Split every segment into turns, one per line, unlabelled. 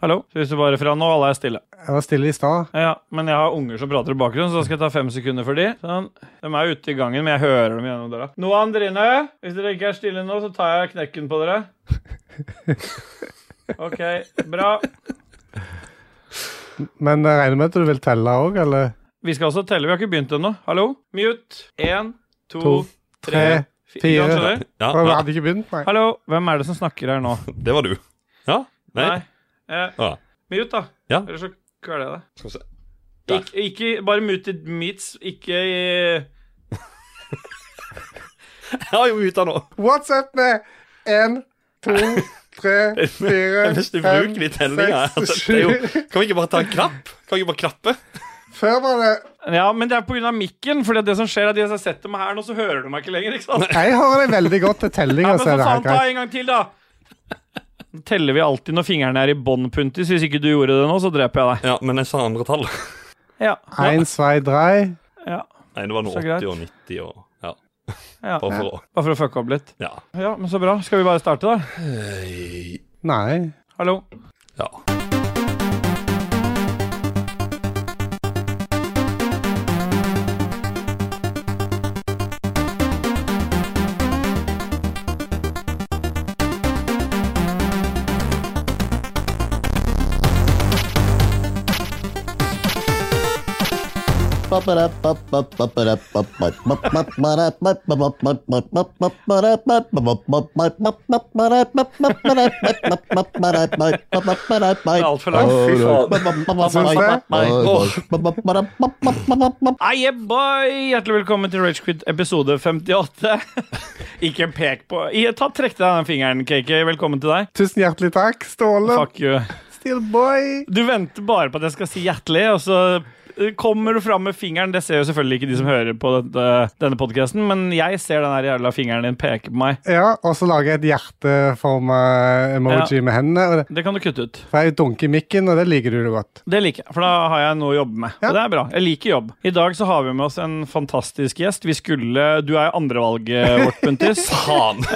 Hallo? Så hvis du bare fra nå, alle er stille.
Jeg var stille i stad.
Ja, men jeg har unger som prater i bakgrunnen, så da skal jeg ta fem sekunder for de. Sånn. De er ute i gangen, men jeg hører dem gjennom døra. Noah Andrine, hvis dere ikke er stille nå, så tar jeg knekken på dere. OK, bra.
Men jeg regner med at du vil telle òg, eller?
Vi skal også telle, vi har ikke begynt ennå. Hallo? Mute. Én, to,
To,
tre,
tre,
fire.
fire.
Skjønner?
Ja,
Og Vi
ja,
hadde ikke begynt, nei.
Hallo, hvem er det som snakker her nå?
det var du. Ja? Nei?
Eh,
Ah,
mute, da.
Ja.
Ellers så kveler jeg deg.
skal vi se. Der.
Ik ikke bare muted meats, ikke i
Jeg har jo muta nå.
What's up med én, to, tre, fire,
Hvis du
fem,
bruker de tellingene Altså,
seks,
det er jo,
sju
Kan vi ikke bare ta en knapp? Kan vi ikke bare klappe?
Før var det
Ja, men det er pga. mikken. Fordi det som skjer er at Hvis jeg setter meg her nå, så hører du meg ikke lenger. ikke sant?
Jeg hører deg veldig godt til
Ja,
tellinga,
men
så
for
er det her
faen, ta
greit.
en gang til, da! Nå teller vi alltid når fingrene er i bånn, Puntis. Hvis ikke du gjorde det nå, så dreper jeg deg.
Ja, men jeg sa andre tall.
Ja,
Én, zwei, drei.
ja,
Nei, det var noe
Så greit.
80 og 90 og Ja,
ja.
bare for å
Bare for å fucke opp litt.
Ja.
Ja, men så bra. Skal vi bare starte, da?
Øy,
Nei.
Hallo?
ja.
Det
Det er altfor langt. Fy faen. Aye, boy! Hjertelig velkommen til Ragequid episode 58. ikke pek på Jeg- Ta, Trekk til deg den fingeren, KK. Velkommen til deg.
Tusen hjertelig takk, Ståle.
Fuck you.
Still boy.
Du venter bare på at jeg skal si hjertelig, og så eh, kommer du fram med fingeren. Det ser jo selvfølgelig ikke de som hører på dette, denne podkasten, men jeg ser den her jævla fingeren din peke på meg.
Ja, og så lager jeg et hjerteforma emoji med hendene. Og det,
Det kan du kutte ut.
for jeg dunker i mikken, og det liker du godt.
Det liker jeg, for da har jeg noe å jobbe med. Og det er bra. Jeg liker jobb. I dag så har vi med oss en fantastisk gjest. Vi skulle Du er andrevalget eh, vårt, Puntis.
Faen!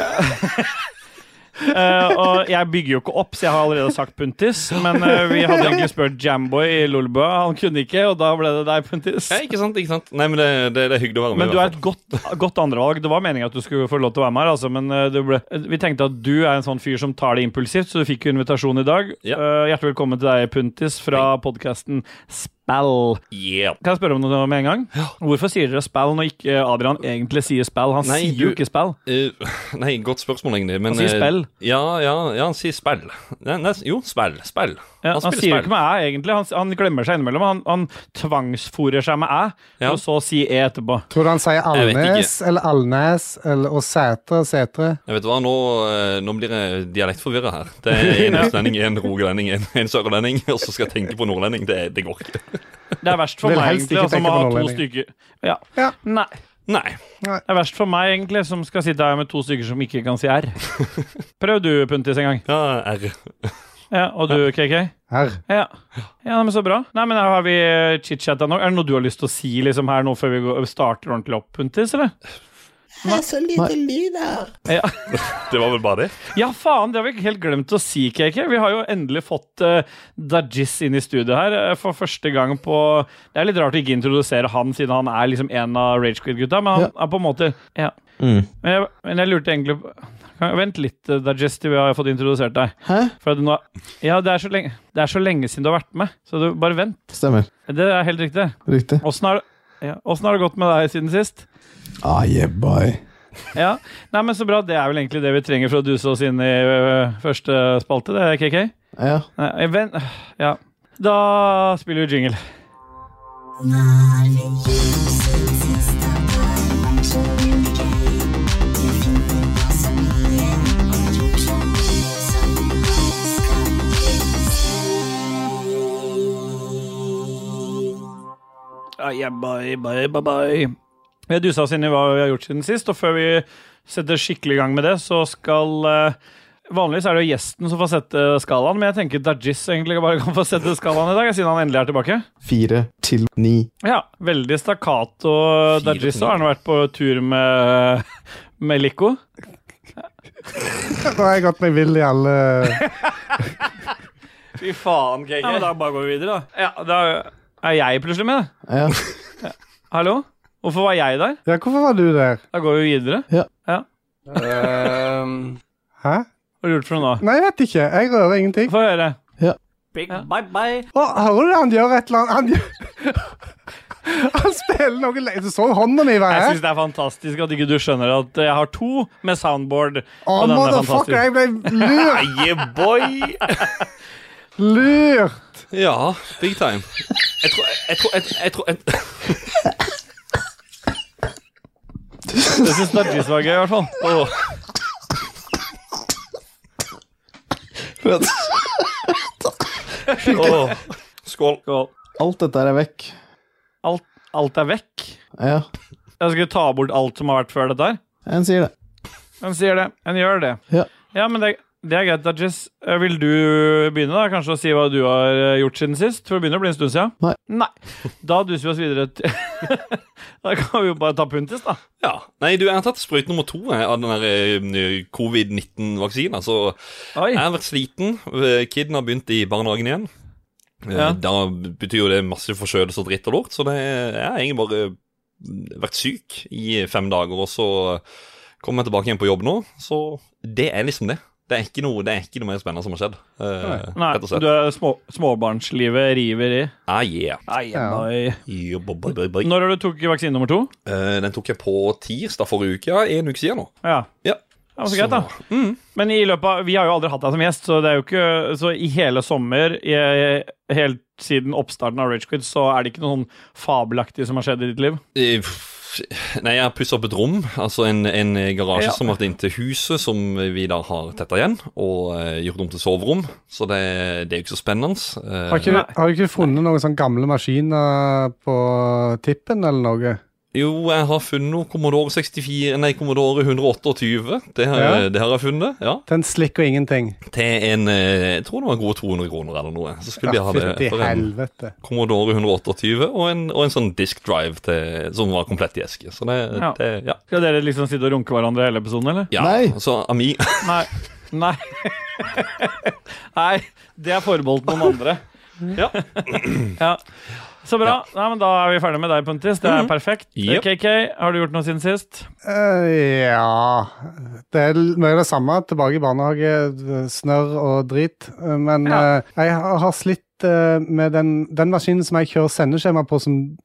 Eh, og jeg bygger jo ikke opp, så jeg har allerede sagt Puntis. Men eh, vi hadde egentlig spurt Jamboy i Lolbø. Han kunne ikke, og da ble det deg, Puntis.
Ja, ikke sant? ikke sant Nei, men det, det, det er hyggelig å være med.
Men du
i
er
hvert
et godt, godt andrevalg. Det var meningen at du skulle få lov til å være med her, altså, men eh, det ble, vi tenkte at du er en sånn fyr som tar det impulsivt, så du fikk jo invitasjon i dag.
Ja.
Eh, hjertelig velkommen til deg, Puntis, fra podkasten Spell.
fall. Yeah.
Kan jeg spørre om noe med en gang? Hvorfor sier dere spell når ikke Adrian egentlig sier spell? Han
Nei,
sier jo
du-
ikke spell.
Eh, nei, godt spørsmål, egentlig. Men,
Han sier
eh,
spill.
Ja, ja, ja, han sier spill. Nei, nei, jo, spill. Spill.
Ja, han
spiller
sier jo ikke med æ, egentlig. Han, han glemmer seg innimellom. Han, han tvangsfòrer seg med æ,
Ja.
og så si e etterpå.
Tror du han sier
Jeg vet
Alnes eller Alnes eller, og Sætre Sætre?
Jeg vet hva, nå, eh, nå blir jeg dialektforvirra her. Det er en østlending, en rogalending, en, en sørlending, og så skal jeg tenke på nordlending. Det, det går ikke.
Det er verst for
Vil
meg,
helst
egentlig,
ikke
altså,
tenke
å ha
på
to
nordlendinger.
stykker. Ja.
Ja.
Nei.
Nei.
Det er verst for meg, egentlig, som skal sitte her med to stykker som ikke kan si R. Prøv du, Puntis, en gang.
Ja, R.
Ja, Og du, KK?
R.
Ja. ja, men så bra. Nei, men her har vi eh, chit-chatta nå. Er det noe du har lyst til å si liksom her nå før vi går, starter ordentlig opp, Puntis, eller?
er så lite lyd her.
Ja.
Det var vel bare det?
ja, faen, det har vi helt glemt å si, KK. Vi har jo endelig fått eh, Dajis inn i studio her eh, for første gang på Det er litt rart å ikke introdusere han, siden han er liksom en av Ragequid-gutta, men han er på en måte Ja.
Mm.
Men, jeg, men jeg lurte egentlig på kan- Vent litt, eh, Dajis, til vi har fått introdusert deg.
Hæ?
For at nå, ja, det er, så lenge, det er så lenge siden du har vært med, så du, bare vent.
Stemmer.
Det er helt riktig.
Riktig.
Åssen har, det- ja, åssen har det gått med deg siden sist?
Ah, yeah, boy.
Ja, Nei, men Så bra. Det er vel egentlig det vi trenger for å duse oss inn i ø, første spalte, det, KK.
Ja.
Nei, eh, vent øh, Ja. Da spiller vi jingle. Ah, yeah, bye, bye, bye, bye. Vi har dusa oss inn i hva vi har gjort siden sist, og før vi setter skikkelig i gang med det, så skal eh, Vanligvis er det jo gjesten som får sette skalaen, men jeg tenker Dajis egentlig bare kan få sette skalaen i dag, siden han endelig er tilbake.
Fire til ni.
Ja, veldig stakkato Dajis har han vært på tur med, med Lico.
Nå har jeg gått meg vill i alle
Fy faen,
Ja, men
KK.
da bare går vi videre, da.
Ja, da er jeg plutselig med.
Ja.
Hallo? Hvorfor var jeg der?
Ja, hvorfor var du der?
Da går vi videre.
Hæ?
Hva har du gjort for noe nå?
Nei, jeg vet ikke. Jeg rører ingenting.
Få høre.
Big
Ja.
bye-bye.
Å, hører du det? Han gjør et eller annet Han, gjør... han spiller noe le... Du så hånda mi være
Jeg
her.
syns det er fantastisk at ikke du skjønner at jeg har to med soundboard.
Å,
og den er
motherfucker,
fantastisk.
jeg ble lurt!
Yeah, boy!
Lurt!
Ja, big time. Jeg tror Jeg tror, jeg, jeg tror jeg,
Jeg syns Dargis var gøy, i hvert fall.
Åh, åh. Skål.
Skål.
Alt dette her er vekk.
Alt, alt er vekk.
Ja.
Jeg skulle ta bort alt som har vært før dette her.
En sier det.
En sier det. En gjør det.
Ja.
men det, det er greit, Dargis. Eh, Vil du begynne, da? Kanskje å si hva du har eh, gjort siden sist? For det begynner å bli en stund siden.
Nei.
Da duser vi oss videre til Da kan vi jo bare ta Puntis, da.
Ja. Nei, du, jeg har tatt sprøyte nummer to jeg, av den der eh, covid-19-vaksinen. Så
Oi.
jeg har vært sliten. Eh, Kiden har begynt i barnehagen igjen. Eh,
Ja.
Da betyr jo det masse forkjølelse og dritt og lort, så det, jeg har egentlig bare eh, vært syk i fem dager, og så kommer jeg tilbake igjen på jobb nå. Så det er liksom det. Det er ikke noe, det er ikke noe mer spennende som har skjedd. eh,
Nei,
rett og slett.
du er små, småbarnslivet river i.
Ah, yeah.
Ja.
Oi.
Yeah, boy, boy, boy, boy.
Når har du tok vaksine nummer to?
Eh, den tok jeg på tirsdag forrige uke, ja. En uke siden nå.
Ja.
Ja. mm.
Det var så greit, da. Men i løpet av, vi har jo aldri hatt deg som gjest, så det er jo ikke Så i hele sommer, i, helt siden oppstarten av Ragequid, så er det ikke noe sånn fabelaktig som har skjedd i ditt liv.
Eh, pff, Nei, jeg har pussa opp et rom, altså en, en
Ja.
garasje som har vært inntil huset, som vi da har tetta igjen, og eh, gjort om til soverom. Så det, det er jo ikke så spennende. Eh,
Har, ikke, har du ikke funnet noen sånne gamle maskiner på tippen eller noe?
Jo, jeg har funnet noe Commodore 64, nei, Commodore 128. Det har,
Ja.
det har jeg funnet, ja.
Den slikker ingenting.
Til en eh, Jeg tror det var gode 200 kroner eller noe. Så skulle de ha det
Fytti
for en
helvete.
Commodore 128 og en, og en sånn disk drive til, som var komplett i eske. Så det,
Ja.
det ja.
Skal dere liksom sitte og runke hverandre hele episoden, eller?
ja.
Nei.
Så Ami
Nei. Nei. Nei. Det er forbeholdt noen andre.
Ja.
ja. Så bra. Nei, men da er vi ferdig med deg, Puntis. Det
Mhm.
er perfekt.
Yep.
KK, har du gjort noe siden sist?
Eh, ja Det er l- mye av det samme. Tilbake i barnehage, snørr og drit. Eh, Men
Ja.
eh, jeg har har slitt eh, med den, den maskinen som jeg kjører sendeskjema på, som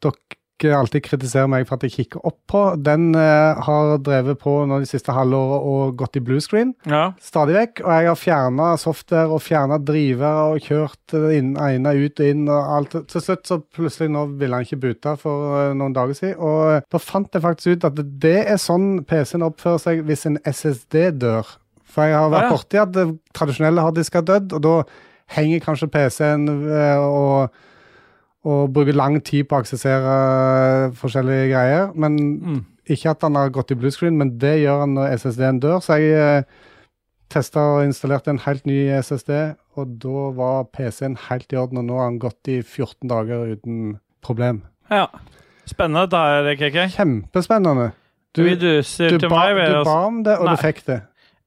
dere alltid kritiserer meg for at jeg kikker opp på. Den eh, har drevet på nå de siste halvåret og gått i blue screen
Ja.
stadig vekk. Og jeg har fjerna software og fjerna driver og kjørt eh, inn, ene ut og inn og alt. Til slutt så plutselig nå ville han ikke boote for eh, noen dager siden. Og eh, da fant jeg faktisk ut at det er sånn PC-en oppfører seg hvis en SSD dør. For jeg
Ah,
har vært
ja.
borti at eh, tradisjonelle harddisker har dødd, og da henger kanskje PC-en eh, og og bruker lang tid på å aksessere eh, forskjellige greier. Men
Mm.
ikke at han har gått i bluescreen, men det gjør han når SSD-en dør. Så jeg eh, testa og installerte en helt ny SSD, og da var PC-en helt i orden, og nå har han gått i 14 dager uten problem.
ja. Spennende dette her, KK.
Kjempespennende.
Du, vi duser
du,
til
ba,
meg. ved
du
oss-
ba om det, og
Nei.
du fikk det.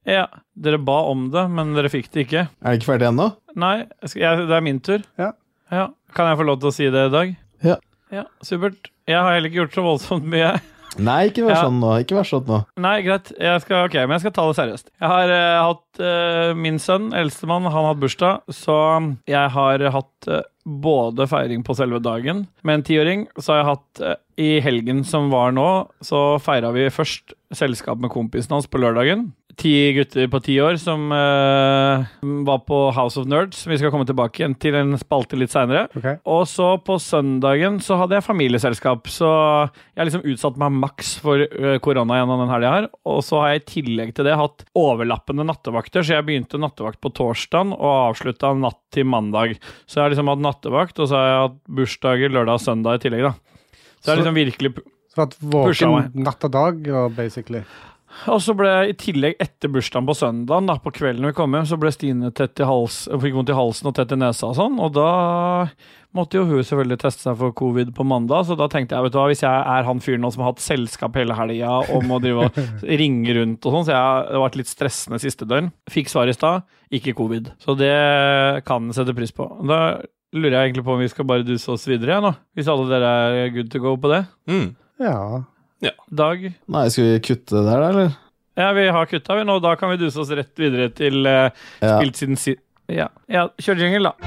Ja, dere ba om det, men dere fikk det ikke.
Er det ikke ferdig ennå?
Nei, jeg skal- jeg, det er min tur.
Ja.
Ja. Kan jeg få lov til å si det i dag?
Ja.
Ja, Supert. Jeg har heller ikke gjort så voldsomt mye.
Nei, ikke vær
Ja.
sånn nå. Ikke vær sånn nå.
Nei, greit. Jeg skal, ok, men jeg skal ta det seriøst. Jeg har eh, hatt eh, min sønn, eldstemann, han har hatt bursdag, så jeg har hatt eh, både feiring på selve dagen med en tiåring, så har jeg hatt eh, i helgen som var nå, så feira vi først selskap med kompisen hans på lørdagen. Ti gutter på ti år som eh, var på House of Nerds. Vi skal komme tilbake igjen til en spalte litt seinere.
Ok.
Og så på søndagen så hadde jeg familieselskap, så jeg har liksom utsatt meg maks for ø, korona gjennom den helga her. Og så har jeg i tillegg til det hatt overlappende nattevakter, så jeg begynte nattevakt på torsdag og avslutta natt til mandag. Så jeg har liksom hatt nattevakt, og så har jeg hatt bursdager lørdag og søndag i tillegg, da. Så jeg har
Så-
liksom virkelig
Så vært
Pusha
våken
meg.
natt og dag, og basically.
Og så ble jeg i tillegg etter bursdagen på søndagen, da, på kvelden når vi kom hjem, så ble Stine tett i hals, fikk vondt i halsen og tett i nesa og sånn. Og da måtte jo hun selvfølgelig teste seg for covid på mandag, så da tenkte jeg vet du hva, hvis jeg er han fyren nå som har hatt selskap hele helga og må drive og ringe rundt og sånn, så jeg det har vært litt stressende siste døgn. Fikk svar i stad, ikke covid. Så det kan jeg sette pris på. Da lurer jeg egentlig på om vi skal bare duse oss videre, jeg nå. Hvis alle dere er good to go på det.
Mm.
Ja.
Dag?
Nei, skal vi kutte det der, da, eller?
Ja, vi har kutta, vi nå. Da kan vi duse oss rett videre til eh,
Ja.
spilt siden si... Ja. ja, kjør jingle, da.
Du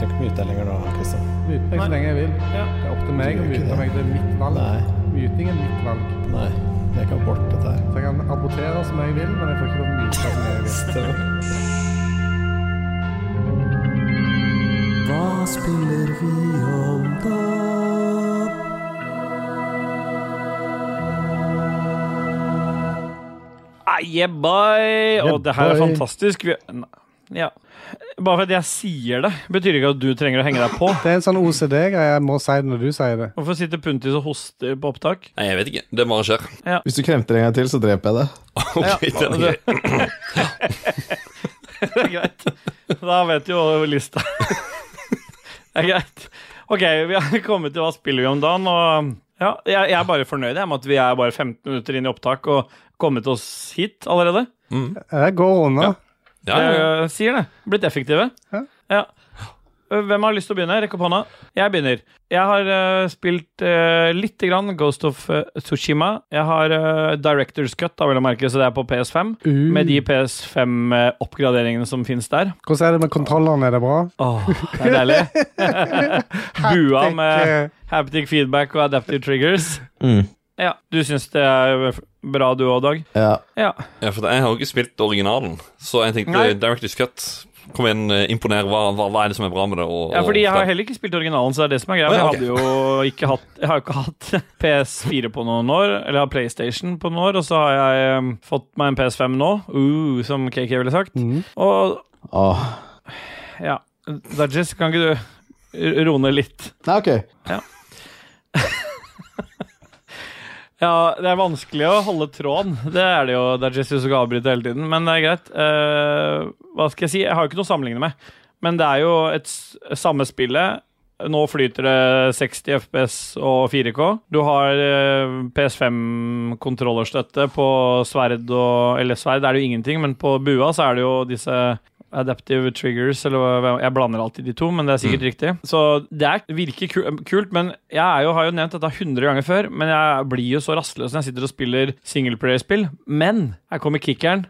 trenger ikke mute deg lenger nå, Kristian.
Mute meg så
Nei.
lenge jeg vil.
Ja.
Det er opp til meg
Du
å
gjør ikke
mute
det.
meg. Det er mitt valg.
Nei,
Muting er mitt valg.
nei. Det kan bort, dette her.
Så jeg kan abortere som jeg vil, men jeg får ikke lov til å mute som jeg vil.
Stemmer. Hva spiller vi om da?
Ah, yeah, boy! Og
Yeah,
det her er
boy.
fantastisk. Vi... Nei, Ja. Bare for at jeg sier det, betyr ikke at du trenger å henge deg på.
Det er en sånn OCD-greie. Jeg må si det når du sier det.
Hvorfor sitter Puntis og hoster på opptak?
Nei, jeg vet ikke. Det bare skjer.
Hvis du kremter en gang til, så dreper jeg deg.
Ok, den er grei.
Det er greit. Da vet jo lista. Det er greit. Ok, vi har kommet til hva spiller vi om dagen, og ja, jeg, jeg er bare fornøyd jeg, med at vi er bare 15 minutter inn i opptak og kommet oss hit allerede.
Jeg går unna.
Ja, ja, ja.
Jeg eh, sier det. Blitt effektive.
Ja.
Ja. Hvem har lyst til å begynne? Rekk opp hånda. Jeg begynner. Jeg har eh, spilt uh, lite grann Ghost of eh, Tsushima. Jeg har eh, Directors Cut, da vil jeg merke, så det er på PS5.
Uh.
Med de PS5-oppgraderingene som finnes der.
Hvordan er det med kontrolleren? Er det bra?
Åh, det er deilig. Bua
Haptic,
med
eh,
haptic feedback og adaptive triggers.
Mm.
Ja, Du syns det er bra, du òg, Dag?
Ja.
Ja.
ja, for jeg har jo ikke spilt originalen, så jeg tenkte
Nei.
Directors Cut. Kom igjen, eh, imponer. Hva, hva, hva er det som er bra med det? Og,
Ja, fordi jeg har
og-
heller ikke spilt originalen, så det er det som er greia.
Å, ja,
Jeg hadde jo ikke hatt, jeg har jo ikke hatt PS4 på noen år, eller jeg har PlayStation på noen år, og så har jeg um, fått meg en PS5 nå, uh, som KK ville sagt.
Mhm.
Og
Åh.
ja, Dajis, kan ikke du r- roe ned litt?
Nei, ok.
Ja, det er vanskelig å holde tråden. Det er det jo. Det er Jesus som avbryter hele tiden. Men det er greit. Eh, hva skal jeg si? Jeg har jo ikke noe å sammenligne med. Men det er jo et s- samme spillet. Nå flyter det 60 FPS og 4K. Du har eh, PS5-kontrollerstøtte på sverd og Eller sverd er det jo ingenting, men på bua så er det jo disse Adaptive triggers, eller hva- jeg blander alltid de to, men det er sikkert riktig. Så det er, virker ku- kult, men jeg er jo, har jo nevnt dette 100 ganger før, men jeg blir jo så rastløs når jeg sitter og spiller singleplayer-spill. Men her kommer kickeren.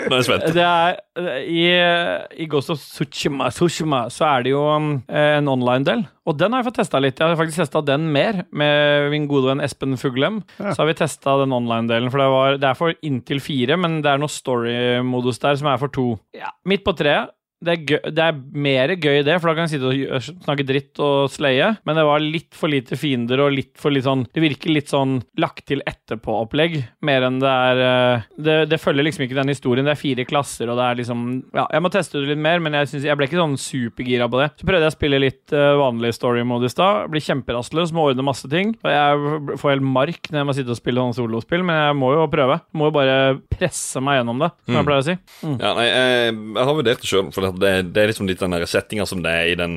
Nå er jeg spent.
Det er, i, I Ghost of Tsushima, Tsushima så er det jo um, en online-del, og den har jeg fått testa litt. Jeg har faktisk testa den mer med min gode venn Espen Fuglem. Så har vi testa den online-delen, for det, var, det er for inntil fire, men det er noe story-modus der som er for to. Ja, midt på treet. Det er, gøy, det er mer gøy det, for da kan jeg sitte og gjø- snakke dritt og sleie, men det var litt for lite fiender og litt for litt sånn Det virker litt sånn lagt til etterpå-opplegg, mer enn det er eh, det, det følger liksom ikke den historien. Det er fire klasser, og det er liksom Ja, jeg må teste det litt mer, men jeg, synes, jeg ble ikke sånn supergira på det. Så prøvde jeg å spille litt eh, vanlig story mode i stad. Blir kjemperastløs, må ordne masse ting. Og jeg b- får helt mark når jeg må sitte og spille sånne solospill, men jeg må jo prøve. Må jo bare presse meg gjennom det, som jeg pleier å si.
Ja, nei, jeg, jeg har vurdert det sjøl, for det, det- det er liksom litt den der settinga som det er i den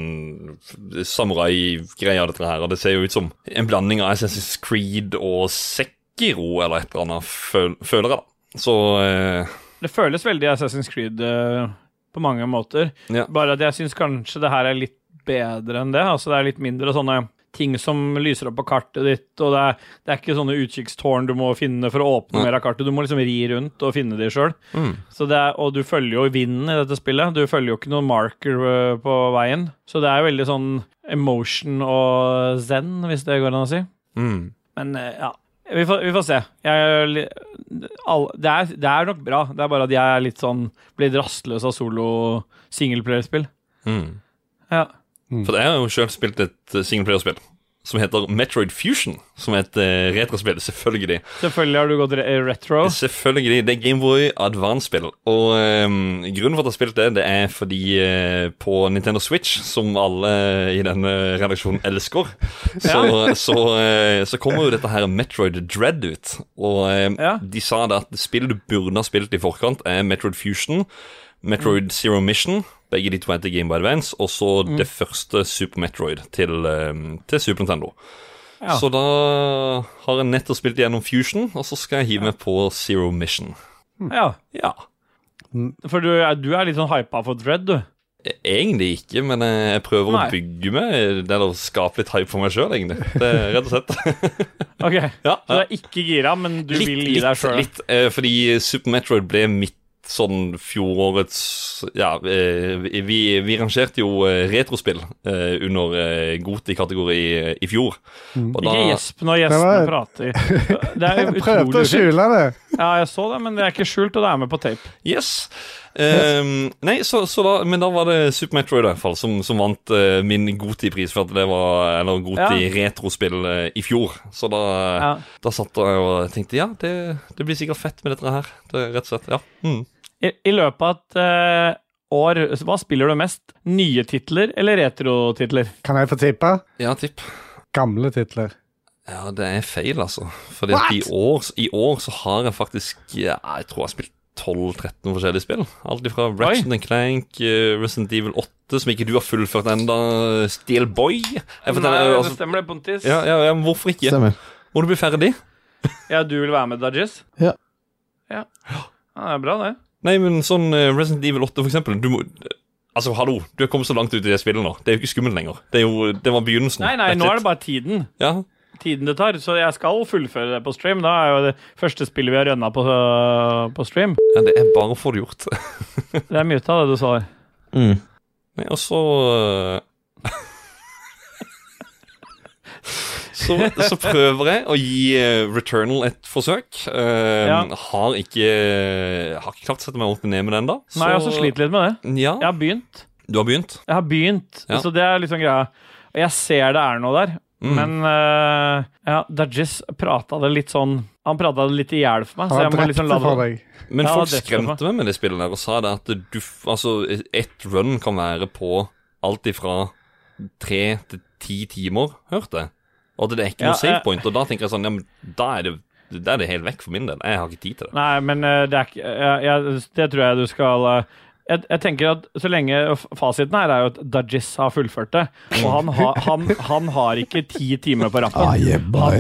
samurai-greia, dette her. Og det ser jo ut som en blanding av Assassin's Creed og Sekiro eller et eller annet, føl, føler jeg, da. Så eh,
Det føles veldig Assassin's Creed eh, på mange måter.
Ja.
Bare at jeg syns kanskje det her er litt bedre enn det. Altså Det er litt mindre sånne ting som lyser opp på kartet ditt, og det er, det er ikke sånne utkikkstårn du må finne for å åpne
Nei.
mer av kartet. Du må liksom ri rundt og finne de sjøl.
Mm.
Og du følger jo vinden i dette spillet. Du følger jo ikke noen marker eh, på veien. Så det er jo veldig sånn emotion og zen, hvis det går an å si.
mm.
Men eh, ja, vi får, vi får se. Jeg, er li- all, det, er, det er nok bra. Det er bare at jeg er litt sånn blir rastløs av solo singleplayerspill.
Mm.
Ja.
For jeg har jo sjøl spilt et eh, singleplayerspill. som heter Metroid Fusion, som er et eh, retrospill, selvfølgelig.
Selvfølgelig har du gått re retro.
Selvfølgelig. Det er Gameboy Advance-spill. Og ehm, grunnen for at jeg har spilt det, det er fordi eh, på Nintendo Switch, som alle i denne redaksjonen elsker, så, så, eh, så kommer jo dette her Metroid Dread ut. Og ehm,
Ja.
de sa det at spill du burde ha spilt i forkant, er Metroid Fusion, Metroid Zero Mission. Begge de to heter Game by Advance, og så
Mm.
det første Super Metroid til, ehm, til Super Nintendo.
Ja.
Så da har jeg nettopp spilt gjennom Fusion, og så skal jeg hive meg på Zero Mission.
Ja. Mm.
Ja,
For du er, du er litt sånn hypa for Dread, du.
e- egentlig ikke, men jeg jeg prøver
Nei.
å bygge meg Det er å skape litt hype for meg sjøl, egentlig. Det er rett og slett.
Ok,
Ja,
Så du er ikke gira, men du
litt,
vil gi deg
litt,
sjøl.
litt, eh, fordi Super Metroid ble mitt sånn fjorårets Ja, eh, vi, vi rangerte jo eh, retrospill eh, under eh, Goti-kategori eh, i fjor. Og
Mm.
da-
Ikke gjesp når gjestene
Det
prater. Det er
Jeg
utrolig
prøvde å
ufint.
skjule det.
Ja, jeg så det, men det er ikke skjult, og det er med på tape.
Yes. Ehm, nei, så, så da, men da var det Super Metroid i hvert fall som, som vant eh, min Goti-pris, for at det var Eller Goti-retrospill i fjor. Så da,
Ja.
da satt jeg og tenkte ja, det, det blir sikkert fett med dette her. Det, rett og slett. Ja. Mm.
I, i løpet av et eh, år, hva spiller du mest? Nye titler eller retrotitler?
Kan jeg få tippe?
ja, tipp.
Gamle titler.
Ja, det er feil, altså. Fordi at i år, i år så har jeg faktisk ja, Jeg tror jeg har spilt 12-13 forskjellige spill. Alt fra Ratchet and Clank, eh, Resident Evil 8, som ikke du har fullført enda, Steel Boy jeg forteller, altså,
stemmer det, Pontis.
Ja, ja, ja, men hvorfor ikke?
Stemmer.
Må du bli ferdig?
Ja, du vil være med, Dajis?
Ja.
ja. Ja, Det er bra, det.
Nei, men sånn eh, Resident Evil 8, for eksempel. Du må Altså, hallo, du er kommet så langt ut i det spillet nå. Det er jo ikke skummelt lenger. Det, er jo, det var begynnelsen.
Nei, nei, nå er det bare tiden.
Ja,
Tiden det tar. Så jeg skal fullføre det på stream. Da er jo det første spillet vi har rønna på, på stream.
ja, det er bare å få det gjort.
Det er mye av det du sa.
Nei, og så eh, så, så prøver jeg å gi eh, Returnal et forsøk. Eh,
Ja.
Har ikke eh, Har ikke klart å sette meg opp og ned med den, da.
Nei, jeg også sliter litt med det.
Ja,
Jeg har begynt.
Du har begynt?
Jeg har begynt,
Ja.
så det er liksom greia. Og jeg ser det er noe der,
Mm.
men eh, ja, Dajis prata det litt sånn Han prata det litt i hjel for meg, så
Han
jeg må
drepte
liksom la
det for
det
deg.
Men
Ja,
folk
det tror jeg
skremte meg med det spillet der og sa det at du f- Altså, ett run kan være på alt ifra tre til ti timer, hørte jeg. Og at det er ikke
Ja, eh,
noe save
jeg-
point. Og da tenker jeg sånn, ja, men da er det da er det helt vekk for min del. Jeg har ikke tid til det.
Nei, men eh, det er ikke jeg, jeg, Det tror jeg du skal eh, jeg, jeg tenker at så lenge f- Fasiten her er jo at Dajis har fullført det. Og han, ha, han, han har ikke ti timer på rappen.
Ah, yeah, boy.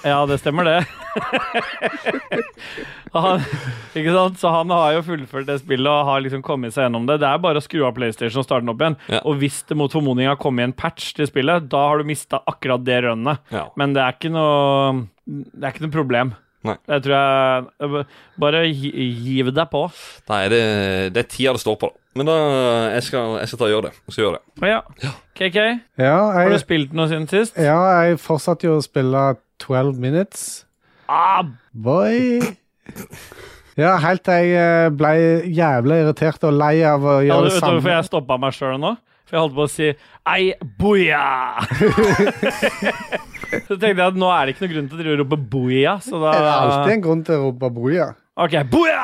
Ja, det stemmer det. han, ikke sant? Så han har jo fullført det spillet og har liksom kommet seg gjennom det. Det er bare å skru av PlayStation og starte den opp igjen.
Ja.
Og hvis det mot formodning har kommet en patch til spillet, da har du mista akkurat det rønnet.
Ja.
Men det er ikke noe Det er ikke noe problem.
Nei.
Jeg tror jeg Bare gi- giv deg på.
Da er det, det er tida det står på, da. Men da jeg skal jeg skal ta og gjøre det. Jeg skal gjøre det.
Ja. KK,
Ja,
har du
jeg,
spilt noe siden sist?
ja, jeg fortsatte jo å spille 12 Minutes.
Ah,
Boy. Ja, helt til jeg eh, ble jævlig irritert og lei av å
ja, du
gjøre det
vet du hvorfor
samme.
jeg stoppa meg sjøl nå? For jeg holdt på å si ei, boia! så tenkte jeg at nå er det ikke noe grunn til å drive og rope boia, så da
Det er alltid en grunn til å rope boja.
OK, boia!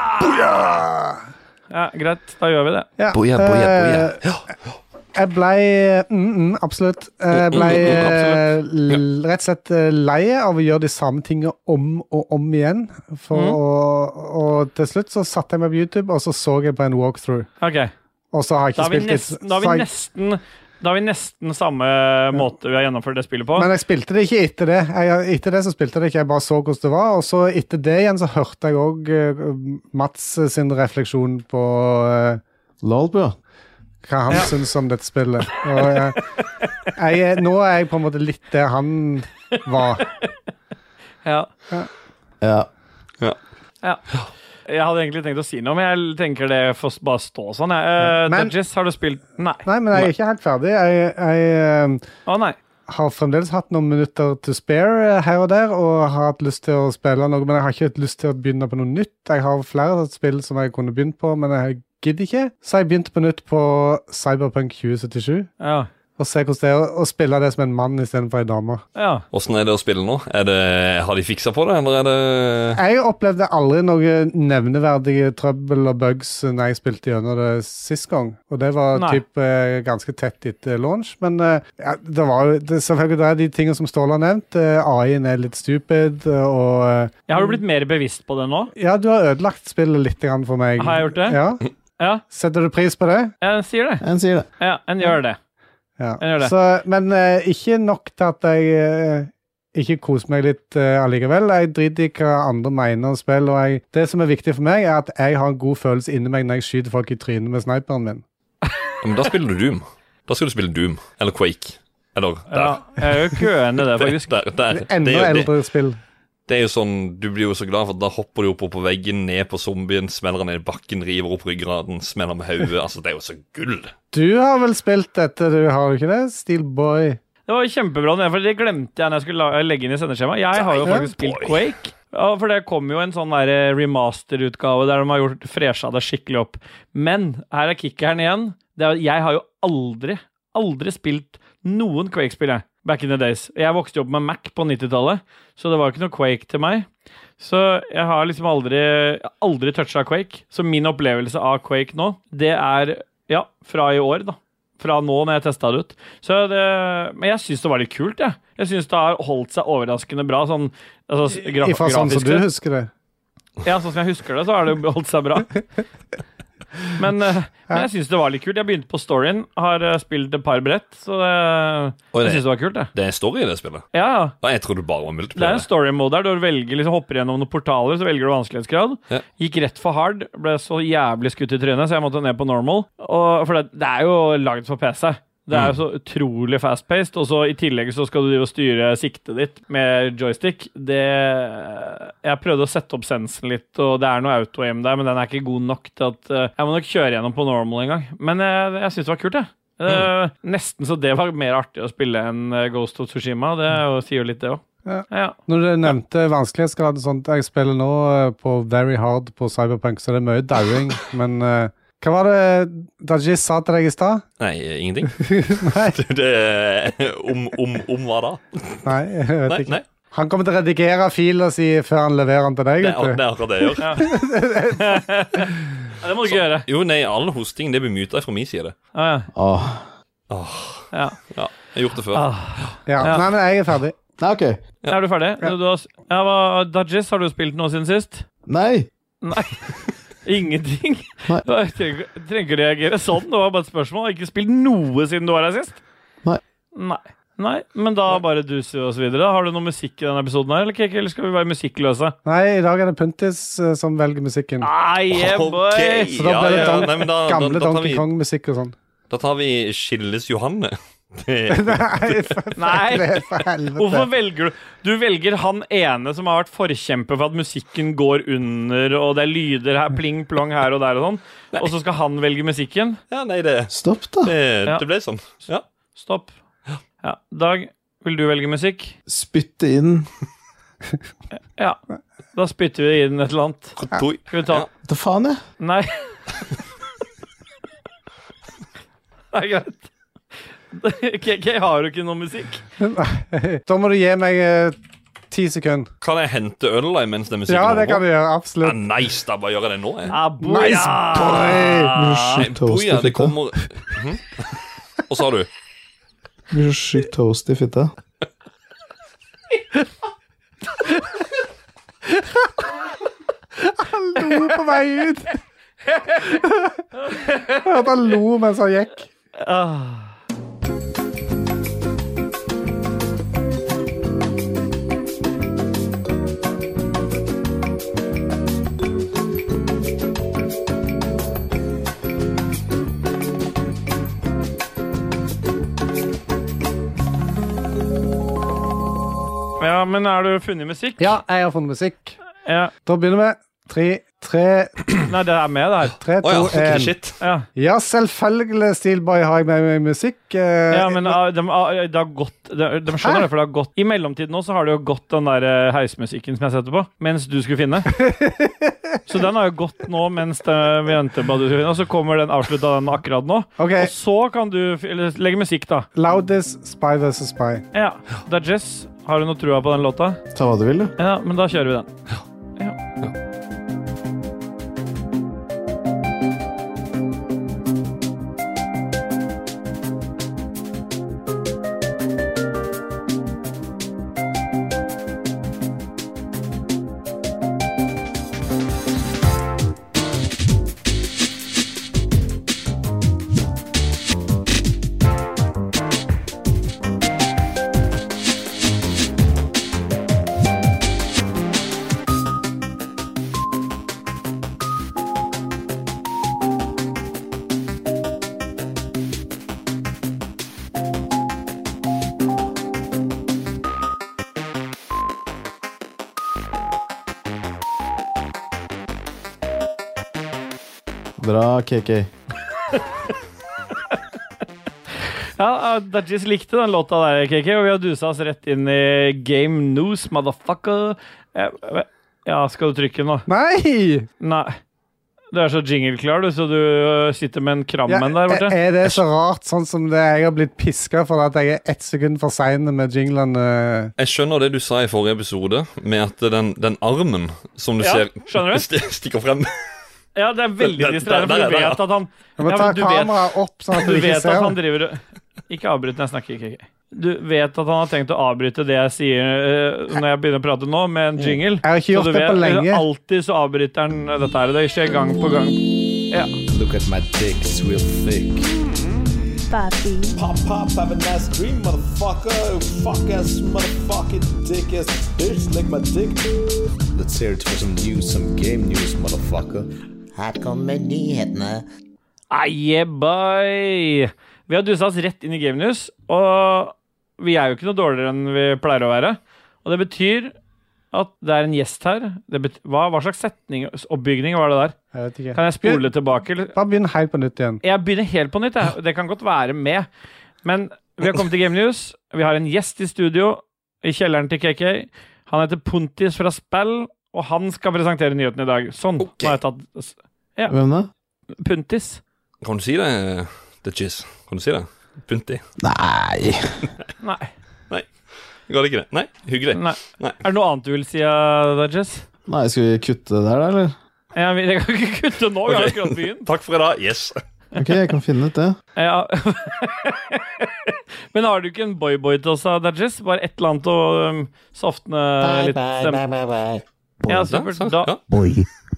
Ja, greit. Da gjør vi det.
Ja,
Boja, boja, boja.
eh, Jeg ble mm, mm, Absolutt. Jeg ble
Mm, mm,
eh,
absolutt.
l- rett og slett eh, lei av å gjøre de samme tingene om og om igjen. For
Mm.
å, og til slutt så satte jeg meg på YouTube, og så så jeg på en walkthrough.
OK.
Og så har jeg
Da har
ikke
vi
spilt det.
nesten, da har
så
vi
jeg-
nesten, da har vi nesten samme måte vi har gjennomført det spillet på.
Men jeg spilte det ikke etter det. Jeg, etter det så spilte jeg det ikke, jeg bare så hvordan det var. Og så etter det igjen så hørte jeg òg Mats eh, sin refleksjon på eh,
Lol, bro.
hva han syns om dette spillet. Og jeg, jeg, er- nå er jeg på en måte litt der han var.
Ja.
Ja.
Jeg hadde egentlig tenkt å si noe, men jeg tenker det får bare stå sånn. jeg. Eh,
Men-
Dajis, har du spilt Nei.
Nei, men jeg er ikke helt ferdig. Jeg, jeg eh,
Å, nei.
har fremdeles hatt noen minutter to spare eh, her og der, og har hatt lyst til å spille noe, men jeg har ikke hatt lyst til å begynne på noe nytt. Jeg har flere spill som jeg kunne begynt på, men jeg gidder ikke. Så jeg begynte på nytt på Cyberpunk 2077.
Ja.
Og se hvordan det er å- å spille det som en mann istedenfor ei dame.
Ja.
Åssen er det å spille nå? Er det, har de fiksa på det, eller er det
Jeg opplevde aldri noe nevneverdige trøbbel og bugs når jeg spilte gjennom det sist gang. Og det var
Nei.
typ eh, ganske tett etter launch. Men eh, ja, det var jo det, selvfølgelig det er de tingene som Ståle har nevnt. Eh, AI-en er litt stupid, og eh,
Ja, Har du blitt mer bevisst på det nå?
Ja, du har ødelagt spillet litt grann for meg.
Har jeg gjort det?
Ja.
Ja,
Setter du pris på det?
jeg sier det.
En sier det.
Ja, En gjør det.
Ja.
Jeg gjør det.
Så, men eh, ikke nok til at jeg eh, ikke koser meg litt eh, allikevel. Jeg driter i hva andre mener om spill. Og jeg, det som er viktig for meg, er at jeg har en god følelse inni meg når jeg skyter folk i trynet med sniperen min.
Ja, Men da spiller du Doom. Da skal du spille Doom. Eller Quake. Eller
Ja,
der.
jeg er jo ikke uenig i det, faktisk.
Der, der.
Enda
det, er jo- det,
eldre spill.
det er jo sånn, Du blir jo så glad, for da hopper du opp på veggen, ned på zombien, smeller han ned i bakken, river opp ryggraden, smeller med hodet. Altså, det er jo så gull.
Du har vel spilt dette, du har du ikke det? Steelboy.
Det var kjempebra, for det glemte jeg når jeg skulle la- legge inn i sendeskjemaet. Jeg har jo
Nei,
faktisk spilt Quake. Ja, for det kom jo en sånn der eh, remaster-utgave der de har gjort fresha det skikkelig opp. Men her er kickeren igjen. Det er, jeg har jo aldri, aldri spilt noen Quake-spill, jeg. Back in the days. Jeg vokste jo opp med Mac på 90-tallet, så det var jo ikke noe Quake til meg. Så jeg har liksom aldri, aldri toucha Quake. Så min opplevelse av Quake nå, det er ja, fra i år, da. Fra nå når jeg testa det ut. Så det, men jeg syns det var litt kult, jeg. Jeg syns det har holdt seg overraskende bra. Sånn, altså, s- graf,
Ifra sånn som
grafisk
du
sett.
husker det.
Ja, sånn som jeg husker det, så har det jo holdt seg bra. Men, eh, men jeg syns det var litt kult. Jeg begynte på storyen, har eh, spilt et par brett, så det,
Oi, det-
jeg syns det var kult, jeg.
Det er story i det spillet.
Ja, ja.
Ja, jeg trodde det bare var
Det er
multiplayer.
en story mode der. Du velger, liksom, hopper gjennom noen portaler, så velger du vanskelighetsgrad.
Ja.
Gikk rett for hard, ble så jævlig skutt i trynet, så jeg måtte ned på normal. Og, for det, det er jo lagd for PC. Det er jo så utrolig fast-paced, og så i tillegg så skal du drive og styre siktet ditt med joystick. Det Jeg prøvde å sette opp sensen litt, og det er noe auto-aim der, men den er ikke god nok til at eh, Jeg må nok kjøre gjennom på normal en gang. Men jeg, jeg syns det var kult, jeg. Eh, Nesten så det var mer artig å spille enn eh, Ghost of Tsushima. Det er jo- sier jo litt, det òg.
Ja.
Ja.
Når du nevnte vanskelighetsgrad og sånt, jeg spiller nå eh, på Very Hard på Cyberpunk, så det er mye dauing, men eh, hva var det Dajis sa til deg i stad?
Nei, ingenting.
Nei,
Det er om, om, om hva da?
nei, jeg vet
Nei,
ikke.
nei.
Han kommer til å redigere filen sin før han leverer den til deg.
Det er,
vet
det
du.
er akkurat det jeg
Ja,
gjør.
det må du ikke gjøre.
Jo, nei, all hosting det blir muta fra min side.
Ja, ja.
Åh.
Åh,
Ja.
ja, jeg har gjort det før.
Ah, Ja.
Ja.
Nei, men jeg er ferdig.
Nei, OK.
Er du ferdig? Du, du har, s- ja, hva, Dodges, har du spilt noe siden sist?
Nei.
Nei. Ingenting.
Nei.
Du har- trenger trenger ikke reagere sånn. Det var bare et spørsmål. Har ikke spilt noe siden du var her sist?
Nei.
Nei. Nei, Men da bare duser vi oss videre. da. Har du noe musikk i denne episoden, her, eller, Kiki? eller skal vi være musikkløse?
Nei, i dag er det Puntis eh, som velger musikken.
Nei, yeah, boy!
Ok,
Så da
ja,
blir det
ja,
Don-
nei, men Ah, da- da-
Gamle
da tar
Donkey
vi-
Kong-musikk og sånn.
Da tar vi Skilles Johanne. Det-
Nei, for,
Nei.
for helvete.
Hvorfor velger du Du velger han ene som har vært forkjemper for at musikken går under, og det er lyder her, pling plong her og der og sånn, og så skal han velge musikken?
Ja, nei, det,
Stopp, da.
det,
Ja.
det ble sånn. Ja.
Stopp. Ja. Dag, vil du velge musikk?
Spytte inn
Ja. Da spytter vi inn et eller annet.
Toi.
Skal vi ta
Ja.
Da faen, jeg.
Nei. Det er greit. KK, har du ikke noe musikk?
Da må du gi meg eh, ti sekunder.
Kan jeg hente øl da, mens den musikken
Ja, det kan du
jeg.
gjøre.
Ja,
Absolutt.
nice, da bare gjør jeg det nå, jeg.
Aboya!
Ah,
Blir så
Nei,
sjukt toast i
Boja, det
fitta.
kommer Hm? Hva sa du?
Blir så sjukt toast i fitta.
lo på vei ut. At han lo mens han gikk.
Ja, men er du funnet musikk?
Ja, jeg har funnet musikk.
Ja.
Da begynner vi. Tre, Tre,
Nei, det er med, det her.
tre,
Å
to,
ja, ok,
én.
shit.
Ja,
Ja, selvfølgelig, Steelboy, har jeg med meg musikk. eh,
ja men ah, de, ah, det har gått de, de skjønner det, for det har gått I mellomtiden nå så har det jo gått den der eh, heismusikken som jeg setter på, mens du skulle finne. Så den har jo gått nå mens det, vi venter på at du skulle finne, og så kommer den avslutta den akkurat nå.
OK.
Og så kan du f- eller, legge musikk, da.
Loudest Spy vs. Spy.
Ja. Det er Jess. Har du noe trua på den låta?
Ta hva du vil, du.
Ja, men da kjører vi den.
Bra, KK.
Ja, ah, Dajis likte den låta der, KK, og vi har dusa oss rett inn i Game News, motherfucker. Ja, Ja, skal du trykke nå?
Nei!
Nei. Du er så jingle-klar, du, så du ø, sitter med en
Ja, eh,
krammen der borte.
er det så rart, sånn som det jeg har blitt piska for at jeg er ett sekund for sein med eh. jinglene?
Jeg skjønner det du sa i forrige episode, med at den, den armen som du
Ja,
ser
skjønner du?
st- stikker frem
Ja, det er veldig
Der-
distraherende,
der-
for du
der, ja.
vet at han
Jeg må
Ja,
ta
men du vet-
kameraet opp, sånn at
Du
du ikke
vet at
ser.
han driver Ikke avbryt når jeg snakker, KK. Du vet at han har tenkt å avbryte det jeg sier ø, når jeg begynner å prate nå, med en jingle.
Mm. Jeg har ikke gjort
du
det på
ø,
lenge.
alltid så avbryter han dette her. Det skjer gang på gang.
Look at my dick, it's real thick.
Papi.
Pop, pop, have a nice dream, motherfucker. Fuck ass, motherfucking dick ass bitch, lick my dick. Let's hear it for some news, some game news, motherfucker.
Her kommer nyhetene.
Ah, yeah, boy! Vi har dusa oss rett inn i Game News, og vi er jo ikke noe dårligere enn vi pleier å være. Og det betyr at det er en gjest her. Det bet hva, hva slags setning oppbygning var det der?
Jeg vet ikke.
Kan jeg spole tilbake? eller?
Bare begynn helt på nytt igjen.
Jeg begynner helt på nytt. Jeg. Det kan godt være med. Men vi har kommet til Game News. Vi har en gjest i studio i kjelleren til KK. Han heter Pontis fra Spell, og han skal presentere nyheten i dag. Sånn.
Ok.
Nå har jeg tatt
Hvem da?
Puntis.
Kan du si det, The Chiz? Kan du si det? Punti?
Nei.
Nei.
Ga det ikke det? Nei, hyggelig.
Nei.
Nei.
Er det noe annet du vil si, uh, Dodges?
Nei, skal vi kutte det der, da, eller?
Ja, vi- jeg kan ikke kutte nå, vi har
Ok.
akkurat begynt.
Takk for i dag. Yes.
Ok, jeg kan finne ut det.
Ja. Men har du ikke en boyboy til oss, Dodges? Bare et eller annet å um, softe
Bye,
litt
bye,
stemme?
bye, bye, bye.
Ja, supert.
sant?
Da,
Ja.
boy,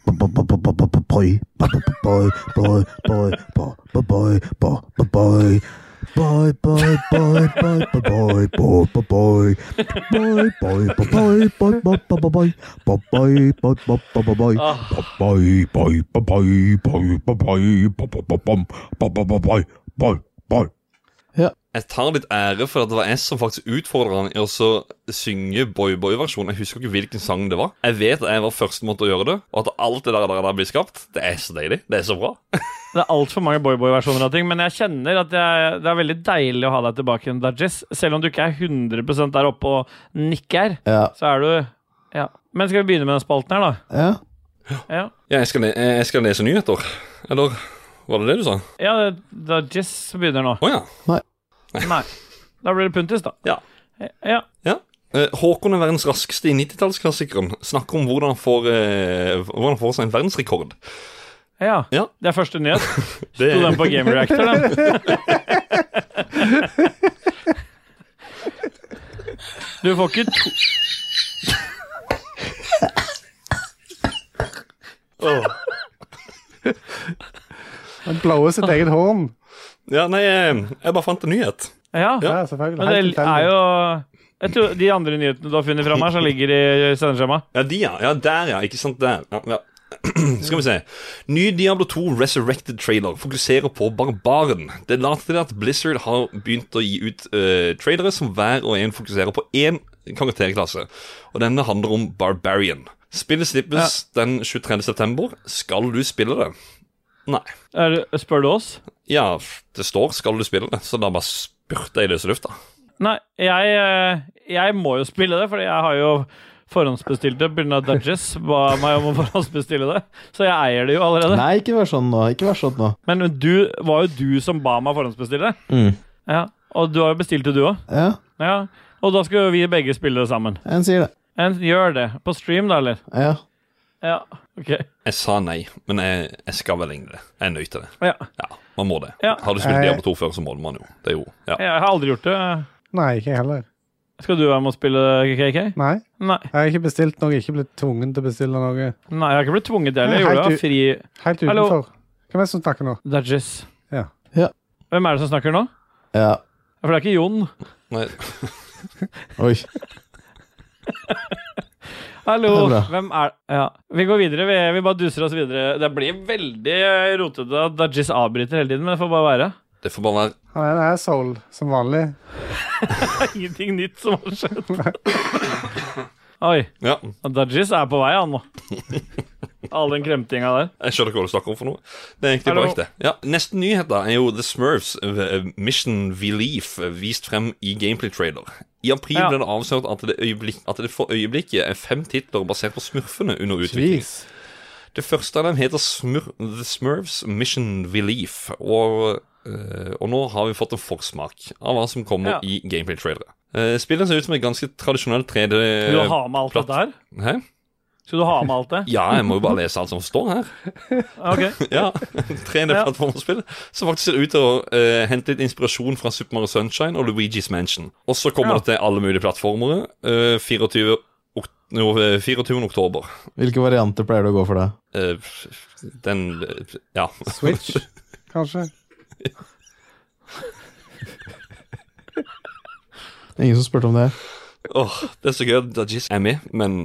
boy, boy, boy, boy, boy, boy, boy, boy, boy, boy, boy, boy, boy. Boy, boy, boy, boy, boy, boy, boy, boy, boy, boy, boy, boy, boy, boy, boy, boy, boy, boy, boy, boy, boy, boy, boy, boy, boy.
Ah.
Boy, boy, boy, boy, boy, boy, boy, boy, boy, boy, boy, boy, boy, boy, boy, boy, boy.
Jeg tar litt ære for at det var jeg som faktisk utfordra han i å så synge boy-boy-versjonen. Jeg husker ikke hvilken sang det var. Jeg vet at jeg var førstemann til å gjøre det, og at alt det der, der, der blir skapt. Det er så deilig. Det er så bra.
det er altfor mange boyboy-versjoner av ting, men jeg kjenner at jeg, det er veldig deilig å ha deg tilbake igjen, Dodges. Selv om du ikke er 100 der oppe og nikker,
Ja.
så er du Ja. Men skal vi begynne med den spalten her, da?
ja.
Ja.
Ja, jeg skal, le jeg skal lese nyheter. Eller var det det du sa? Å
Ja, Dodges begynner nå.
ja.
Nei. Da blir det Puntis, da.
Ja.
ja.
Eh, Håkon er verdens raskeste i 90-tallsklassikeren. Snakker om hvordan han får, eh, hvordan han får seg en verdensrekord.
Ja.
Ja.
Det er første nyhet.
Det,
Sto den på Game Reactor, den? Du får ikke to
Han blower sitt eget horn.
ja, nei, eh, jeg bare fant en nyhet.
Ja,
Ja, selvfølgelig.
men
Helt
det er
tilfeldig.
jo Jeg tror De andre nyhetene du har funnet fram her, som ligger i sendeskjemaet.
Ja, de, ja. ja der, ja. Ikke sant, der. Ja, ja. Skal vi se. Ny Diablo 2 Resurrected-trailer fokuserer på barbaren. Det later til at Blizzard har begynt å gi ut eh, trailere som hver og en fokuserer på én karakterklasse. Og denne handler om Barbarian. Spillet slippes den 23. september. Skal du spille det? Nei.
Er, det- spør du oss?
Ja, det står 'skal du spille det', så da bare spurte jeg i løse lufta.
Nei, jeg, eh, jeg må jo spille det, fordi jeg har jo forhåndsbestilt det. Bruna Dudges ba meg om å forhåndsbestille det, så jeg eier det jo allerede.
Nei, ikke vær sånn nå. Ikke vær sånn nå.
Men du var jo du som ba meg forhåndsbestille det.
Mm.
Ja, og du har jo bestilt det, du òg.
Ja,
Ja. Og da skal jo vi begge spille det sammen.
en sier det.
En, gjør det. På stream, da, eller?
Ja.
Ja. OK.
Jeg sa nei, men jeg, jeg skal vel egentlig det. Jeg nøt det.
Ja.
Ja, man må det.
Ja. Eh.
Har du spilt
Jeg-
Diablo 2 før, så må man jo det. er jo, ja.
Jeg har aldri gjort det.
Nei, ikke jeg heller.
Skal du være med og spille KK?
Nei,
Nei.
jeg har ikke bestilt noe. Ikke blitt tvungen til å bestille noe.
Nei, jeg har ikke blitt tvunget heller. Jeg
Nei,
gjorde
helt
det av fri
Helt utenfor.
Hallo.
Hvem er det som snakker nå?
Dudges.
Ja.
Ja.
Hvem er det som snakker nå?
ja.
For det er ikke Jon.
Nei,
Oi.
Hallo.
Det er bra.
Hvem er Ja. Vi går videre. Vi, vi bare duser oss videre. Det blir veldig eh, rotete at Dudges avbryter hele tiden, men det får bare være.
det får bare være
Han er en asshole, som vanlig.
Det er ingenting nytt som har skjedd. Oi.
Ja,
Dudges er på vei, han nå. All den kremtinga der.
jeg skjønner ikke hva du snakker om for noe. Det er egentlig
Hallo.
bare ikke det. Ja, Neste nyhet da er jo The Smurfs eh, Mission Relief eh, vist frem i gameplay-trailer. I april
Ja.
ble det avslørt at det, øyeblikk, at det for øyeblikket er fem titler basert på smurfene under utvikling.
Jeez.
Det første av dem heter Smur The Smurfs Mission Relief, og, eh, og nå har vi fått en forsmak av hva som kommer
Ja.
i gameplay-trailere. Eh, spillet ser ut som et ganske tradisjonelt 3D
Skal
Eh,
du ha med alt dette her?
Hæ?
Skal du ha med alt det?
Ja, jeg må jo bare lese alt som står her.
Ok.
Ja, 3D-plattformspill som faktisk ser ut til å eh, hente litt inspirasjon fra Super Mario Sunshine og Luigi's Mansion. Og så kommer
Ja.
det til alle mulige plattformer. eh, 24, ok no, eh, 24. oktober.
Hvilke varianter pleier du å gå for det?
Eh, den eh, Ja.
Switch, kanskje?
Ingen som spurte om det?
Åh, det er så gøy at Dajis er med, men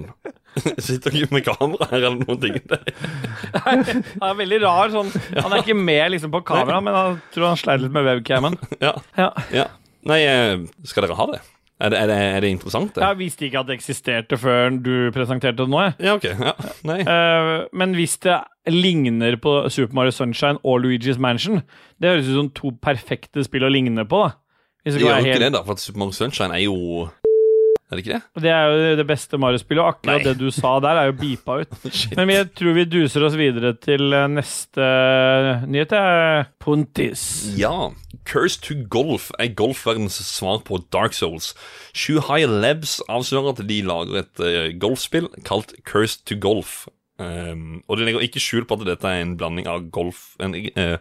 sitter ikke med kamera her eller noen ting. Det er
Han er veldig rar. Sånn, han er ikke med liksom, på kamera, men han tror han sleit litt med webcamen.
Ja.
Ja.
ja. Nei, eh, skal dere ha det? Er det, er det, er det interessant, det?
Jeg visste ikke at det eksisterte før du presenterte det nå. Jeg.
Ja, OK. Ja. Nei.
Eh, men hvis det ligner på Super Mario Sunshine og Luigi's Mansion Det høres ut som to perfekte spill å ligne på. da. Hvis
Det
det,
gjør
er
jo ikke
helt,
det, da, for at Super Mario Sunshine er jo Er det ikke det?
det er jo det beste Mario-spillet, og akkurat
Nei.
det du sa der, er jo beepa ut.
Shit.
Men jeg tror vi duser oss videre til eh, neste nyhet. eh, Pontis.
Ja. Curse to Golf er golfverdens svar på Dark Souls. Shuhai Labs avslører at de lager et eh, golfspill kalt Curse to Golf. Ehm, og de legger ikke skjul på at dette er en blanding av golf, en, eh,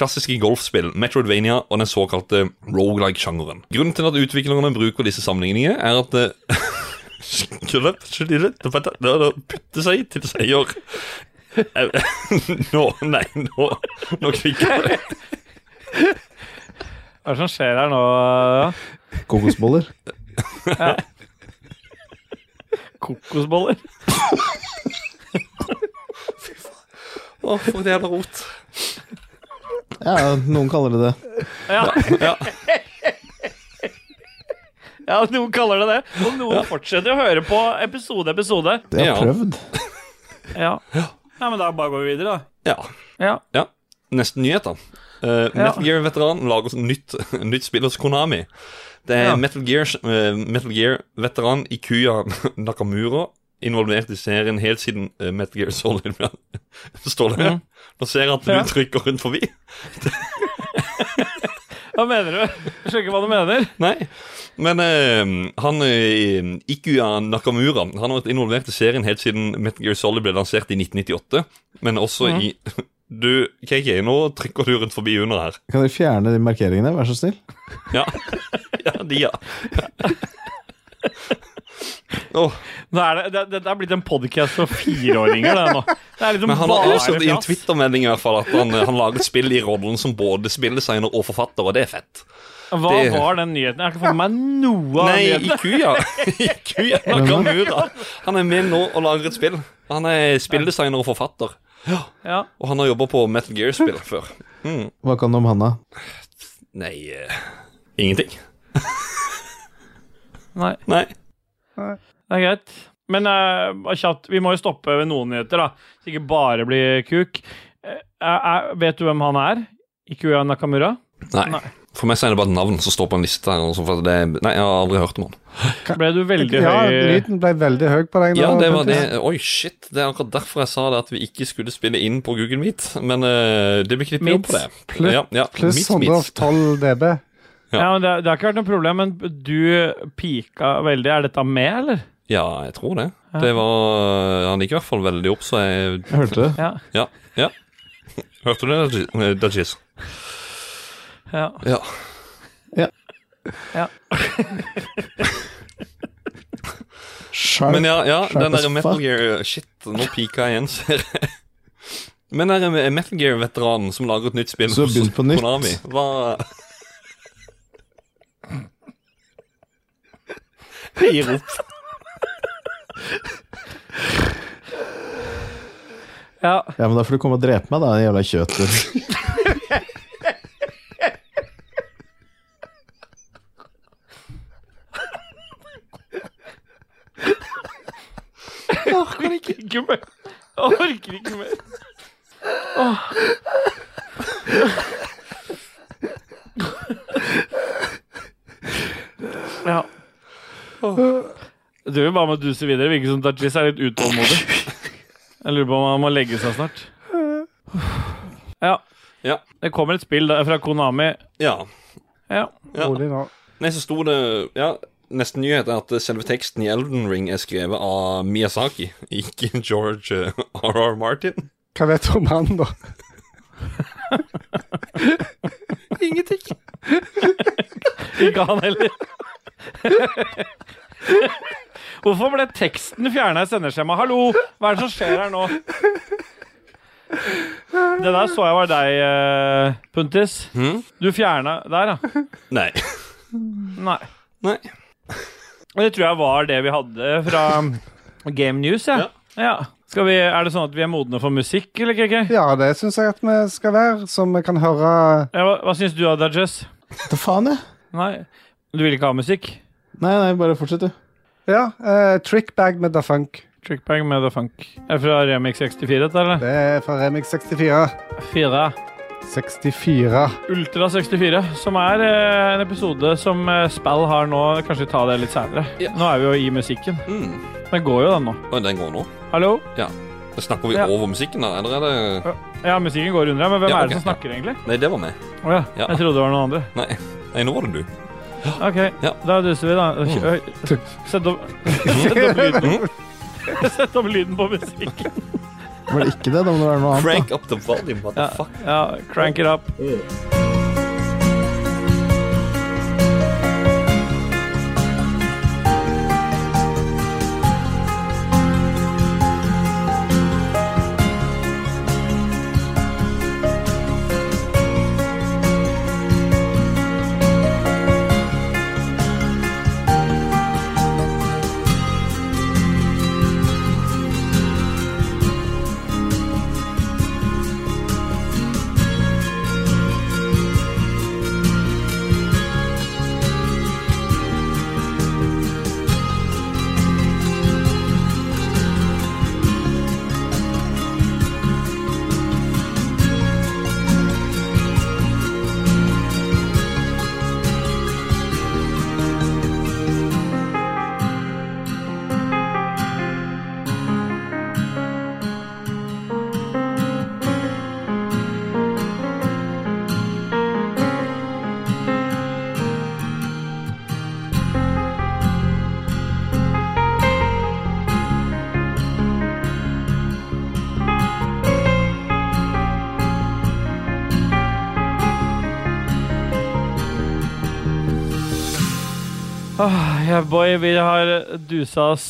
klassiske golfspill, Metroidvania og den såkalte roguelike-sjangeren. Grunnen til at utviklerne bruker disse sammenligningene, er at eh, Skulle skulle- det å putte seg til seier Eh, Nå, nei, nå Nå kvikker det.
Hva er det som skjer her nå?
Kokosboller?
Kokosboller?
Å, for et jævla rot.
Ja, noen kaller det det.
Ja.
Ja.
ja, noen kaller det det. Og noen fortsetter å høre på episode episode.
Det har
Ja.
jeg prøvd.
Ja. ja, men da bare går vi videre,
ja.
da. Ja.
Neste nyhet, da. Eh, Metal Gear-veteranen lager nytt, nytt spill hos Konami. Det er
Ja.
Metal Gear-veteran Metal Gear Ikuya Nakamura involvert i serien helt siden eh, Metal Gear Solid ble Står det? Nå ser jeg at du
Ja.
trykker rundt forbi.
Hva mener du? Jeg skjønner ikke hva du mener.
Nei. Men eh, han eh, Ikuya Nakamura Han har vært involvert i serien helt siden Metal Gear Solid ble lansert i 1998. Men også i Du, KK, nå trykker du rundt forbi under her.
Kan dere fjerne de markeringene, vær så snill?
Ja, ja de, ja. Åh,
Nå er det, det, det er blitt en podkast for fireåringer, det nå. Det er liksom
men han har
bare
avslørt i en
fjas.
Twitter-melding i hvert fall at han, eh, han lager et spill i rollen som både spilldesigner og forfatter, og det er fett.
Hva
det-
var den nyheten? Jeg har ikke fått med meg noe av
Nei,
nyheten.
Ikuya Ikuya Nakamura. Han er med nå og lager et spill. Han er spilldesigner og forfatter,
Ja.
og han har jobba på Metal Gear-spill før.
Hva kan du om Hanna?
Nei eh, Ingenting.
Nei.
Nei.
Nei.
Det er greit. Men eh, bare kjapt, vi må jo stoppe ved noen nyheter, da. Så ikke bare blir kuk. Eh, eh, vet du hvem han er? Ikuya Nakamura?
Nei. For meg så er det bare et navn som står på en liste. her, altså, for det, nei, Jeg har aldri hørt om han.
Ble du veldig
Ja,
høy
lyden ble veldig høy på deg. nå,
Ja, det var det.
Pontus.
Oi, shit. Det er akkurat derfor jeg sa det at vi ikke skulle spille inn på Google Meet. Men eh, det blir klippet opp på det.
Pluss-
ja, ja.
Pluss
Meet, meet.
112 dB.
Ja, men det, det har ikke vært noe problem, men du pika veldig. Er dette med, eller?
Ja, jeg tror det. Det var eh, Han gikk i hvert fall veldig opp, så jeg
Jeg hørte det.
Ja.
Ja. ja. Hørte du det, eh, Dajis?
ja.
Ja.
Sharp.
Men ja, ja
Sharp
den
as
der Metal
fuck.
Gear eh, Shit, nå pika jeg igjen, ser jeg. Men den der eh, Metal Gear-veteranen som lager et nytt spill
Så
hos
begynn på nytt.
Konami, hva Jeg gir opp.
ja.
Ja, men da får du komme og drepe meg, da, den jævla kjøter.
Jeg orker ikke mer. Jeg orker ikke mer. Åh. Ja. Du vil bare må duse videre. Virker som Dajis er litt utålmodig. Jeg lurer på om han må legge seg snart. Ja.
Ja.
Det kommer et spill der fra Konami.
Ja.
Ja.
ja.
Rolig nå.
Nei, så sto det Ja, nesten nyhet er at selve teksten i Elden Ring er skrevet av Miyazaki, ikke George eh, R.R. Martin.
Hva vet du om han, da?
Ingenting.
Ikke han heller. Hvorfor ble teksten fjerna i sendeskjemaet? Hallo, hva er det som skjer her nå? Det der så jeg var deg, eh, Puntis.
Mhm.
Du fjerna der, ja.
Nei.
Nei.
Nei.
Og Det tror jeg var det vi hadde fra Game News, ja. ja. Skal vi, er det sånn at vi er modne for musikk, eller, KK?
Ja, det syns jeg at vi skal være, så vi kan høre
Ja, hva hva syns du, Adajes?
Hva faen, jeg?
Nei, du vil ikke ha musikk?
Nei, nei, bare fortsett, du.
Ja, eh, Trickbag med Da Funk.
Trickbag med The Funk. Er det fra Remix 64, dette, eller?
Det er fra Remix 64.
Fire.
64.
Ultra 64, som er eh, en episode som eh, Spell har nå. Kanskje ta det litt senere.
Ja.
Nå er vi jo i musikken.
Mm.
Den går jo, den nå.
Og den går nå.
Hallo?
Snakker vi
Ja.
over musikken, da? Eller er det
Ja, musikken går under her, men hvem
Ja,
er
ok,
det som snakker, egentlig?
Nei, det var meg.
Å ja.
Ja.
jeg trodde det var noen andre.
Nei, Nei nå var det du.
OK,
Ja.
da duser vi, da.
Mm.
Oi, Sett opp, sett opp lyden.
Mm.
Sett opp lyden på musikken.
Var det ikke det? Da må det være noe annet.
Crank up the volume, what
Ja,
the fuck?
ja crank it up. Åh, yeah, Ah, boy, vi har dusa oss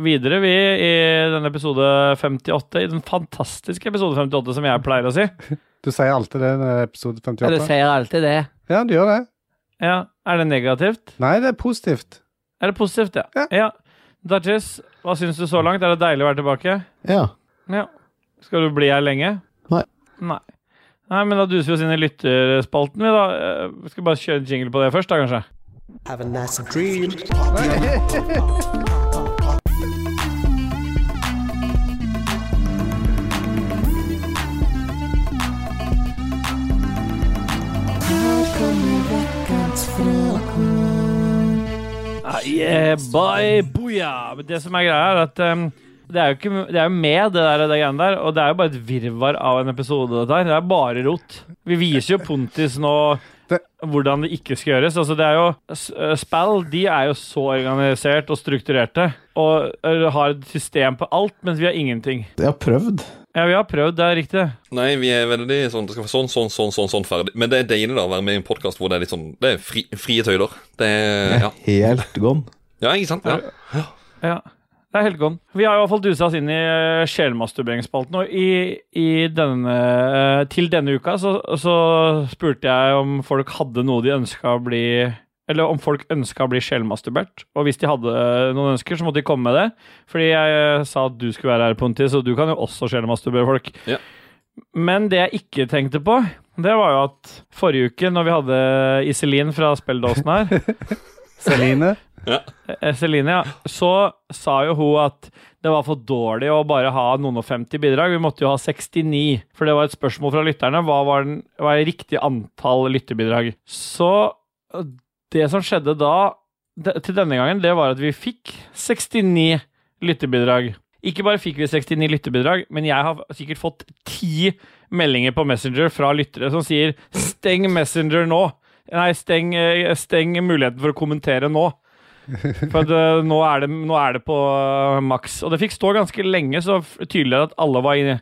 videre, vi, i denne episode 58. I den fantastiske episode 58, som jeg pleier å si.
Du sier alltid det i episode 58.
sier alltid det.
Ja, du gjør det.
Ja, Er det negativt?
Nei, det er positivt.
Er det positivt, ja?
Ja.
Dajis, hva syns du så langt? Er det deilig å være tilbake?
Ja.
Ja. Skal du bli her lenge?
Nei.
Nei, Nei men da duser vi oss inn i lytterspalten, vi, da. Eh, Vi skal bare kjøre en jingle på det først, da, kanskje?
Have a nice dream.
Ah, yeah, bye, booyah. Men Det som er greia, er at um, det er jo ikke, det er jo med, det der, det greiene der. Og det er jo bare et virvar av en episode, dette her. Det er bare rot. Vi viser jo Pontus nå
Det-
hvordan det ikke skal gjøres. Altså, det er jo s- eh, Spell de er jo så organisert og strukturerte og eh, har et system på alt, mens vi har ingenting.
Jeg har prøvd.
Ja, vi har prøvd, det er riktig.
Nei, vi er veldig sånn Det skal være sånn, sånn, sånn, sånn, sånn ferdig. Men det er deilig da å være med i en podkast hvor det er litt sånn Det er fri, frie tøyler. Det er Ja,
Helt gone.
ja ikke sant? Ja.
Ja. Det er helt gone. Vi har i hvert fall dusa oss inn i eh, sjelmasturberingsspalten. Og i, i denne, eh, til denne uka så, så spurte jeg om folk hadde noe de ønska å bli Eller om folk ønska å bli sjelmasturbert. Og hvis de hadde eh, noen ønsker, så måtte de komme med det. Fordi jeg eh, sa at du skulle være her, Pontus, og du kan jo også sjelmasturbere folk.
Ja.
Men det jeg ikke tenkte på, det var jo at forrige uke, når vi hadde Iselin fra spilledåsen her
Celine.
Eh, Celine, ja. Så sa jo hun at det var for dårlig å bare ha noen og 50 bidrag. Vi måtte jo ha 69. For det var et spørsmål fra lytterne. Hva var, den, hva er riktig antall lytterbidrag? Så eh, det som skjedde da, de- til denne gangen, det var at vi fikk 69 lytterbidrag. Ikke bare fikk vi 69 lytterbidrag, men jeg har sikkert fått ti meldinger på Messenger fra lyttere som sier 'steng Messenger nå'. Nei, steng, eh, steng muligheten for å kommentere nå. For at, eh, nå, er det, nå er det på eh, maks. Og det fikk stå ganske lenge, så f- tydelig at alle var inne.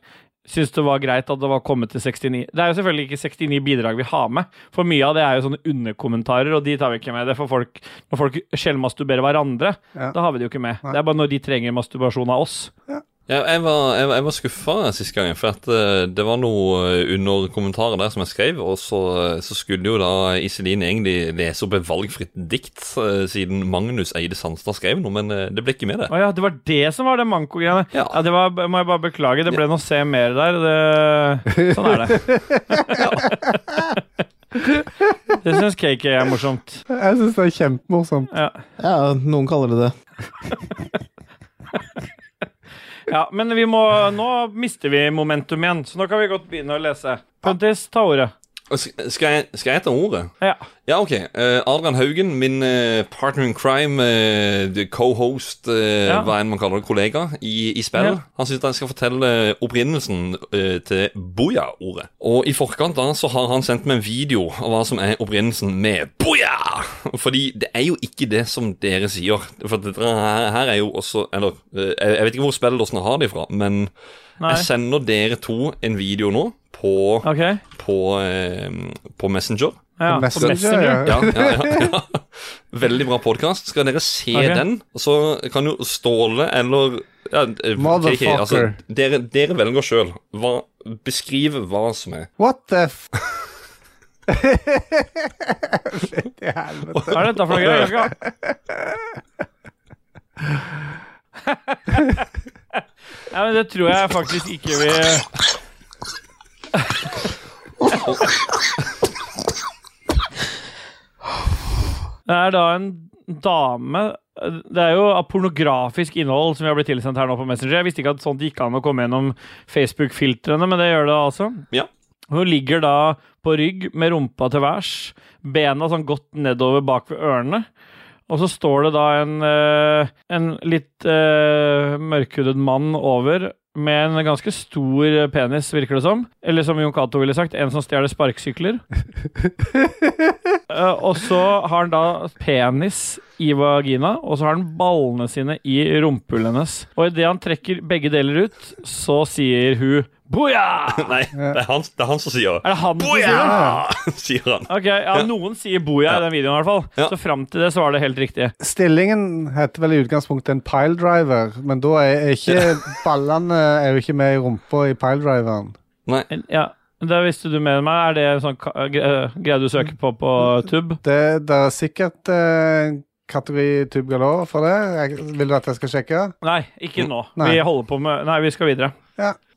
Syns det var greit at det var kommet til 69. Det er jo selvfølgelig ikke 69 bidrag vi har med, for mye av det er jo sånne underkommentarer, og de tar vi ikke med. Det får folk, Når folk sjelmasturberer hverandre,
Ja.
da har vi det jo ikke med.
Nei.
Det er bare når de trenger masturbasjon av oss.
Ja, jeg var, jeg, var- jeg var skuffa sist gang, for at eh, det var noe eh, under kommentaret der som jeg skrev, og så, eh, så skulle jo da Iselin egentlig lese opp et valgfritt dikt, eh, siden Magnus Eide Sandstad skrev noe, men eh, det ble ikke med, det.
Å ja, det var det som var det manko-greiene. Ja.
Ja.
det var, må jeg bare beklage. Det ble noe se mer der. Det, sånn er det. det syns KK er morsomt.
Jeg syns det er kjempemorsomt.
Ja.
Ja, noen kaller det det.
Ja, men vi må, nå mister vi momentum igjen, så nå kan vi godt begynne å lese. Pontus, ta ordet.
Og sk- Skal jeg, skal jeg ta ordet?
Ja.
Ja, ok. Eh, Adrian Haugen, min eh, partner in crime, eh, the co-host, eh,
Ja.
hva enn man kaller det, kollega, i, i spill.
Ja.
Han syns jeg skal fortelle opprinnelsen eh, til Boja-ordet. Og i forkant da så har han sendt meg en video av hva som er opprinnelsen med Boja! Fordi det er jo ikke det som dere sier. For dette her, her er jo også Eller eh, jeg, jeg vet ikke hvor spilledåsene har det ifra, men
Nei.
jeg sender dere to en video nå på,
OK.
på, eh, på Messenger.
Ja, på
Messenger,
Messenger.
ja.
Ja, ja, ja, ja. Veldig bra podkast. Skal dere se
Ok.
den, så kan jo Ståle eller ja, eh,
Motherfucker.
KK, dere, dere velger sjøl. Beskriv hva som er.
What the f... Fytti helvete.
Hva er dette for noe greier? Jeg skal- Ja, men det tror jeg faktisk ikke vi Det er da en dame Det er jo av pornografisk innhold som vi har blitt tilsendt her nå på Messenger. Jeg visste ikke at sånt gikk an å komme gjennom Facebook-filtrene, men det gjør det altså.
Ja.
Hun ligger da på rygg med rumpa til værs, bena sånn godt nedover bak ved ørene. Og så står det da en, eh, en litt eh, mørkhudet mann over med en ganske stor penis, virker det som. Eller som Jon Cato ville sagt, en som stjeler sparkesykler. Eh, og så har han da penis i vagina, og så har han ballene sine i rumpehullet hennes. Og idet han trekker begge deler ut, så sier hun Boja!
Nei, det er han, det er han som sier
Er det han som sier det?
Boja! sier han.
Ok, ja, Noen sier boja i den videoen, i hvert fall.
Ja.
Så fram til det så var det helt riktig.
Stillingen heter vel i utgangspunktet en piledriver, men da er er ikke ballene er jo ikke med i rumpa i piledriveren.
Nei,
Ja, Da visste du mer enn meg. Er det en sånn ka- gre- greie du søker på på tub?
Det, det er sikkert eh, en kategori tube galore for det. Jeg, vil du at jeg skal sjekke?
Nei, ikke nå.
Nei.
Vi holder på med Nei, vi skal videre.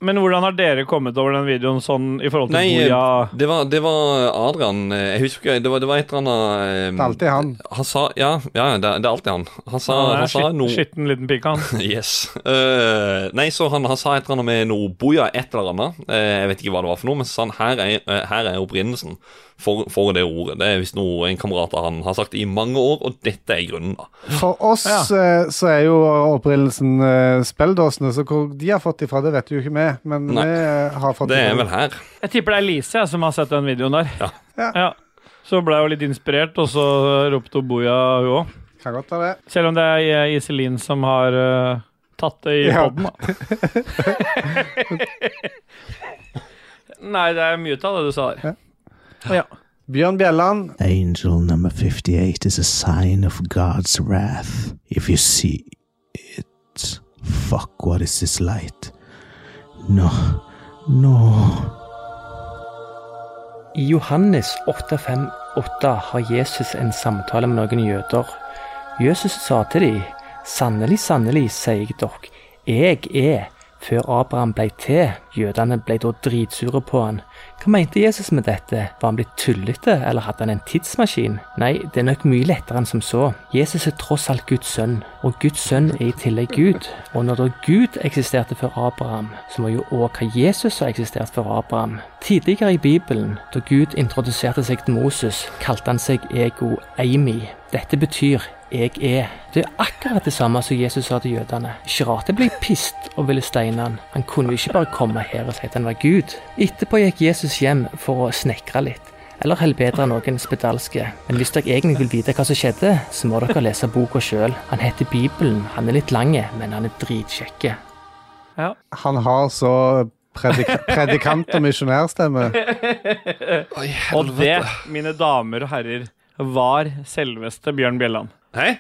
Men hvordan har dere kommet over den videoen sånn i forhold til
Nei, eh,
Boja?
Det var, det var Adrian eh, Jeg husker ikke, det var, det var et eller annet
Det er
eh,
alltid han.
Han sa Ja, ja det, det er alltid han. Han sa,
Han er
han sa
skitten-
noe
Skitten liten pikk, han.
Yes. Eh, nei, så han, han sa et eller annet med noe boja, et eller annet. Eh, jeg vet ikke hva det var for noe, men så sa han her er, eh, her er opprinnelsen for, for det ordet. Det er visst noe en kamerat av han har sagt i mange år, og dette er grunnen, da.
For oss eh, så er jo opprinnelsen eh, spelldåsene, så hvor de har fått ifra, det vet jo ikke vi. Men
Nei.
vi eh, har fått
Det
ifra
er vel her.
Jeg tipper det er Lise jeg, som har sett den videoen der.
Ja.
Ja.
Så ble jeg jo litt inspirert, og så ropte hun Boja, hun òg.
Kan godt være det.
Selv om det er eh, Iselin som har eh, tatt det i
Ja.
podden, da. Nei, det er mye av det du sa der.
Bjørn Bjelland.
Angel number 58 is a sign of God's wrath. If you see it, fuck, what is this light? No, no.
I Johannes 8,5,8 har Jesus en samtale med noen jøder. Jesus sa til dem, sannelig, sannelig, sier jeg dere, jeg er, før Abraham ble til. Jødene ble da dritsure på han. Hva mente Jesus med dette? Var han blitt tullete, eller hadde han en tidsmaskin? Nei, det er nok mye lettere enn som så. Jesus er tross alt Guds sønn, og Guds sønn er i tillegg Gud. Og når da Gud eksisterte før Abraham, så må jo òg hva Jesus har eksistert før Abraham. Tidligere i Bibelen, da Gud introduserte seg til Moses, kalte han seg Ego Eimi. Dette betyr jeg er. Det er akkurat det samme som Jesus sa til jødene. Ikke rart det ble pist og ville steine han. Han kunne jo ikke bare komme her og si at han var Gud. Etterpå gikk Jesus hjem for å snekre litt. Eller helbrede noen spedalske. Men hvis dere egentlig vil vite hva som skjedde, så må dere lese boka sjøl. Han heter Bibelen. Han er litt lang, men han er dritkjekk.
Han har så predika predikant- og misjonærstemme.
Og det, mine damer og herrer, var selveste Bjørn Bjelland.
Hei?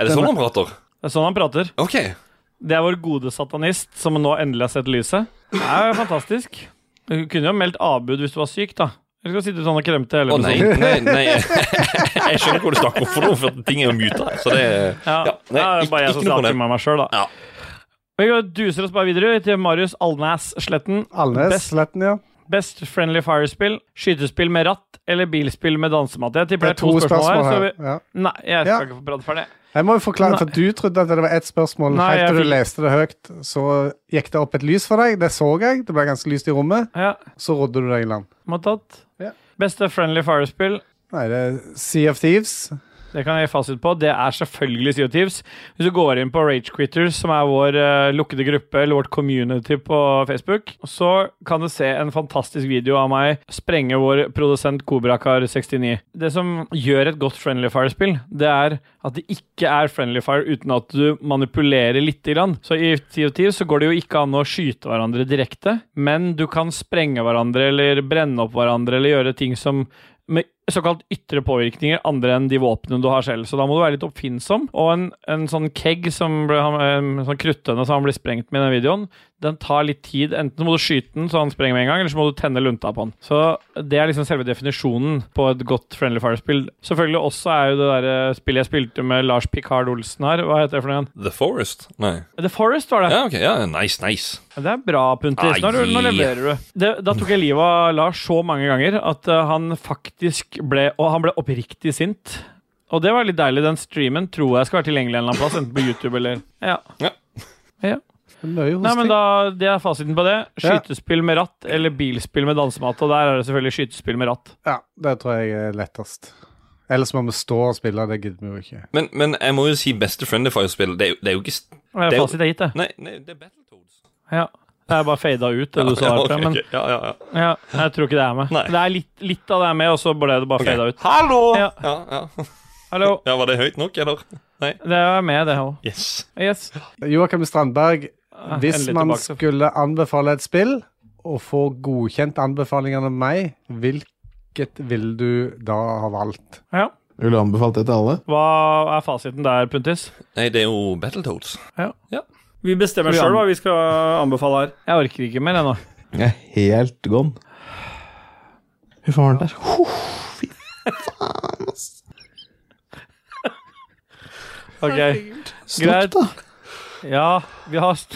Er det sånn han prater?
Det er sånn han prater.
OK.
Det er vår gode satanist, som nå endelig har sett lyset. Det er jo fantastisk. Du kunne jo meldt avbud hvis du var syk, da. Eller skal du sitte sånn og kremte hele
Å nei,
episoden?
nei, nei. Jeg skjønner ikke hva du snakker om for noe, for ting er jo muta. Så det
Ja,
ja,
det er bare jeg
ikke
som
noe
snakker
problem.
med meg sjøl, da.
Ja.
Vi går- duser oss bare videre til Marius Alnæs Sletten.
Alnes
Best-
Sletten, ja.
Best friendly firespill, skytespill med ratt eller bilspill med dansematte? Jeg tipper
Det er to spørsmål her.
så vi...
Ja.
Nei, jeg skal
Ja.
ikke få prate ferdig.
Jeg må jo forklare, for Du trodde at det var ett spørsmål.
Nei, jeg
Helt til du
fikk-
leste det høyt, så gikk det opp et lys for deg. Det så jeg. Det ble ganske lyst i rommet.
Ja,
Så rodde du deg i land.
må ha tatt.
Ja.
Beste friendly firespill,
Nei, det er Sea of Thieves.
det kan jeg gi fasit på, det er selvfølgelig CO Thieves. Hvis du går inn på Rage Quitters, som er vår eh, lukkede gruppe, eller vårt community på Facebook, så kan du se en fantastisk video av meg sprenge vår produsent Kobrakar69. Det som gjør et godt Friendly Fire-spill, det er at det ikke er Friendly Fire uten at du manipulerer lite grann. Så i Sea of Thieves så går det jo ikke an å skyte hverandre direkte, men du kan sprenge hverandre eller brenne opp hverandre eller gjøre ting som med såkalt ytre påvirkninger andre enn de våpnene du har selv. Så da må du være litt oppfinnsom. Og en, en sånn keg, som ble, han- en sånn kruttønne som han blir sprengt med i den videoen, den tar litt tid. Enten må du skyte den så han sprenger med en gang, eller så må du tenne lunta på han. Så det er liksom selve definisjonen på et godt Friendly Fire-spill. Selvfølgelig også er jo det der eh, spillet jeg spilte med Lars Picard Olsen her, hva heter det for noe igjen?
The Forest? Nei.
The Forest var det.
Ja, OK. Ja, nice, nice.
Det er bra, Puntis. Nå,
Ai.
nå leverer du. Det, da tok jeg livet av Lars så mange ganger at eh, han faktisk ble Og han ble oppriktig sint. Og det var litt deilig. Den streamen tror jeg skal være tilgjengelig en eller annen plass, enten på YouTube eller Ja.
Det er mye
Nei, men
hosting.
da, Det er fasiten på det. Skytespill med ratt eller bilspill med dansemat. Og der er det selvfølgelig skytespill med ratt.
Ja, det tror jeg er lettest. Ellers må vi stå og spille, det gidder vi jo ikke.
Men, men jeg må jo si beste Friendify-spill. Det, er jo- det er jo ikke s-
Det
Det
er
er jo-
fasit jeg gitt, det.
Nei, nei det er Battletoads.
Ja. Det er bare fada ut, det du sa.
Ja, ok,
Arthur, Men
ok. ja, ja, ja.
ja, jeg tror ikke det er med.
Nei.
Det er litt, litt av det er med, og så ble det bare
Ok.
fada ut.
Hallo!
Ja.
Ja. Ja,
Hallo.
ja, Var det høyt nok, eller?
Det er med, det òg.
Yes.
Yes.
Joakim Strandberg,
Ah,
hvis
endelig
man
tilbake.
skulle anbefale et spill, og få godkjent anbefalingene av meg, hvilket ville du da ha valgt?
Ja.
Ville anbefalt det til alle.
Hva er fasiten der, Puntis?
Nei, det er jo Battletoads.
Vi bestemmer
Skal vi
sjøl
an-
hva vi skal anbefale her.
Jeg orker ikke mer ennå.
Jeg er helt gone. Fy faen, det er
Ok,
Stopp, da.
Ja, vi har st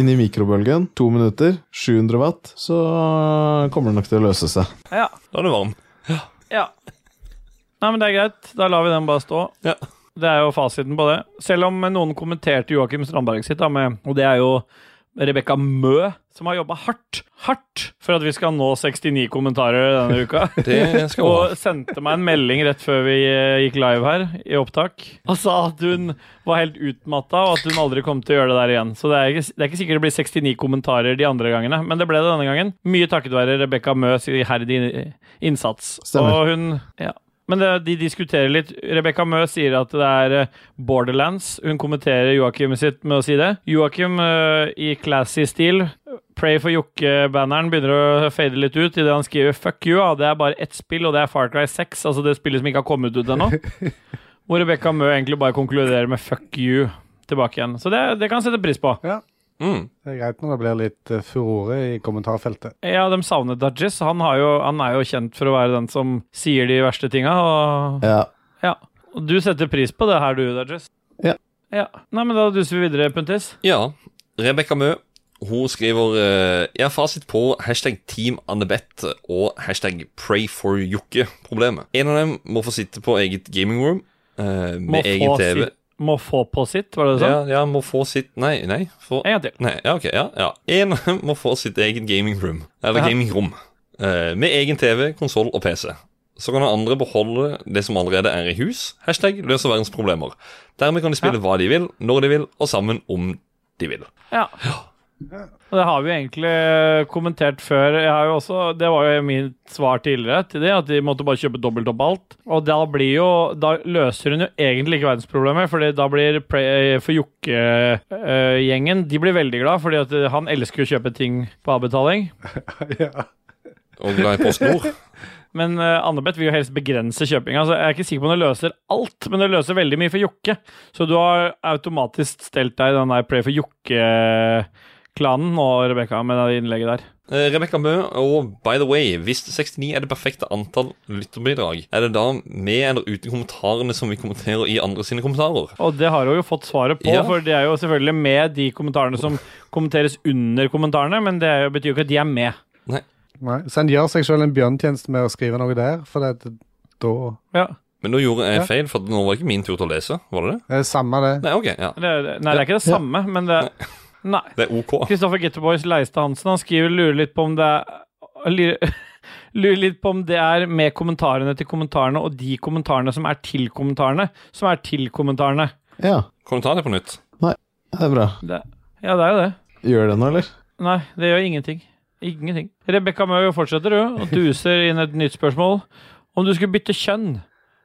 inn i mikrobølgen, to minutter, 700 watt, så kommer det nok til å løse seg.
Ja.
Da er det varm.
Ja. Nei, men det er greit. Da lar vi den bare stå. Det er jo fasiten på det. Selv om noen kommenterte Joakim Strandberg sitt, da, med, og det er jo Rebekka Mø, som har jobba hardt, hardt for at vi skal nå 69 kommentarer denne uka.
Det skal hun ha.
og sendte meg en melding rett før vi eh, gikk live her, i opptak, og sa at hun var helt utmatta, og at hun aldri kom til å gjøre det der igjen. Så det er ikke, det er ikke sikkert det blir 69 kommentarer de andre gangene, men det ble det denne gangen. Mye takket være Rebekka Møs iherdig eh, innsats.
Stemmer.
Og hun ja. Men det, de diskuterer litt. Rebekka Mø sier at det er eh, Borderlands. Hun kommenterer Joakim sitt med å si det. Joakim eh, i classy stil. Pray for Jokke-banneren begynner å fade litt ut idet han skriver 'fuck you'. Ja. Det er bare ett spill, og det er Far Cry 6. Altså det spillet som ikke har kommet ut ennå. Hvor Rebekka Mø egentlig bare konkluderer med 'fuck you' tilbake igjen. Så det, det kan jeg sette pris på.
Ja. Det er greit når det blir litt eh, furore i kommentarfeltet.
Ja, de savnet Dudgies. Han, har jo, han er jo kjent for å være den som sier de verste tinga. Og,
Ja.
ja. og du setter pris på det her, du, Dudgies.
Ja.
ja. Nei, men da duser vi videre, Puntis.
Ja, Rebekka Mø hun skriver eh, Jeg har fasit på hashtag Team Annebeth og hashtag Pray for Jokke-problemet. En av dem må få sitte på eget gaming room eh,
Må
med egen
få
TV.
sitt- Må få på sitt, var det det du sa?
Ja, ja, må få sitt Nei, nei. Få,
En gang til.
Nei, ja, ok, ja, ja. En av dem må få sitt eget gamingrom. Eller
Ja.
gamingrom. eh, med egen TV, konsoll og PC. Så kan den andre beholde det som allerede er i hus. Hashtag løser verdens problemer. Dermed kan de spille hva de vil, når de vil, og sammen om de vil.
Ja. Og det har vi egentlig eh, kommentert før. Jeg har jo også, det var jo mitt svar tidligere til det, at de måtte bare kjøpe dobbelt opp alt. Og da blir jo Da løser hun jo egentlig ikke verdensproblemet, Fordi da blir Pray for Jokke-gjengen De blir veldig glad, fordi at han elsker å kjøpe ting på avbetaling.
Og glad i PostNord.
Men uh, Annebeth vil jo helst begrense kjøpinga. Så jeg er ikke sikker på om det løser alt, men det løser veldig mye for Jokke. Så du har automatisk stelt deg i den der Pray for Jokke-klanen nå, Rebekka, med det innlegget der.
Eh, Rebecca Mø, og by the way, hvis 69 er det perfekte antall lytterbidrag, er det da med eller uten kommentarene som vi kommenterer i andre sine kommentarer?
Og det har hun jo fått svaret på,
Ja.
for det er jo selvfølgelig med de kommentarene som kommenteres under kommentarene, men det er jo, betyr jo ikke at de er med.
Nei. Så en gjør seg sjøl en bjørntjeneste med å skrive noe der, for det, da
Ja.
Men nå gjorde
Ja.
jeg feil, for nå var det ikke min tur til å lese, var det det?
Det er samme, det.
Nei, ok, ja.
Det, det- nei, det er ikke det
Ja.
samme, men det Nei.
Det er OK.
Kristoffer Gitterboys Leistad Hansen han skriver lurer litt på om det er lurer- Lurer litt på om det er med kommentarene til kommentarene og de kommentarene som er til kommentarene, som er til kommentarene.
Ja,
Kan du ta det på nytt?
det er bra.
Det, ja, det er jo det.
Gjør det nå, eller?
Nei, det gjør ingenting. Ingenting. Rebekka Mø fortsetter, du, og duser inn et nytt spørsmål. Om du skulle bytte kjønn,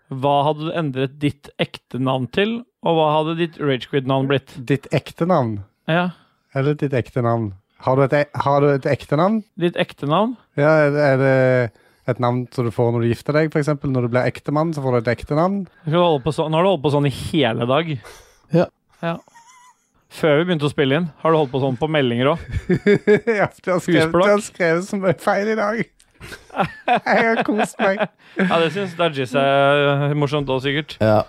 hva hadde du endret ditt ekte navn til, og hva hadde ditt Ragequid-navn blitt?
Ditt ekte navn.
Ja,
Eller ditt ekte navn. Har du et, e- har du et ekte navn?
ditt ekte navn?
Ja, er det- er det et navn som du får når du gifter deg, f.eks.? Når du blir ektemann, så får du et ekte navn.
Nå har du holdt på sånn, nå har du holdt på sånn i hele dag.
Ja.
Ja. Før vi begynte å spille inn, har du holdt på sånn på meldinger òg?
ja, de har skrevet, de har
Husblokk.
skrevet så mye feil i dag. Jeg har kost meg.
Ja, det syns Dajis er morsomt òg, sikkert.
Ja.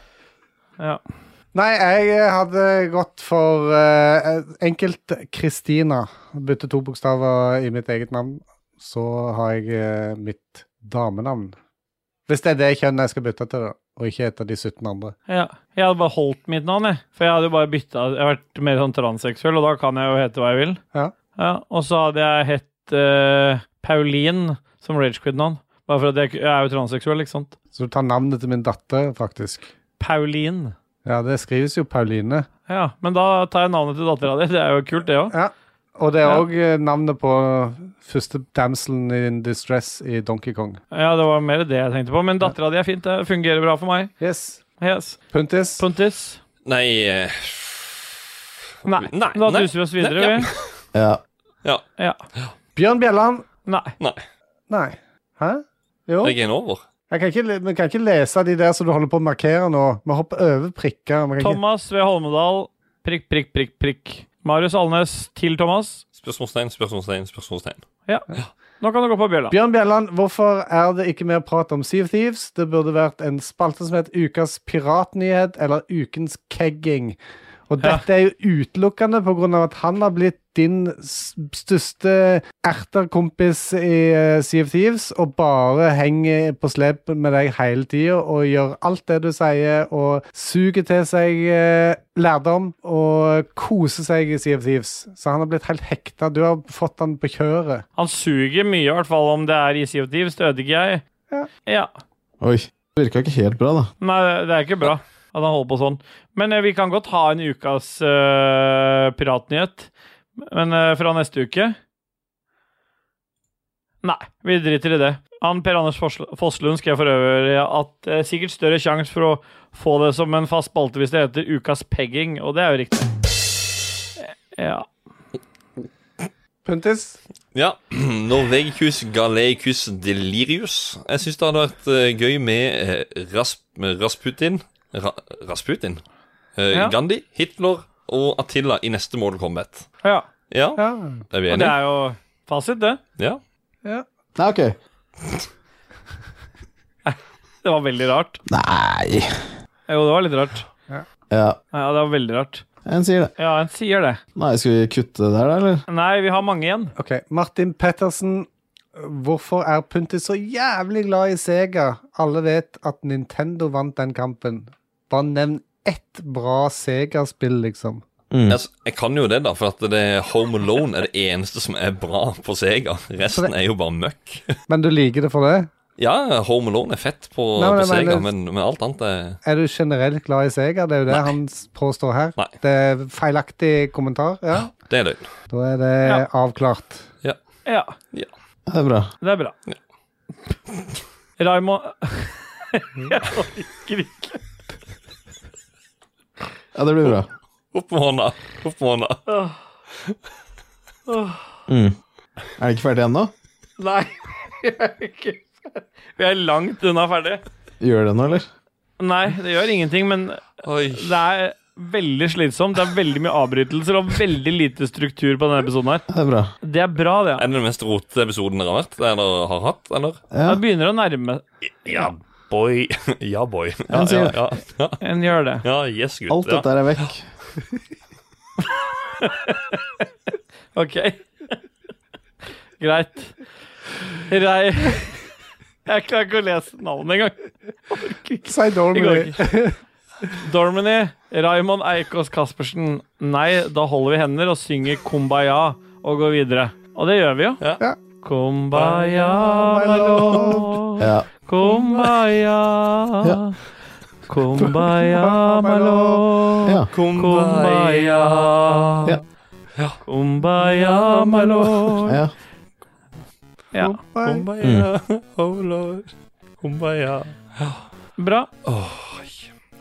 Ja.
Nei, jeg eh, hadde gått for eh, enkelt Kristina. Bytte to bokstaver i mitt eget navn. Så har jeg eh, mitt damenavn. Hvis det er det kjønnet jeg skal bytte til, da, og ikke et av de 17 andre.
Ja. Jeg hadde bare holdt mitt navn, jeg. For jeg hadde jo bare bytta Jeg har vært mer sånn transseksuell, og da kan jeg jo hete hva jeg vil.
Ja.
og så hadde jeg hett eh, Pauline som Ragequid-navn. Bare for at jeg, jeg er jo transseksuell, ikke sant?
Så du tar navnet til min datter, faktisk.
Pauline.
Ja, det skrives jo Pauline.
Ja, men da tar jeg navnet til dattera di. Det er jo kult, det òg.
Ja. Og det er
Ja.
òg navnet på første damselen in distress i Donkey Kong.
Ja, det var mer det jeg tenkte på. Men dattera di er fint. Det fungerer bra for meg.
Yes.
Yes.
Puntis.
Puntis.
Nei eh,
Nei.
Nei,
Da
nei.
duser vi oss videre,
Nei, ja.
vi.
Ja.
Ja.
Bjørn Bjelland.
Nei.
Nei.
Nei. Hæ? Jo.
Jeg er en over.
Jeg kan ikke, le- vi kan ikke lese de der som du holder på å markere nå. Vi hopper over prikker. Vi kan ikke...
Thomas ved Holmedal. Prikk, prikk, prikk, prikk. Marius Alnes til Thomas.
Spørsmålstegn, spørsmålstegn, spørsmålstegn.
Ja. Nå kan du gå på bjella.
Bjørn Bjelland, hvorfor er det ikke mer prat om Sea of Thieves? Det burde vært en spalte som het Ukas piratnyhet eller Ukens kegging. Og dette er jo utelukkende pga. at han har blitt din s- største erterkompis i eh, Sea of Thieves og bare henger på slep med deg hele tida og gjør alt det du sier, og suger til seg eh, lærdom og koser seg i Sea of Thieves. Så han har blitt helt hekta. Du har fått han på kjøret.
Han suger mye, i hvert fall om det er i Sea of Thieves, det ødelegger jeg.
Ja.
Oi. Det virka ikke helt bra, da.
Nei, det er ikke bra at han holder på sånn. Men eh, vi kan godt ha en ukas eh, piratnyhet. Men eh, fra neste uke Nei, vi driter i det. Han Per Anders Fossl- Fosslund skrev for øvrig at eh, sikkert større sjanse for å få det som en fast spalte hvis det heter Ukas pegging, og det er jo riktig. Ja.
Puntis?
Ja. Norvegicus galeicus delirius. Jeg syns det hadde vært eh, gøy med eh, Rasp, med Rasputin Ra, Rasputin? Eh,
Ja.
Gandhi, Hitler og Attila i neste Mortal Kombat.
ja.
Ja,
Og
er vi
det
enige?
er jo fasit, det.
Ja.
Nei, OK.
Det var veldig rart.
Nei
Jo, det var litt rart.
Ja,
Ja, det var veldig rart.
en sier det.
Ja, en sier det.
Nei, skal vi kutte der, da, eller?
Nei, vi har mange igjen.
OK. Martin Pettersen, hvorfor er Puntis så jævlig glad i Sega? Alle vet at Nintendo vant den kampen. Bare nevn ett bra Sega-spill, liksom.
Altså, jeg kan jo det, da, for at det er Home Alone er det eneste som er bra på Sega. Resten er jo bare møkk.
Men du liker det for det?
Ja, Home Alone er fett på,
Nei, men
på
jeg
Sega,
mener-
men, men alt annet er
Er du generelt glad i Sega? Det er jo det
Nei.
han s- påstår her.
Nei.
Det er feilaktig kommentar. Ja.
Det er løgn.
Da er det
Ja.
avklart.
Ja.
Ja,
Det er bra.
det er bra.
Ja.
Raimond Jeg orker ikke.
Ja, det blir bra.
Opp med hånda! Opp med hånda.
Er det ikke ferdig ennå?
Nei, jeg er ikke Vi er langt unna ferdig.
Gjør det nå, eller?
Nei, det gjør ingenting, men
Oi.
det er veldig slitsomt. Det er veldig mye avbrytelser og veldig lite struktur på denne episoden her.
Ja, Det er bra.
Det er bra, det.
Er det den mest rotete episoden dere har vært? Eller har hatt? Eller?
Ja,
Det begynner å nærme
Ja, boy. Ja, boy. Ja,
Han
ja,
sier
ja, ja.
En gjør det.
ja yes, gutt.
alt
ja.
dette her er vekk.
OK. Greit. Rei Jeg klarer ikke å lese navnet engang.
Si
Det går
Dormany.
ikke. Dormany, Raymond Eikås Caspersen. Nei, da holder vi hender og synger Kumbaya og går videre. Og det gjør vi jo.
Ja.
Ja.
Kumbaya, my lord.
Ja.
Kumbaya.
Ja.
Kumbaya, my lord.
ja. Ja.
Kumbaya. Kumbaya, my lord.
ja.
Ja.
Kumbaya, oh lord. Kumbaya.
Bra.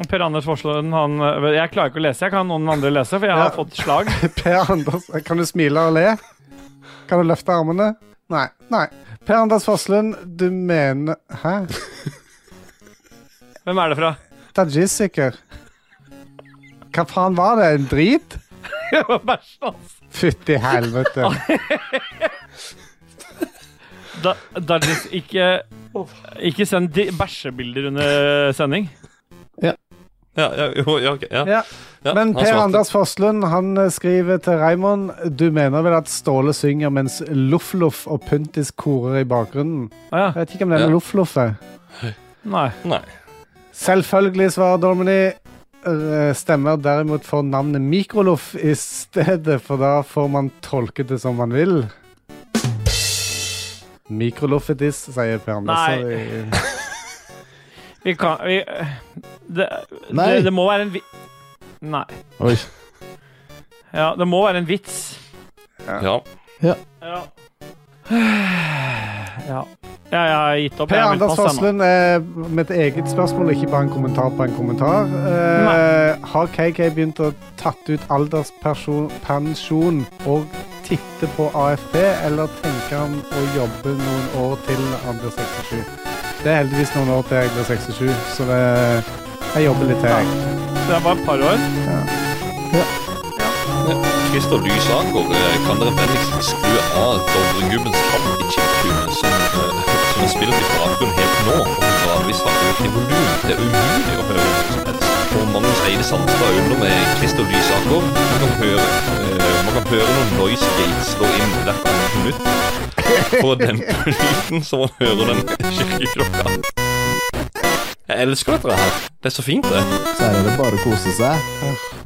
Per Anders Forslund, han Jeg klarer ikke å lese. Jeg kan noen andre lese, for jeg har
Ja.
fått slag.
Per Anders Kan du smile og le? Kan du løfte armene? Nei. Nei. Per Anders Forslund, du mener Hæ?
Hvem er det fra?
Tajisiker? Hva faen var det? En drit?
Det var bæsjen hans.
Fytti helvete.
Da, Dajis, ikke Ikke send di- bæsjebilder under sending.
Ja, ja, jo, ja, ok. Ja.
Ja.
Ja,
Men
han
Per
svarte.
Anders Forslund han eh, skriver til Raymond Du mener vel at Ståle synger mens Loff-Loff og Puntis korer i bakgrunnen?
Å ja.
Jeg vet ikke om det
Ja.
er Loff-Loff eh. er.
Nei.
Nei.
Selvfølgelig, svarer Domini. Eh, Stemmer derimot for navnet Mikroloff i stedet, for da får man tolke det som man vil. Mikroloffetis, sier Per Anders. Nei.
Vi kan vi, det,
Nei.
det, det må være en vi... Nei.
Oi.
Ja, det må være en vits.
Ja.
Ja. Ja, ja jeg har gitt opp.
Per
Jeg har meldt
Anders
pass, jeg nå.
Forslund eh, med et eget spørsmål, ikke bare en kommentar på en kommentar. Eh, har KK begynt å tatt ut alderspensjon og titte på AFP, eller tenker han å jobbe noen år til han blir 67? Det er heldigvis noen år til jeg blir 67, så det, jeg jobber litt til. jeg.
Det er bare et par år.
Christer Lysaker, eh, kan dere vennligst skru av Dovregubbens hatt i chiptunet som, eh, som er spilt i bakgrunnen helt nå, og gradvis har økt i volum? Det er umulig å høre noe som helst. Og Magnus Eide Sandstad under med Christer Lysaker. Man kan høre, eh, man kan høre når noise gate slår inn hvert annet minutt. For å dempe lyden, så man hører den kirkeklokka. Jeg elsker dette her. Det er så fint, det.
Så her er det bare å kose seg.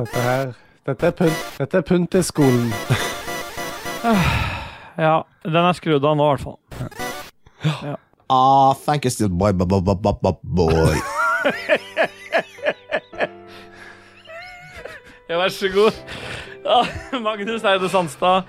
Dette her Dette er pynt, dette er pynt til skolen.
Ja, den er skrudd av nå, i hvert fall. Ja.
Ah, thank you still boy, boy, boy, boy, boy, boy, boy.
Ja, vær så god. Ja, Magnus Eide Sandstad.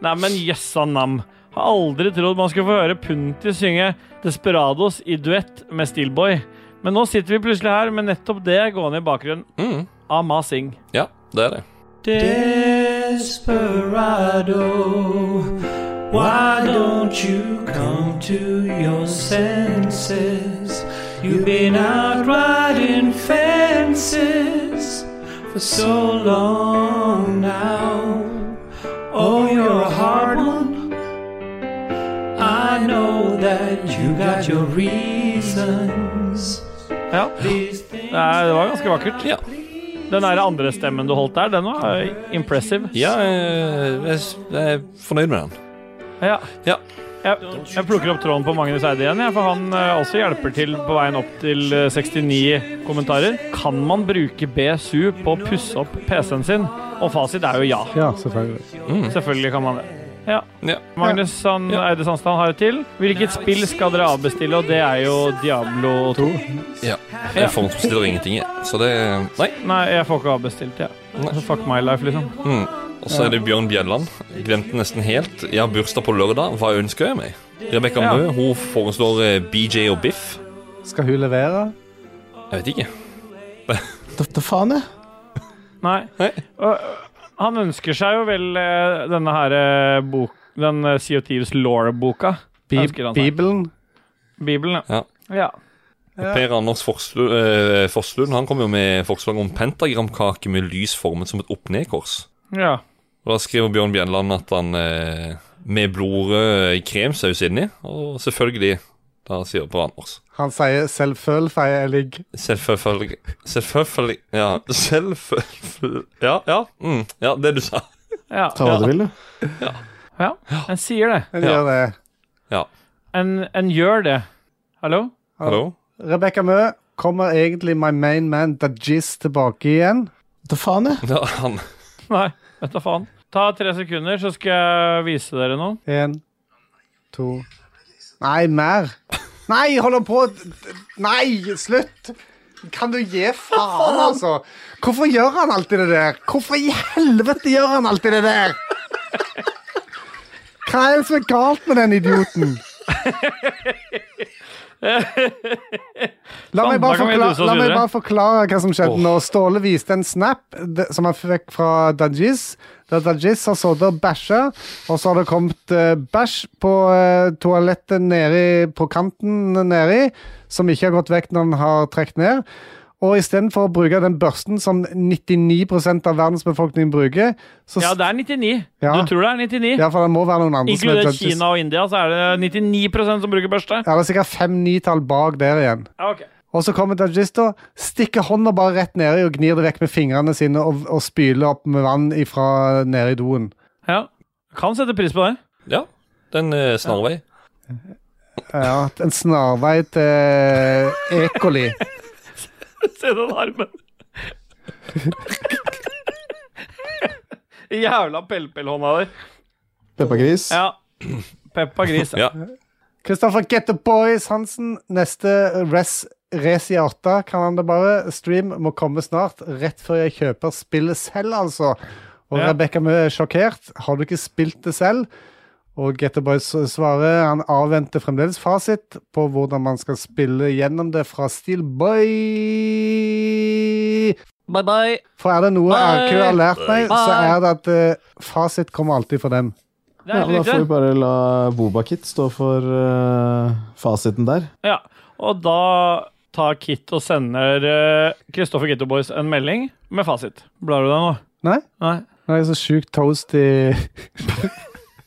Nei, men jøssa nam. Har aldri trodd man skulle få høre Punti synge Desperados i duett med Steelboy. Men nå sitter vi plutselig her med nettopp det gående i bakgrunnen. Ama Singh.
Ja, det er det.
Desperado, why don't you come to your senses? You've been out riding fences for so long now. Oh, you're a hard one. I know that you got your reasons.
Ja. Nei, det var ganske vakkert. Den der andre stemmen du holdt der, den var eh, impressive.
Ja, jeg, er fornøyd med den.
Ja. Jeg, jeg plukker opp tråden på Magnus Eide igjen, jeg, for han eh, også hjelper til på veien opp til eh, 69 kommentarer. Kan man bruke BSU på å pusse opp PC-en sin? Og fasit er jo ja.
Ja, selvfølgelig.
Selvfølgelig kan man det. Ja. Magnus han, Eide Sandstad har et til. Hvilket spill skal dere avbestille, og det er jo Diablo 2.
Ja. Jeg forhåndsbestiller ingenting, jeg. Så det Nei.
Nei, jeg får ikke avbestilt, jeg. Så fuck my life, liksom.
Mm. Og så er det Bjørn Bjelland. Glemte nesten helt. Jeg har bursdag på lørdag. Hva ønsker jeg meg? Rebekka
Ja.
Mø hun foreslår eh, BJ og Biff.
Skal hun levere?
Jeg vet ikke.
Dette faen, jeg.
Nei. Og, øh, han ønsker seg jo vel eh, denne her eh, bok, den eh, CO2s Law-boka.
Bi-
ønsker han seg.
Bibelen?
Bibelen, ja. ja.
Og Per Anders Forslund, eh, Forslund han kom jo med forslag om pentagramkake med lys formet som et opp-ned-kors.
Ja.
Og Da skriver Bjørn Bjelland at han eh, med blodrød kremsaus inni. Og selvfølgelig, da sier Per Anders.
Han sier 'selvfølgelig'.
Selvfølgelig Selvfølgelig Ja, selvfølgelig Ja, ja, mm, ja det du sa.
Ja.
Ta hva du vil, du.
Ja.
Ja, en sier det.
En gjør det.
Ja.
En, en gjør det. Hallo?
Hallo?
Rebekka Mø, kommer egentlig my main man Dajis tilbake igjen?
Hva faen, jeg?
Ja, han
Nei, vet da faen. Ta tre sekunder, så skal jeg vise dere noe.
Én, to Nei, mer. Nei, holder på Nei, slutt! Kan du gi faen, altså? Hvorfor gjør han alltid det der? Hvorfor i helvete gjør han alltid det der? Hva er det som er galt med den idioten? La meg,
Sånn, da
bare
kan vi
forklare,
duse oss
la meg
videre.
bare forklare hva som skjedde
Åh.
nå. Ståle viste en snap d- som han fikk fra Dajis. Der Dajis har sittet og bæsja, og så har det kommet eh, bæsj på eh, toalettet nedi, på kanten nedi, som ikke har gått vekk når han har trukket ned. Og istedenfor å bruke den børsten som 99 av verdens befolkning bruker, så
Ja, det er 99.
Ja.
Du tror det er 99?
Ja, for det må være noen andre som er
Inkludert
Dajis.
Kina og India, så er det 99 som bruker børste.
Ja, det er sikkert fem-ni-tall bak der igjen.
Ja, ok.
Og så kommer Dajisto, stikker hånda bare rett nedi og gnir det vekk med fingrene sine og, og spyler opp med vann ifra nede i doen.
Ja. Kan sette pris på det.
Ja, den eh, snarvei.
Ja, en snarvei til Ekoli.
Se den armen. Jævla pelpelhånda di.
Peppa Gris.
Ja. Peppa Gris.
Ja.
Kristoffer Get the Boys Hansen, neste res, res i 8, kan han det bare. Stream må komme snart, rett før jeg kjøper spillet selv, altså. Og
Ja.
Rebekka Mø er sjokkert. Har du ikke spilt det selv? Og Get the Boys svarer han avventer fremdeles fasit på hvordan man skal spille gjennom det fra Steelboy.
Bye bye.
For er det noe
Bye.
RQ har lært meg, så
Bye.
er det at eh, fasit kommer alltid fra dem.
Det er
Ja, da
helt
får vi
riktig.
bare la Bobakit stå for eh, fasiten der.
Ja. Og da tar Kit og sender eh, Kristoffer Ghetto Boys en melding med fasit. Blar du deg nå?
Nei?
Nei.
Nå er jeg så sjukt toast i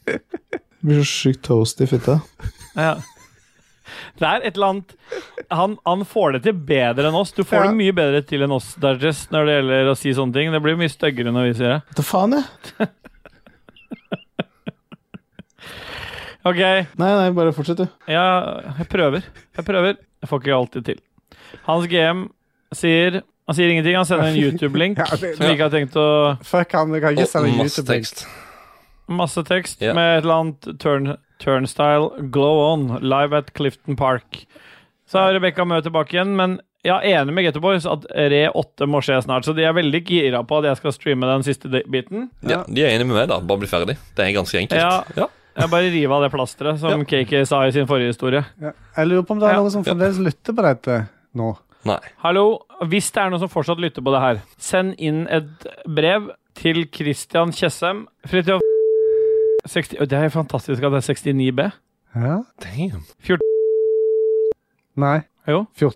Det blir så sjukt toast i fitta.
Ja. Det er et eller annet han, han får det til bedre enn oss. Du får det mye bedre til enn oss, Darges, når det gjelder å si sånne ting. Det blir mye styggere når vi sier det.
Hva faen, jeg?
OK.
Nei, nei, bare fortsett, du.
Ja, jeg prøver. Jeg prøver. Jeg får ikke alltid til. Hans GM sier Han sier ingenting. Han sender en YouTube-link
Ja, det-
som vi ikke har tenkt å
Fuck han, jeg kan ikke
Og
sende
masse
YouTube-link.
Masse tekst med et eller annet turn, turnstyle. Glow on, live at Clifton Park. Så er Rebekka Mø tilbake igjen, men jeg er enig med Getto Boys at Re 8 må skje snart. Så de er veldig gira på at jeg skal streame den siste de- biten.
Ja, De er enige med meg, da. Bare bli ferdig. Det er ganske enkelt.
Ja, Jeg bare river av det plasteret, som KK sa i sin forrige historie.
Jeg lurer på om det er noen som fremdeles lytter på dette nå.
Hallo, hvis det er noen som fortsatt lytter på det her, send inn et brev til Christian Tjessem. Fridtjof 60, Å, Det er fantastisk at det er 69B.
Ja?
Damn.
14
Nei.
Jo.
14.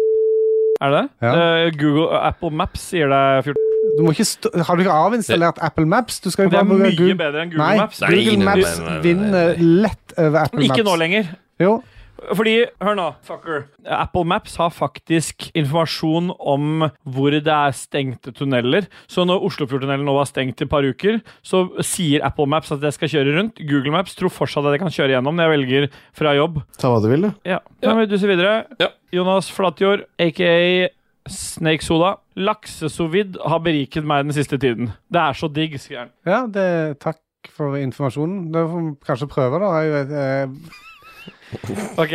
Er det det? Eh, Google Apple Maps sier det 14.
Du må ikke stå, har du ikke avinstallert Apple Maps? Du skal jo
Det er
bare bruke
mye bedre enn Google
Nei,
Maps. Nei,
Google
nei, nei,
Maps
nei, nei, nei.
vinner lett over Apple Maps.
Ikke nå lenger.
Jo.
Fordi, hør nå, fucker. Apple Maps har faktisk informasjon om hvor det er stengte tunneler. Så når Oslofjordtunnelen nå var stengt i et par uker, så sier Apple Maps at jeg skal kjøre rundt. Google Maps tror fortsatt at jeg kan kjøre gjennom når jeg velger fra jobb.
Ta hva du vil, du.
Ja. Da må vi dusse videre. Jonas Flatjord, aka Snake Soda. Laksesovid har beriket meg den siste tiden. Det er så digg, sier han.
Ja, det, takk for informasjonen. Det får vi kanskje prøve, da. Jeg vet, eh,
Ok,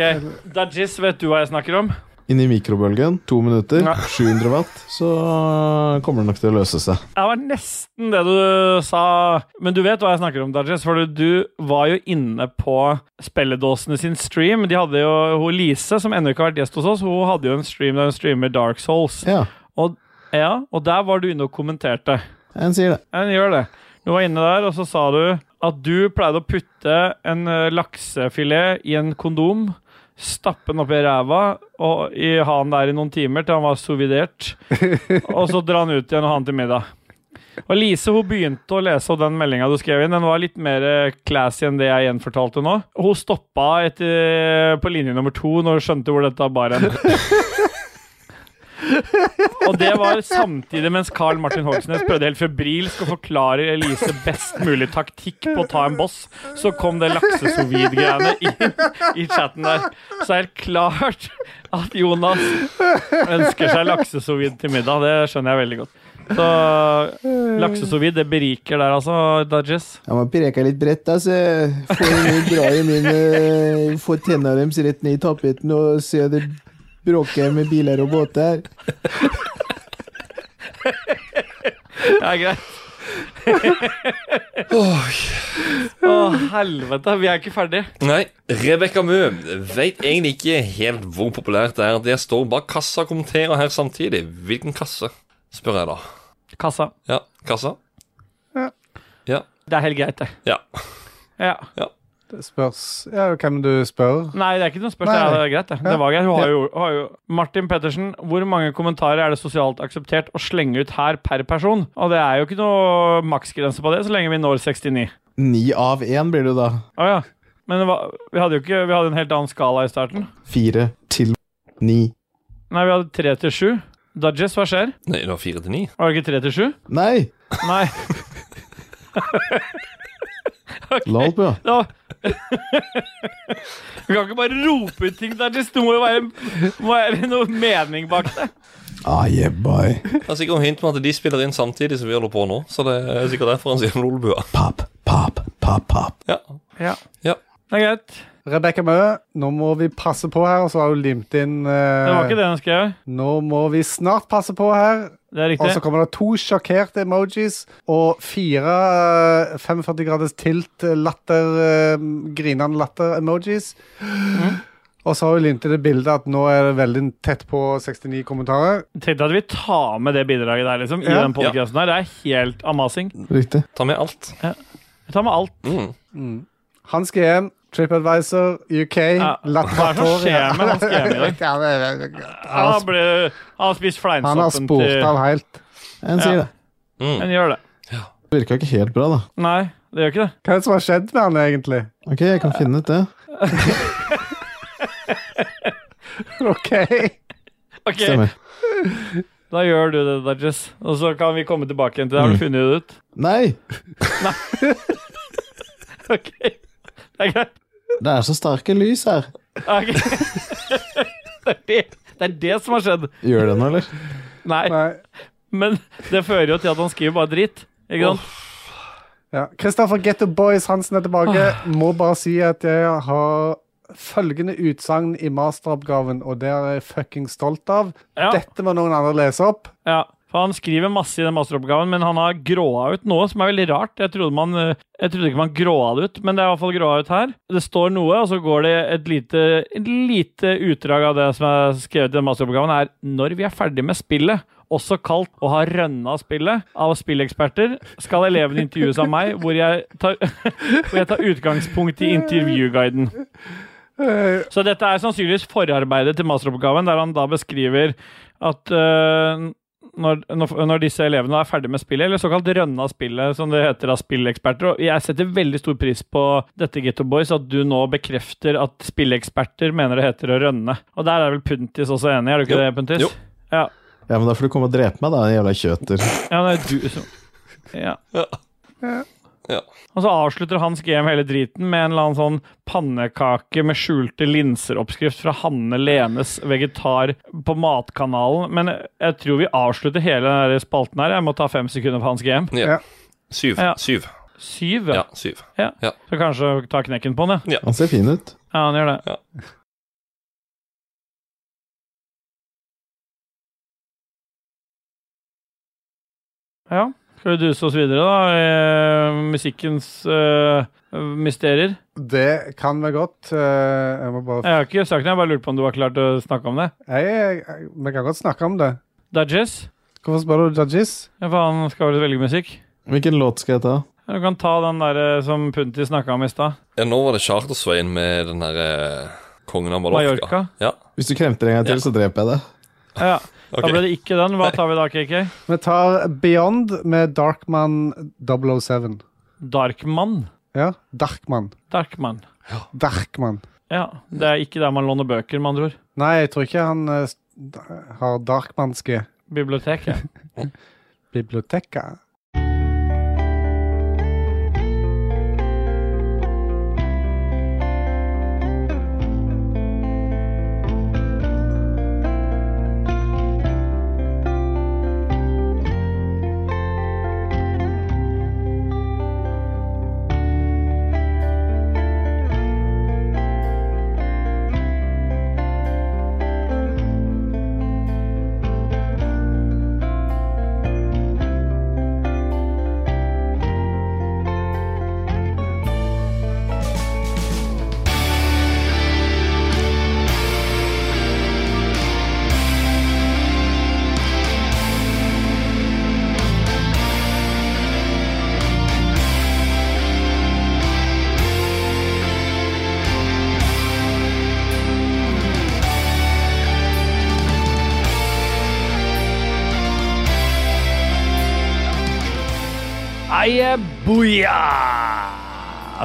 Dajis, vet du hva jeg snakker om?
Inn i mikrobølgen, to minutter, 700 watt, så kommer det nok til å løse seg.
Det var nesten det du sa, men du vet hva jeg snakker om, Dajis. For du var jo inne på spilledåsene sin stream. De hadde jo hun Lise, som ennå ikke har vært gjest hos oss, hun hadde jo en stream der hun streamer Dark Souls. Og, ja, og der var du inne og kommenterte.
En sier det.
En gjør det. Du var inne der, og så sa du at du pleide å putte en eh, laksefilet i en kondom, stappe den opp i ræva og i ha den der i noen timer til han var sovidert, og så dra den ut igjen og ha den til middag. Og Lise hun begynte å lese opp den meldinga du skrev inn. Den var litt mer eh, classy enn det jeg gjenfortalte nå. Og Hun stoppa etter, eh, på linje nummer to når hun skjønte hvor dette bar hen. Og det var samtidig mens Carl Martin Hogsnes prøvde helt febrilsk å forklare Elise best mulig taktikk på å ta en boss, så kom det laksesovid-greiene inn i chatten der. Så er det klart at Jonas ønsker seg laksesovid til middag. Det skjønner jeg veldig godt. Så laksesovid, det beriker der, altså, Dodges.
Jeg må pireke litt bredt, da, så jeg får jeg dra i min eh, Få tenna deres rett ned i tapeten og se det bråke med biler og båter.
Det er greit. Å, helvete. Vi er ikke ferdige.
Nei, Rebekka Mø veit egentlig ikke helt hvor populært det er at jeg står bak kassa og kommenterer her samtidig. Hvilken kasse, spør jeg da.
Kassa.
Ja, kassa?
Ja.
Ja.
Det er helt greit, det.
Ja.
Ja.
det spørs Ja, hvem du spør?
Nei, det er ikke noe spørsmål.
Nei,
Det
nei.
er greit, det.
Ja.
det var greit. Hun har
Ja.
jo, hun har jo. Martin Pettersen, hvor mange kommentarer er det sosialt akseptert å slenge ut her per person? Og det er jo ikke noe maksgrense på det, så lenge vi når 69.
Ni av én blir det da.
Å ja. Men det var, vi hadde jo ikke Vi hadde en helt annen skala i starten.
Fire til ni.
Nei, vi hadde tre til sju. Dudges, hva skjer?
Nei, det var fire til ni.
Var det ikke tre til sju?
Nei!
Nei.
La opp, ja.
Da. Du kan ikke bare rope ut ting, Dudges. Det må jo være, må være noe mening bak det.
Ah, yeah, bye.
Det er sikkert noe hint med at de spiller inn samtidig som vi holder på nå, så det er sikkert derfor han sier lolbua.
Pop, pop, pop, pop.
Ja.
Ja.
ja.
Det er greit.
Rebekka Mø, nå må vi passe på her, og så har hun limt inn eh,
Det var ikke det hun skrev.
Nå må vi snart passe på her.
Det er riktig.
Og så kommer det to sjokkerte emojis og fire eh, 45 graders tilt eh, latter, eh, grinende latter-emojis.
Mm.
Og så har hun limt inn det bildet at nå er det veldig tett på 69 kommentarer.
Tenkte at vi tar med det bidraget der, liksom. I
Ja.
den podcasten her. Det er helt amazing.
Riktig.
Ta med alt.
Ja. Vi tar med alt.
Mm. Hans GM, TripAdvisor, UK
Hva er det som skjer med Hans GM i dag? Han har, ble, han har spist fleinsoppen
Han har spurt av helt.
En sier det.
Han gjør det.
Det virka ikke helt bra, da.
Nei, det gjør ikke det.
Hva er det som har skjedd med han egentlig?
Ok, jeg kan finne ut det.
OK.
Ok,
Stemmer.
Da gjør du det, Dodges. Og så kan vi komme tilbake igjen til det. Har du
Mm.
funnet det ut? Nei.
Nei!
ok. Det er greit.
Det er så sterke lys her.
Ok. det, er det, det er det som har skjedd.
Gjør det nå, eller?
Nei. Men det fører jo til at han skriver bare dritt. Ikke sant?
Ja. Kristoffer Getto Boys Hansen er tilbake. Må bare si at jeg har følgende utsagn i masteroppgaven, og det er jeg fucking stolt av. Dette må noen andre lese opp.
Ja, for Han skriver masse i den masteroppgaven, men han har gråa ut noe som er veldig rart. Jeg trodde, man, eh, jeg trodde ikke man gråa det ut, men det er i hvert fall gråa ut her. Det står noe, og så går det et lite, et lite utdrag av det som er skrevet i den masteroppgaven, er når vi er ferdig med spillet. Også kalt å ha rønna spillet av spilleksperter, skal eleven intervjues av meg, hvor jeg tar, hvor jeg tar utgangspunkt i intervjuguiden. Så dette er sannsynligvis forarbeidet til masteroppgaven, der han da beskriver at øh, når, når når disse elevene er ferdig med spillet, eller såkalt rønna spillet, som det heter av spilleksperter Og jeg setter veldig stor pris på dette, Ghetto Boys, at du nå bekrefter at spilleksperter mener det heter å rønne. Og der er vel Puntis også enig, er du ikke det, Puntis? Ja.
Ja, men da får du komme og drepe meg, da, din jævla kjøter.
ja, det er du som Ja. Og så avslutter hans GM hele driten med en eller annen sånn pannekake med skjulte linser-oppskrift fra Hanne Lenes Vegetar på Matkanalen. Men jeg tror vi avslutter hele den der spalten her. Jeg må ta fem sekunder på hans GM.
Ja. Syv.
Ja.
Syv.
Syv?
Ja, syv.
Ja.
Ja.
Så kanskje ta knekken på den, ja.
Han ser fin ut.
Ja, han gjør det. Ja. Skal vi duse oss videre, da? Eh, musikkens eh, mysterier?
Det kan være godt. eh, Jeg må
Jeg
bare
har ikke sagt det, jeg bare lurte på om du var klar til å snakke om det.
jeg, jeg, Vi kan godt snakke om det.
Dudges?
Hvorfor spør du Dudgies?
Ja, for han skal vel velge musikk?
Hvilken låt skal jeg ta?
Du kan ta den der eh, som Punti snakka om i stad.
Ja, nå var det Chartersveien med den her eh, kongen av Mallorca.
Mallorca?
Ja.
Hvis du kremter en gang til, så dreper jeg deg.
Ja,
Ok.
Da ble det ikke den. Hva tar vi da, KK?
Vi tar Beyond med Darkman 007.
Darkman?
Ja. Darkman.
Darkman.
Darkman.
Ja, Det er ikke der man låner bøker, med andre ord.
Nei, jeg tror ikke han eh, st- har darkmanske
Biblioteket.
biblioteker.
Aye, booyah!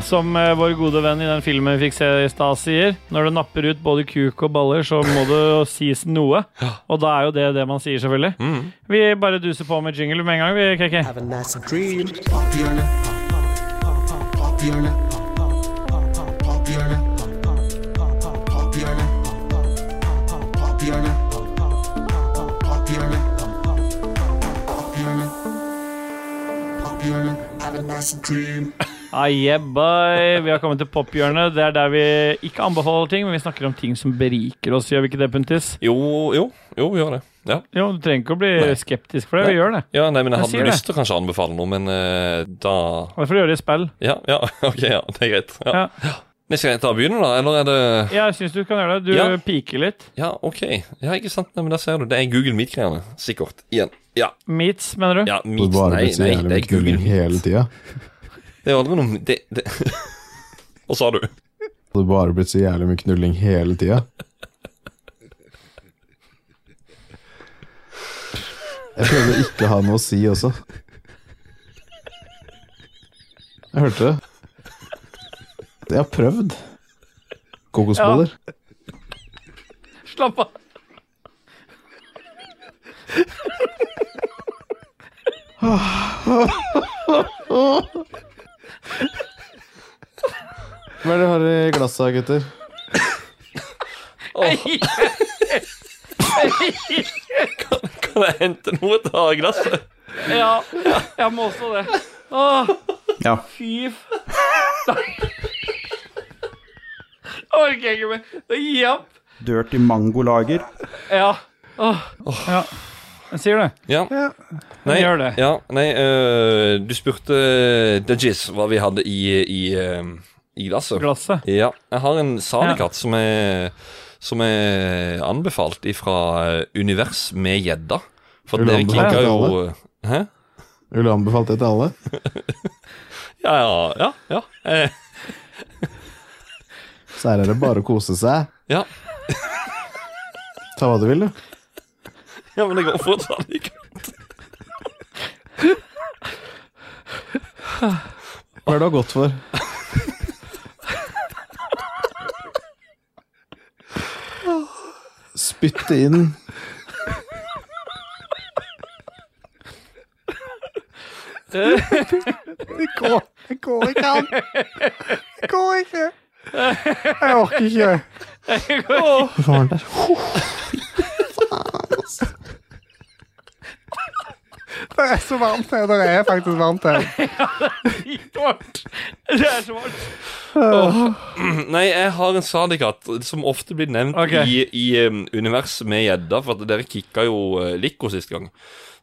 Som eh, vår gode venn i den filmen vi fikk se i stad sier, når du napper ut både kuk og baller, så må det jo sies noe. Og da er jo det det man sier, selvfølgelig.
Mm.
Vi bare duser på med jingle med en gang, vi, KK. Ah, yeah, boy. Vi har kommet til pophjørnet. Det er der vi ikke anbefaler ting, men vi snakker om ting som beriker oss. Gjør vi ikke det, Puntis?
Jo, jo, jo, vi gjør det. Ja.
Jo, du trenger ikke å bli
Nei.
skeptisk for det. Vi gjør det.
Ja, nei, men jeg
Jeg
hadde
sier det.
lyst til å kanskje anbefale noe, men eh, da
Hvorfor gjøre det i spill?
Ja, ja, ok, ja, det er greit. Ja.
Ja.
Nei, Skal jeg ta begynne, da? Eller er det
Jeg syns du kan gjøre det. Du
Ja.
piker litt.
Ja, ok. Ja, ikke sant? Nei, men der ser du. Det er Google Meet-greiene. Sikkert. Igjen. Ja.
Meats, mener du?
Ja,
Du
Meet.
bare
Nei,
blir så
nei,
jævlig
det er Google
mye hele tida.
Det er aldri noe det, det. Hva sa du?
Du har bare blitt så jævlig mye knulling hele tida. Jeg prøvde å ikke ha noe å si også. Jeg hørte det. Jeg har prøvd. Kokosboller.
Slapp av.
Hva er det du har i glasset, gutter?
Kan, kan jeg hente noe til å ha i glasset?
Ja, jeg må også det. Åh,
Ja.
fy f... Nei. Orker ikke mer. Det gir jeg opp.
Dirty mangolager.
Ja. Åh. ja. Jeg sier det.
Ja. Nei,
gjør det.
Ja, nei, øh, du spurte Dajis hva vi hadde i, i, øh, i glasset.
Glasset?
Ja. Jeg har en salikatt som, er, som er anbefalt ifra eh, Univers med gjedda. For
Vil du
dere
anbefale
kikka
det til
jo
alle?
Hæ?
Vil du anbefale det til alle?
Ja, ja, ja. ja. Eh,
Så her er det bare å kose seg.
Ja.
Ta hva du vil, du.
ja, men det går fortsatt ikke.
Hva er det du har gått for? Spytte inn
Det går, det går ikke an. Det går ikke. Jeg orker ikke.
Hva var den der?
Det er så varmt her. Det er faktisk varmt her.
Svart. Det er svart.
Åh. Nei, jeg har en sadikatt som ofte blir nevnt
Ok.
i, i um, univers med gjedda, for at dere kicka jo uh, Lico sist gang.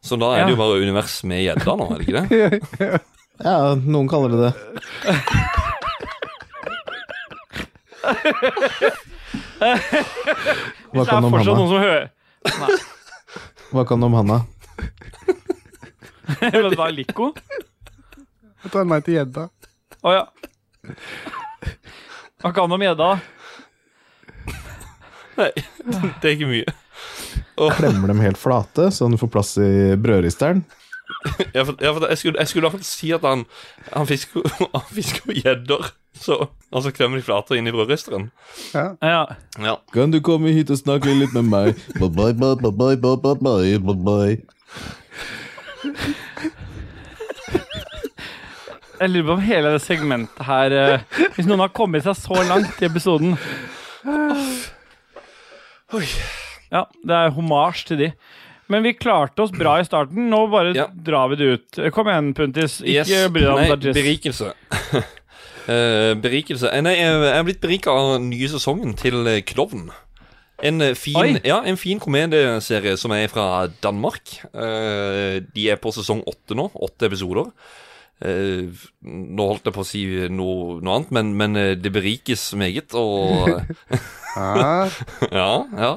Så da er
Ja.
det jo bare univers med gjedda nå, er det ikke det?
Ja, noen kaller det det.
Hvis det
kan
er
om
fortsatt
Hanna?
noen som hører Nei.
Hva kan du om Hanna?
Vil du ha Lico?
Jeg tror jeg mente gjedda.
Å ja. Hva kan du om gjedda?
Nei, det er ikke mye. Åh.
Klemmer dem helt flate, så du får plass i brødristeren.
Jeg, for- jeg, for- jeg skulle, jeg skulle akkurat si at han Han fisker jo- han fisker jo gjedder, så Og så klemmer de flater inn i brødristeren.
Ja.
Ja.
Kan du komme hit og snakke litt med meg? Bye, bye, bye, bye, bye, bye, bye, bye, bye.
Jeg lurer på om hele det segmentet her eh, Hvis noen har kommet seg så langt i episoden Ja, det er homasj til de. Men vi klarte oss bra i starten. Nå bare drar vi det ut. Kom igjen, Puntis. Ikke
Yes.
bry deg om
Nei,
Dajis.
berikelse. Eh, berikelse Eh, Nei, jeg jeg er blitt berika av den nye sesongen til eh, Klovn. En eh, fin,
Oi.
ja, en fin komedieserie som er fra Danmark. Eh, de er på sesong åtte nå. Åtte episoder. Eh, nå holdt jeg på å si noe, noe annet, men, men eh, det berikes meget, og
Ja.
ja, ja.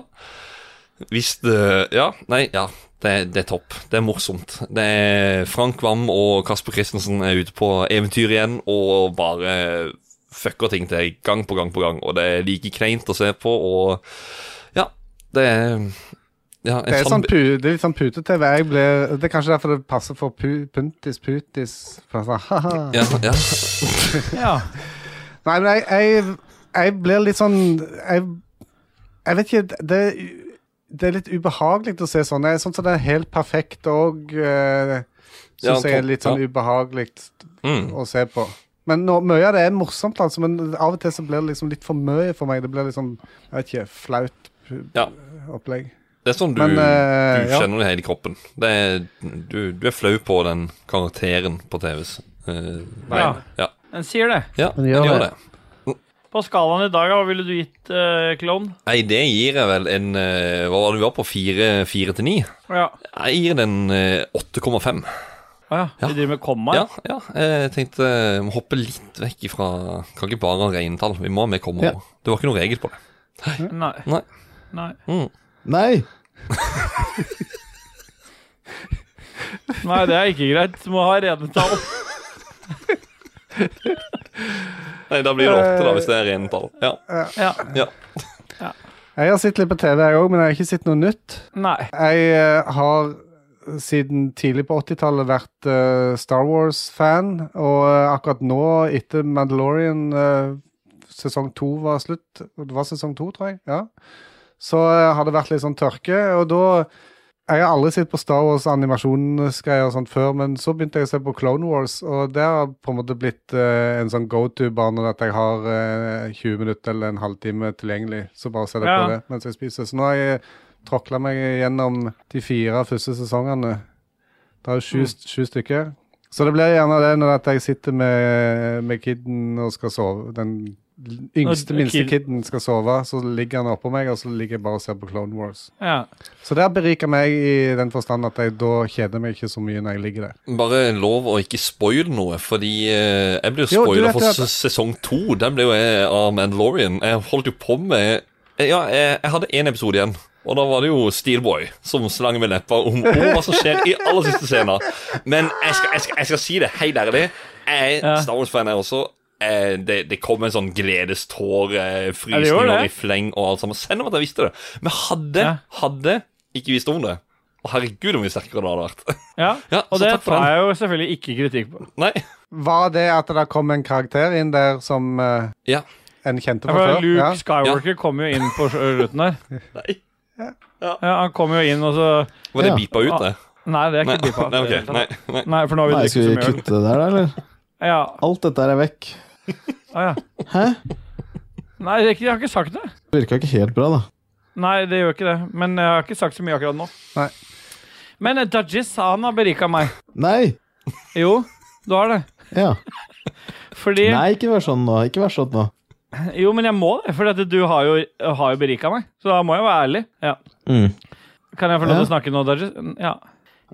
Hvis det Ja, nei, ja. Det, det er topp. Det er morsomt. Det er Frank Wam og Kasper Christensen er ute på eventyr igjen og bare fucker ting til gang på gang på gang, og det er like kleint å se på, og ja, det er ja, en
Det er,
sånn-
sånn pu, det er litt sånn pute-TV. Jeg blir- Det er kanskje derfor det passer for pu, Puntis Putis. For sånn, haha.
Ja, ja.
Ja.
Nei, men jeg, jeg, jeg blir litt sånn Jeg, jeg vet ikke det, det er litt ubehagelig å se sånn. Jeg- Sånn som det er helt perfekt og uh,
Ja,
Syns jeg er
to-
litt sånn
ja.
ubehagelig
Mm.
å se på. Men nå, mye av det er morsomt, altså, men av og til så blir det liksom litt for mye for meg. Det blir liksom, jeg vet ikke, flaut pu-
Ja.
opplegg.
Det er sånn du,
Men, eh,
du
ja.
kjenner det hele kroppen. Det er, du, du er flau på den karakteren på TVs. eh,
Ja.
vegne. ja.
Den sier det.
Ja, den gjør, det.
På skalaen i dag, hva ville du gitt uh, Klovn?
Nei, det gir jeg vel en eh, Hva var det vi var på? Fire fire til ni?
Ja.
Jeg gir den eh, 8,5.
Å ja. Vi driver med komma?
Ja, ja. Jeg tenkte jeg må hoppe litt vekk ifra Kan ikke bare ha reintall. Vi må ha med komma
Ja.
òg. Det var ikke noen regel på det.
Nei.
Nei.
Nei.
Nei!
Nei, det er ikke greit. Må ha rene tall.
Nei, da
Eh,
blir det åtte, da, hvis det er reintall. Ja.
Ja.
ja.
Jeg har sett litt på TV, jeg òg, men jeg har ikke sett noe nytt.
Nei.
Jeg eh, har siden tidlig på 80-tallet vært eh, Star Wars-fan, og eh, akkurat nå, etter Mandalorian eh, sesong to var slutt Det var sesong to, tror jeg. ja så eh, har det vært litt sånn tørke, og da jeg har aldri sett på Star Wars animasjonsgreier og sånt før, men så begynte jeg å se på Clone Wars, og det har på en måte blitt eh, en sånn go-to-bane at jeg har eh, 20 minutter eller en halvtime tilgjengelig, så bare ser jeg
Ja.
på det mens jeg spiser. Så nå har jeg tråkla meg gjennom de fire første sesongene. Det er jo
Mm.
sju, sju stykker. Så det blir gjerne det når at jeg sitter med, med kiden og skal sove. Den yngste,
Når
minste
kid-
kiden skal sove, så ligger han oppå meg, og så ligger jeg bare og ser på Clone Wars.
Ja.
Så det har berika meg i den forstand at jeg da kjeder meg ikke så mye når jeg ligger der.
Bare lov å ikke spoil noe, fordi eh, jeg ble jo
Jo, du
spoila
vet
for
det at-
se- sesong to. Den ble jo jeg av Mandalorian. Jeg holdt jo på med eh, Ja, jeg, jeg hadde én episode igjen, og da var det jo Steelboy som slang med leppa om om hva som skjer i aller siste scenen. Men jeg skal, jeg skal, jeg skal si det helt ærlig. Jeg er Star Wars-fan, jeg også. Eh, det, det kom en sånn gledeståre, eh,
Ja, det gjorde
frysninger i
det.
fleng og alt sammen. Selv om at jeg visste det. Men hadde, hadde ikke visst om det Å, herregud, hvor mye sterkere det hadde vært.
Ja, og
så
det
takk for
tar
den.
jeg jo selvfølgelig ikke kritikk på.
Nei.
Var det at det kom en karakter inn der som eh,
Ja.
en kjente
Ja,
fra
for
før?
Luke
Ja.
Skywalker kom jo inn på slutten der.
Nei.
Ja. han kom jo inn, og så
Var det beepa ut, Ah, det?
Nei, det er ikke
Nei,
beepa. ut i
nei,
det
ok,
hele tatt.
nei, nei.
nei, for nå har vi
Nei,
drukket
skal
så
vi
mye øl.
kutte det der, eller?
Ja.
Alt dette her er vekk.
Ah, ja.
Hæ?
Nei, det er ikke, jeg har ikke sagt det.
Det virka ikke helt bra, da.
Nei, det gjør ikke det. Men jeg har ikke sagt så mye akkurat nå.
Nei.
Men eh, Dajis, han har berika meg.
Nei!
Jo, du har det.
Ja.
Fordi
Nei, ikke vær sånn nå. Ikke vær sånn nå.
Jo, men jeg må det, for at du har jo, har jo berika meg. Så da må jeg være ærlig. Ja.
Mm.
Kan jeg få lov til
Ja.
å snakke nå, Dajis? Ja.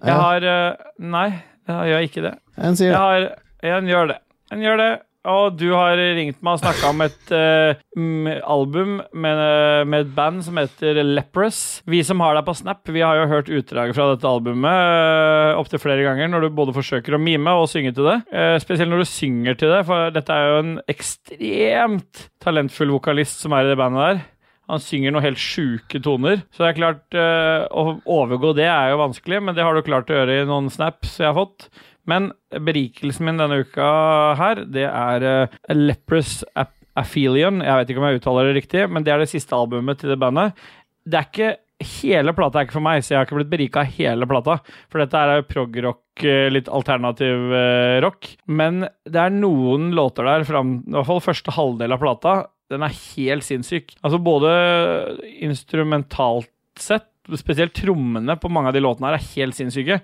Jeg
Ja.
har eh, Nei, jeg gjør ikke det.
En sier
Jeg
det.
har En gjør det. En gjør det. Og du har ringt meg og snakka om et eh, mm, album med, med et band som heter Leprous. Vi som har deg på Snap, vi har jo hørt utdrag fra dette albumet uh, opptil flere ganger når du både forsøker å mime og synge til det. Eh, spesielt når du synger til det, for dette er jo en ekstremt talentfull vokalist som er i det bandet der. Han synger noen helt sjuke toner. Så det er klart eh, Å overgå det er jo vanskelig, men det har du klart å gjøre i noen snaps jeg har fått. Men berikelsen min denne uka her, det er uh, Leprous Ap Aphelion. Jeg vet ikke om jeg uttaler det riktig, men det er det siste albumet til det bandet. Det er ikke Hele plata er ikke for meg, så jeg har ikke blitt berika av hele plata. For dette er jo prog-rock, eh, litt alternativ eh, rock. Men det er noen låter der, fram, i hvert fall første halvdel av plata, den er helt sinnssyk. Altså både instrumentalt sett, spesielt trommene på mange av de låtene her er helt sinnssyke,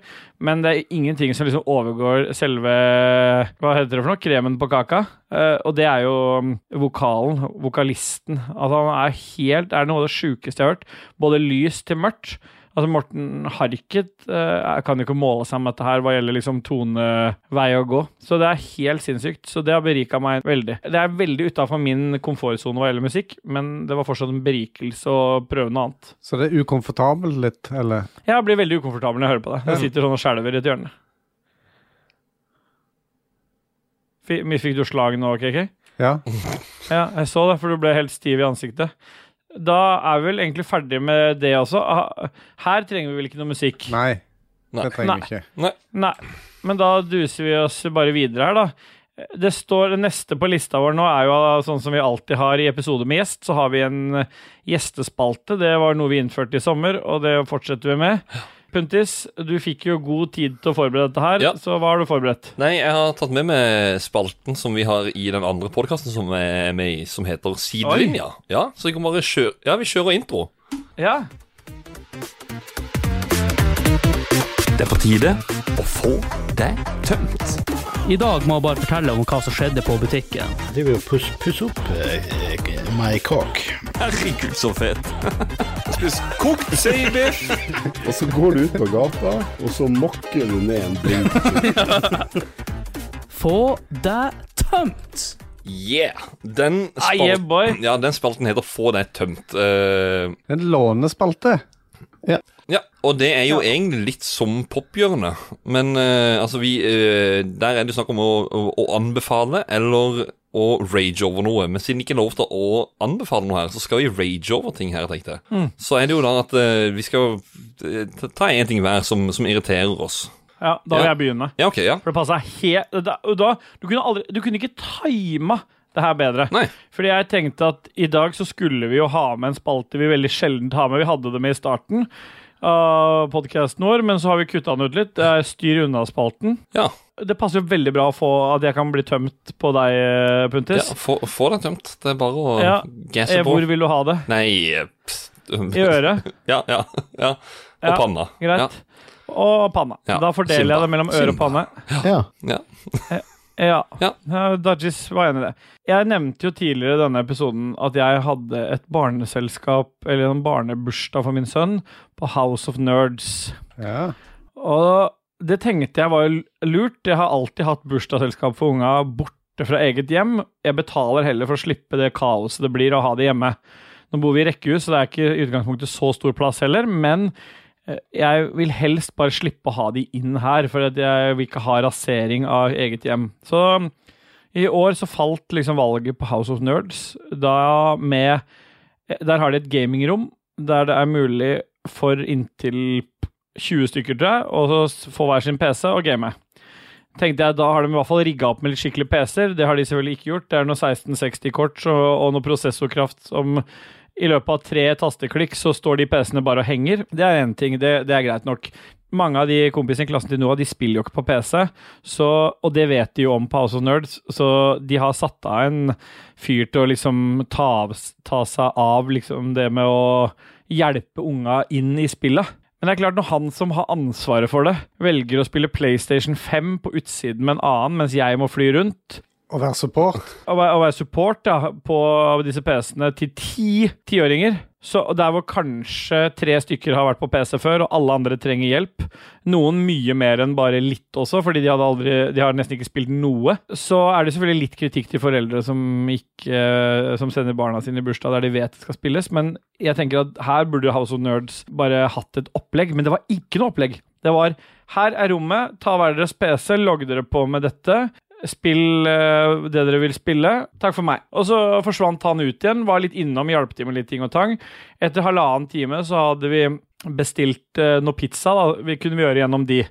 men det er ingenting som liksom overgår selve Hva heter det for noe? Kremen på kaka. Eh, og det er jo mm, vokalen, vokalisten. Altså han er helt Er noe av det sjukeste jeg har hørt. Både lys til mørkt. Altså Morten Harket eh, kan jo ikke måle seg med dette her hva gjelder liksom tonevei å gå. Så det er helt sinnssykt. Så det har berika meg veldig. Det er veldig utafor min komfortsone hva gjelder musikk, men det var fortsatt en berikelse å prøve noe annet.
Så det er ukomfortabelt litt, eller?
Jeg blir veldig ukomfortabel når jeg hører på det. Jeg
Ja.
sitter sånn og skjelver i et hjørne. Fi- mye Fikk du slag nå, KK?
Ja.
Ja, jeg så det, for du ble helt stiv i ansiktet. Da er vi vel egentlig ferdig med det også. Ah, Her trenger vi vel ikke noe musikk?
Nei. Det trenger vi ikke.
Nei. Nei. Men da duser vi oss bare videre her, da. Det står, det neste på lista vår nå er jo sånn som vi alltid har i episoder med gjest, så har vi en eh, gjestespalte. Det var noe vi innførte i sommer, og det fortsetter vi med. Puntis, du fikk jo god tid til å forberede dette her, så hva har du forberedt?
Nei, jeg har tatt med meg spalten som vi har i den andre podkasten som jeg er med i, som heter Sidelinja. Ja, så vi kan bare kjøre Ja, vi kjører intro.
Ja.
Det er på tide å få det tømt.
I dag må jeg bare fortelle om hva som skjedde på butikken.
Jeg driver og puss- pusser opp eh, eh, my cock.
Herregud, så fet.
Spis kokt seibiff. og så går du ut på gata, og så mokker du ned en drink.
Få deg tømt!
Yeah. Den
Ah, yeah, boy.
spalten, ja, den spalten heter Få det tømt. Eh,
En lånespalte.
Ja, og det er jo egentlig litt som pophjørnet. Men eh, altså, vi eh, Der er det jo snakk om å, å, å anbefale eller å rage over noe. Men siden det ikke er lov til å anbefale noe her, så skal vi rage over ting her, tenkte jeg.
Mm.
Så er det jo da at eh, vi skal eh, ta- ta én ting hver som, som irriterer oss.
Ja, da vil
Ja.
jeg begynne.
Ja, ok, ja.
For det passet helt da, da, du, kunne aldri, du kunne ikke tima det her bedre. Fordi jeg tenkte at i dag så skulle vi jo ha med en spalte vi veldig sjelden har med. Vi hadde det med i starten av podkasten vår, men så har vi kutta den ut litt. Det er Styr unna-spalten. Det passer jo veldig bra å få at jeg kan bli tømt på deg, eh, Puntis.
Ja, få, få den tømt. Det er bare å
Ja.
gasse
Eh,
på.
Hvor vil du ha det?
Nei eh, pst.
I øret?
ja, ja, ja. Og
Ja,
panna. Ja.
Greit. Og panna.
Ja,
Da fordeler
Simba.
jeg det mellom øre og
Simba.
panne.
Ja.
Ja. Eh, Dodges var enig i det. Jeg nevnte jo tidligere i denne episoden at jeg hadde et barneselskap, eller en barnebursdag for min sønn, på House of Nerds. Og det tenkte jeg var jo lurt. Jeg har alltid hatt bursdagsselskap for unga borte fra eget hjem. Jeg betaler heller for å slippe det kaoset det blir å ha det hjemme. Nå bor vi i rekkehus, så det er ikke i utgangspunktet så stor plass heller, men eh, jeg vil helst bare slippe å ha de inn her, for at jeg vil ikke ha rasering av eget hjem. Så i år så falt liksom valget på House of Nerds, da med eh, Der har de et gamingrom der det er mulig for inntil 20 stykker, tror jeg, og så s- få hver sin PC og game. Tenkte jeg, Da har de i hvert fall rigga opp med litt skikkelige PC-er. Det har de selvfølgelig ikke gjort. Det er noe 1660-kort og, og noe prosessorkraft som i løpet av tre tasteklikk så står de PC-ene bare og henger. Det er én ting, det, det er greit nok. Mange av de kompisene i klassen til Noah de spiller jo ikke på PC, så, og det vet de jo om på House of Nerds, så de har satt av en fyr til å liksom ta, av, ta seg av liksom det med å hjelpe unga inn i spillet. Men det er klart, når han som har ansvaret for det, velger å spille PlayStation 5 på utsiden med en annen, mens jeg må fly rundt,
Å være support.
å være, å være support ja, på disse PC-ene til ti tiåringer. Så og der hvor kanskje tre stykker har vært på PC før, og alle andre trenger hjelp. Noen mye mer enn bare litt også, fordi de, hadde aldri, de har nesten ikke spilt noe. Så er det selvfølgelig litt kritikk til foreldre som, ikke, eh, som sender barna sine i bursdag der de vet det skal spilles, men jeg tenker at her burde House of Nerds bare hatt et opplegg. Men det var ikke noe opplegg. Det var her er rommet, ta hver deres PC, logg dere på med dette. Spill eh, det dere vil spille. Takk for meg. Og så forsvant han ut igjen. Var litt innom, hjalp til med litt ting og tang. Etter halvannen time så hadde vi bestilt eh, noe pizza. Da. Vi kunne vi gjøre gjennom de.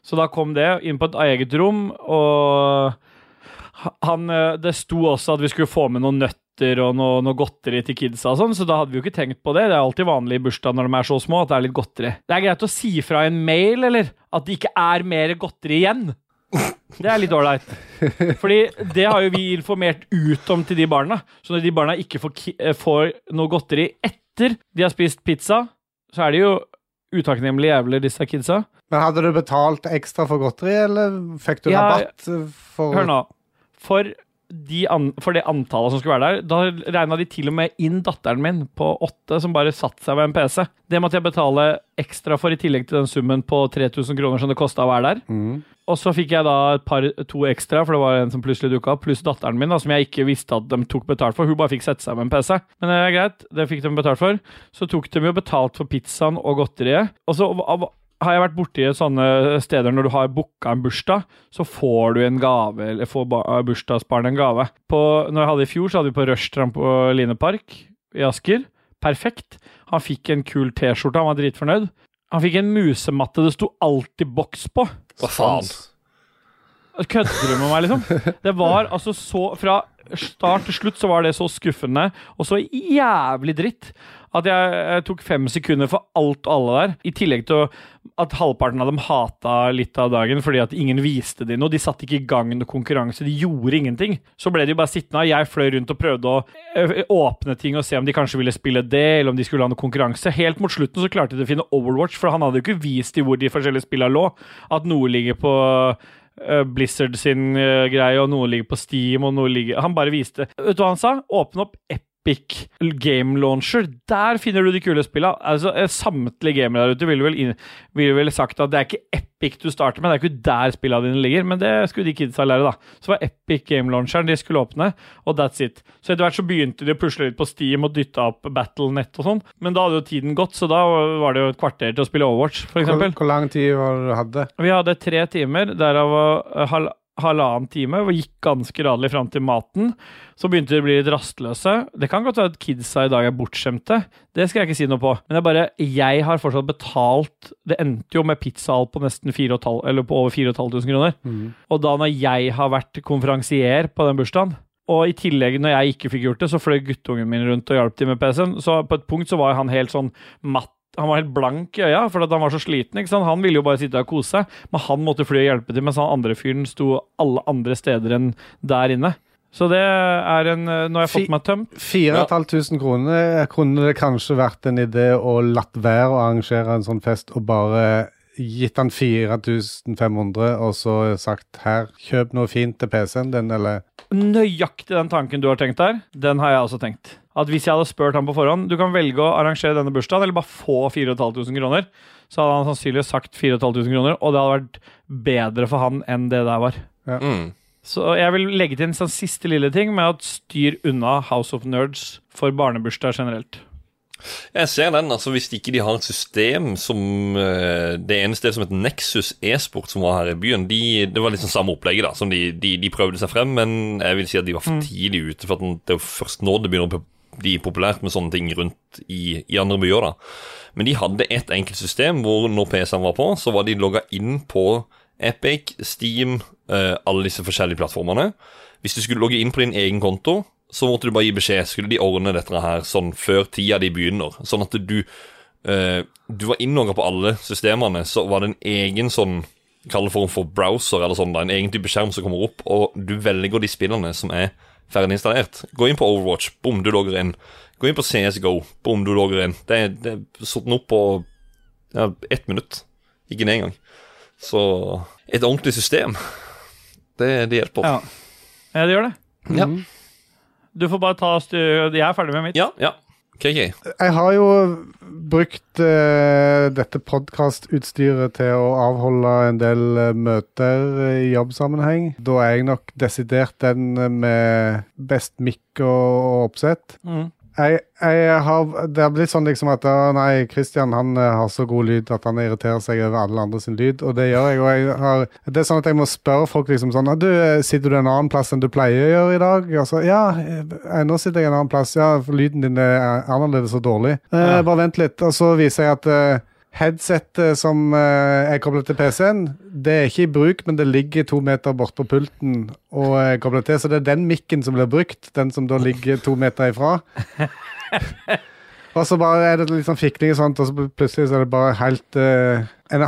Så da kom det inn på et eget rom, og han, eh, det sto også at vi skulle få med noen nøtter og noe, noe godteri til kidsa, og sånn, så da hadde vi jo ikke tenkt på det. Det er alltid vanlig i bursdag når de er så små, at det er litt godteri. Det er greit å si fra i en mail, eller? At det ikke er mer godteri igjen. Det er litt ålreit. Fordi det har jo vi informert ut om til de barna. Så når de barna ikke får, ki- eh, får noe godteri etter de har spist pizza, så er de jo utakknemlige jævler, disse kidsa.
Men hadde du betalt ekstra for godteri, eller fikk du
Ja,
rabatt eh, for
Hør nå. For, de an, for det antallet som skulle være der, da regna de til og med inn datteren min på åtte, som bare satte seg ved en PC. Det måtte jeg betale ekstra for, i tillegg til den summen på 3000 kroner som det kosta å være der. Og så fikk jeg da et par, to ekstra, for det var en som plutselig dukka opp, pluss datteren min, da, som jeg ikke visste at de tok betalt for. Hun bare fikk sette seg med en PC. Men det er greit, det fikk de betalt for. Så tok de jo betalt for pizzaen og godteriet. Og så av- har jeg vært borti sånne steder når du har booka en bursdag, så får du en gave, eller får ba- bursdagsbarnet en gave. På, når jeg hadde i fjor, så hadde vi på Rush trampolinepark i Asker. Perfekt. Han fikk en kul T-skjorte, han var dritfornøyd. Han fikk en musematte det sto alltid boks på.
Hva faen?
Kødder du med meg, liksom? Det var altså så Fra start til slutt så var det så skuffende og så jævlig dritt at jeg, jeg tok fem sekunder for alt og alle der. I tillegg til å- at halvparten av dem hata litt av dagen fordi at ingen viste de noe. De satte ikke i gang noe konkurranse. De gjorde ingenting. Så ble de bare sittende. og Jeg fløy rundt og prøvde å ø, åpne ting og se om de kanskje ville spille det, eller om de skulle ha noe konkurranse. Helt mot slutten så klarte de å finne Overwatch, for han hadde jo ikke vist de hvor de forskjellige spillene lå. At noe ligger på eh, Blizzard sin eh, greie, og noe ligger på Steam, og noe ligger Han bare viste. Vet du hva han sa? Åpne opp Epic Game Launcher. Der finner du de kule spilla. Altså, eh, samtlige gamere der ute ville vel, inn, ville vel sagt at det er ikke Epic du starter med, det er ikke der spilla dine ligger, men det skulle de kidsa lære, da. Så var Epic Game Launcheren de skulle åpne, og that's it. Så etter hvert så begynte de å pusle litt på Steam og dytta opp Battlenet og sånn, men da hadde jo tiden gått, så da var det jo et kvarter til å spille Overwatch, for
Hvor,
eksempel.
hvor lang tid var det du hadde?
Vi hadde tre timer, derav eh, hal halvannen time. Vi gikk ganske radelig fram til maten. Så begynte de å bli litt rastløse. Det kan godt være at kidsa i dag er bortskjemte. Det skal jeg ikke si noe på. Men det er bare, jeg har fortsatt betalt Det endte jo med pizzaall på nesten 4 500, eller på over 4500 kroner. Og da når jeg har vært konferansier på den bursdagen Og i tillegg, når jeg ikke fikk gjort det, så fløy guttungen min rundt og hjalp til med PC-en. Så på et punkt så var han helt sånn matt. Han var helt blank i øya, for at han var så sliten. ikke sant? Han ville jo bare sitte og kose seg, men han måtte fly og hjelpe til, mens han andre fyren sto alle andre steder enn der inne. Så det er en eh, Nå har jeg fått meg tømt.
4500 kroner kunne det kanskje vært en idé å latt være å arrangere en sånn fest og bare gitt han 4500 og så sagt her, kjøp noe fint til PC-en din, eller
Nøyaktig den tanken du har tenkt der, den har jeg også tenkt. At hvis jeg hadde spurt ham på forhånd Du kan velge å arrangere denne bursdagen, eller bare få 4500 kroner. Så hadde han sannsynligvis sagt 4500 kroner, og det hadde vært bedre for han enn det der var.
Mm.
Så jeg vil legge til en sånn siste lille ting med at styr unna House of Nerds for barnebursdag generelt.
Jeg ser den. altså Hvis ikke de har et system som eh, Det ene stedet som het Nexus e-sport, som var her i byen, de, det var liksom samme opplegget. da som de, de, de prøvde seg frem, men jeg vil si at de var for tidlig ute. For at den- det er jo først nå det begynner å bli populært med sånne ting rundt i, i andre byer. da Men de hadde et enkelt system hvor når PC-en var på, så var de logga inn på Epic, Steam, eh, alle disse forskjellige plattformene. Hvis du skulle logge inn på din egen konto, så måtte du bare gi beskjed. Skulle de ordne dette her sånn før tida de begynner? Sånn at du eh, Du var innlogga på alle systemene, så var det en egen sånn Kall det form for browser, eller sånn, da, en egen type skjerm som kommer opp, og du velger de spillene som er ferdig installert. Gå inn på Overwatch, bom, du logger inn. Gå inn på CSGO, bom, du logger inn. Det, det er satt den opp på ja, ett minutt. Ikke det engang. Så et ordentlig system, det, det hjelper.
Ja. ja, det gjør det. Du får bare ta styr... Jeg er ferdig med mitt.
Ja, ja. KK.
Jeg har jo brukt eh, dette podkastutstyret til å avholde en del eh, møter eh, i jobbsammenheng. Da er jeg nok desidert den eh, med best mikk og oppsett.
Mm.
Jeg, jeg har, det har blitt sånn liksom at ah, Nei, Christian han eh, har så god lyd at han irriterer seg over alle andre sin lyd, og det gjør jeg. Og jeg har, det er sånn at jeg må spørre folk liksom sånn «Ah, du, eh, Sitter du en annen plass enn du pleier å gjøre i dag? Og så, ja, eh, nå sitter jeg en annen plass. Ja, for lyden din er annerledes og dårlig. Eh, Bare vent litt. Og så viser jeg at eh, headsetet som eh, er koblet til PC-en, det er ikke i bruk, men det ligger to meter bort på pulten og er koblet til, så det er den mikken som blir brukt, den som da ligger to meter ifra. Og så bare er det litt sånn fikling og sånt, og så plutselig så er det bare helt eh, en,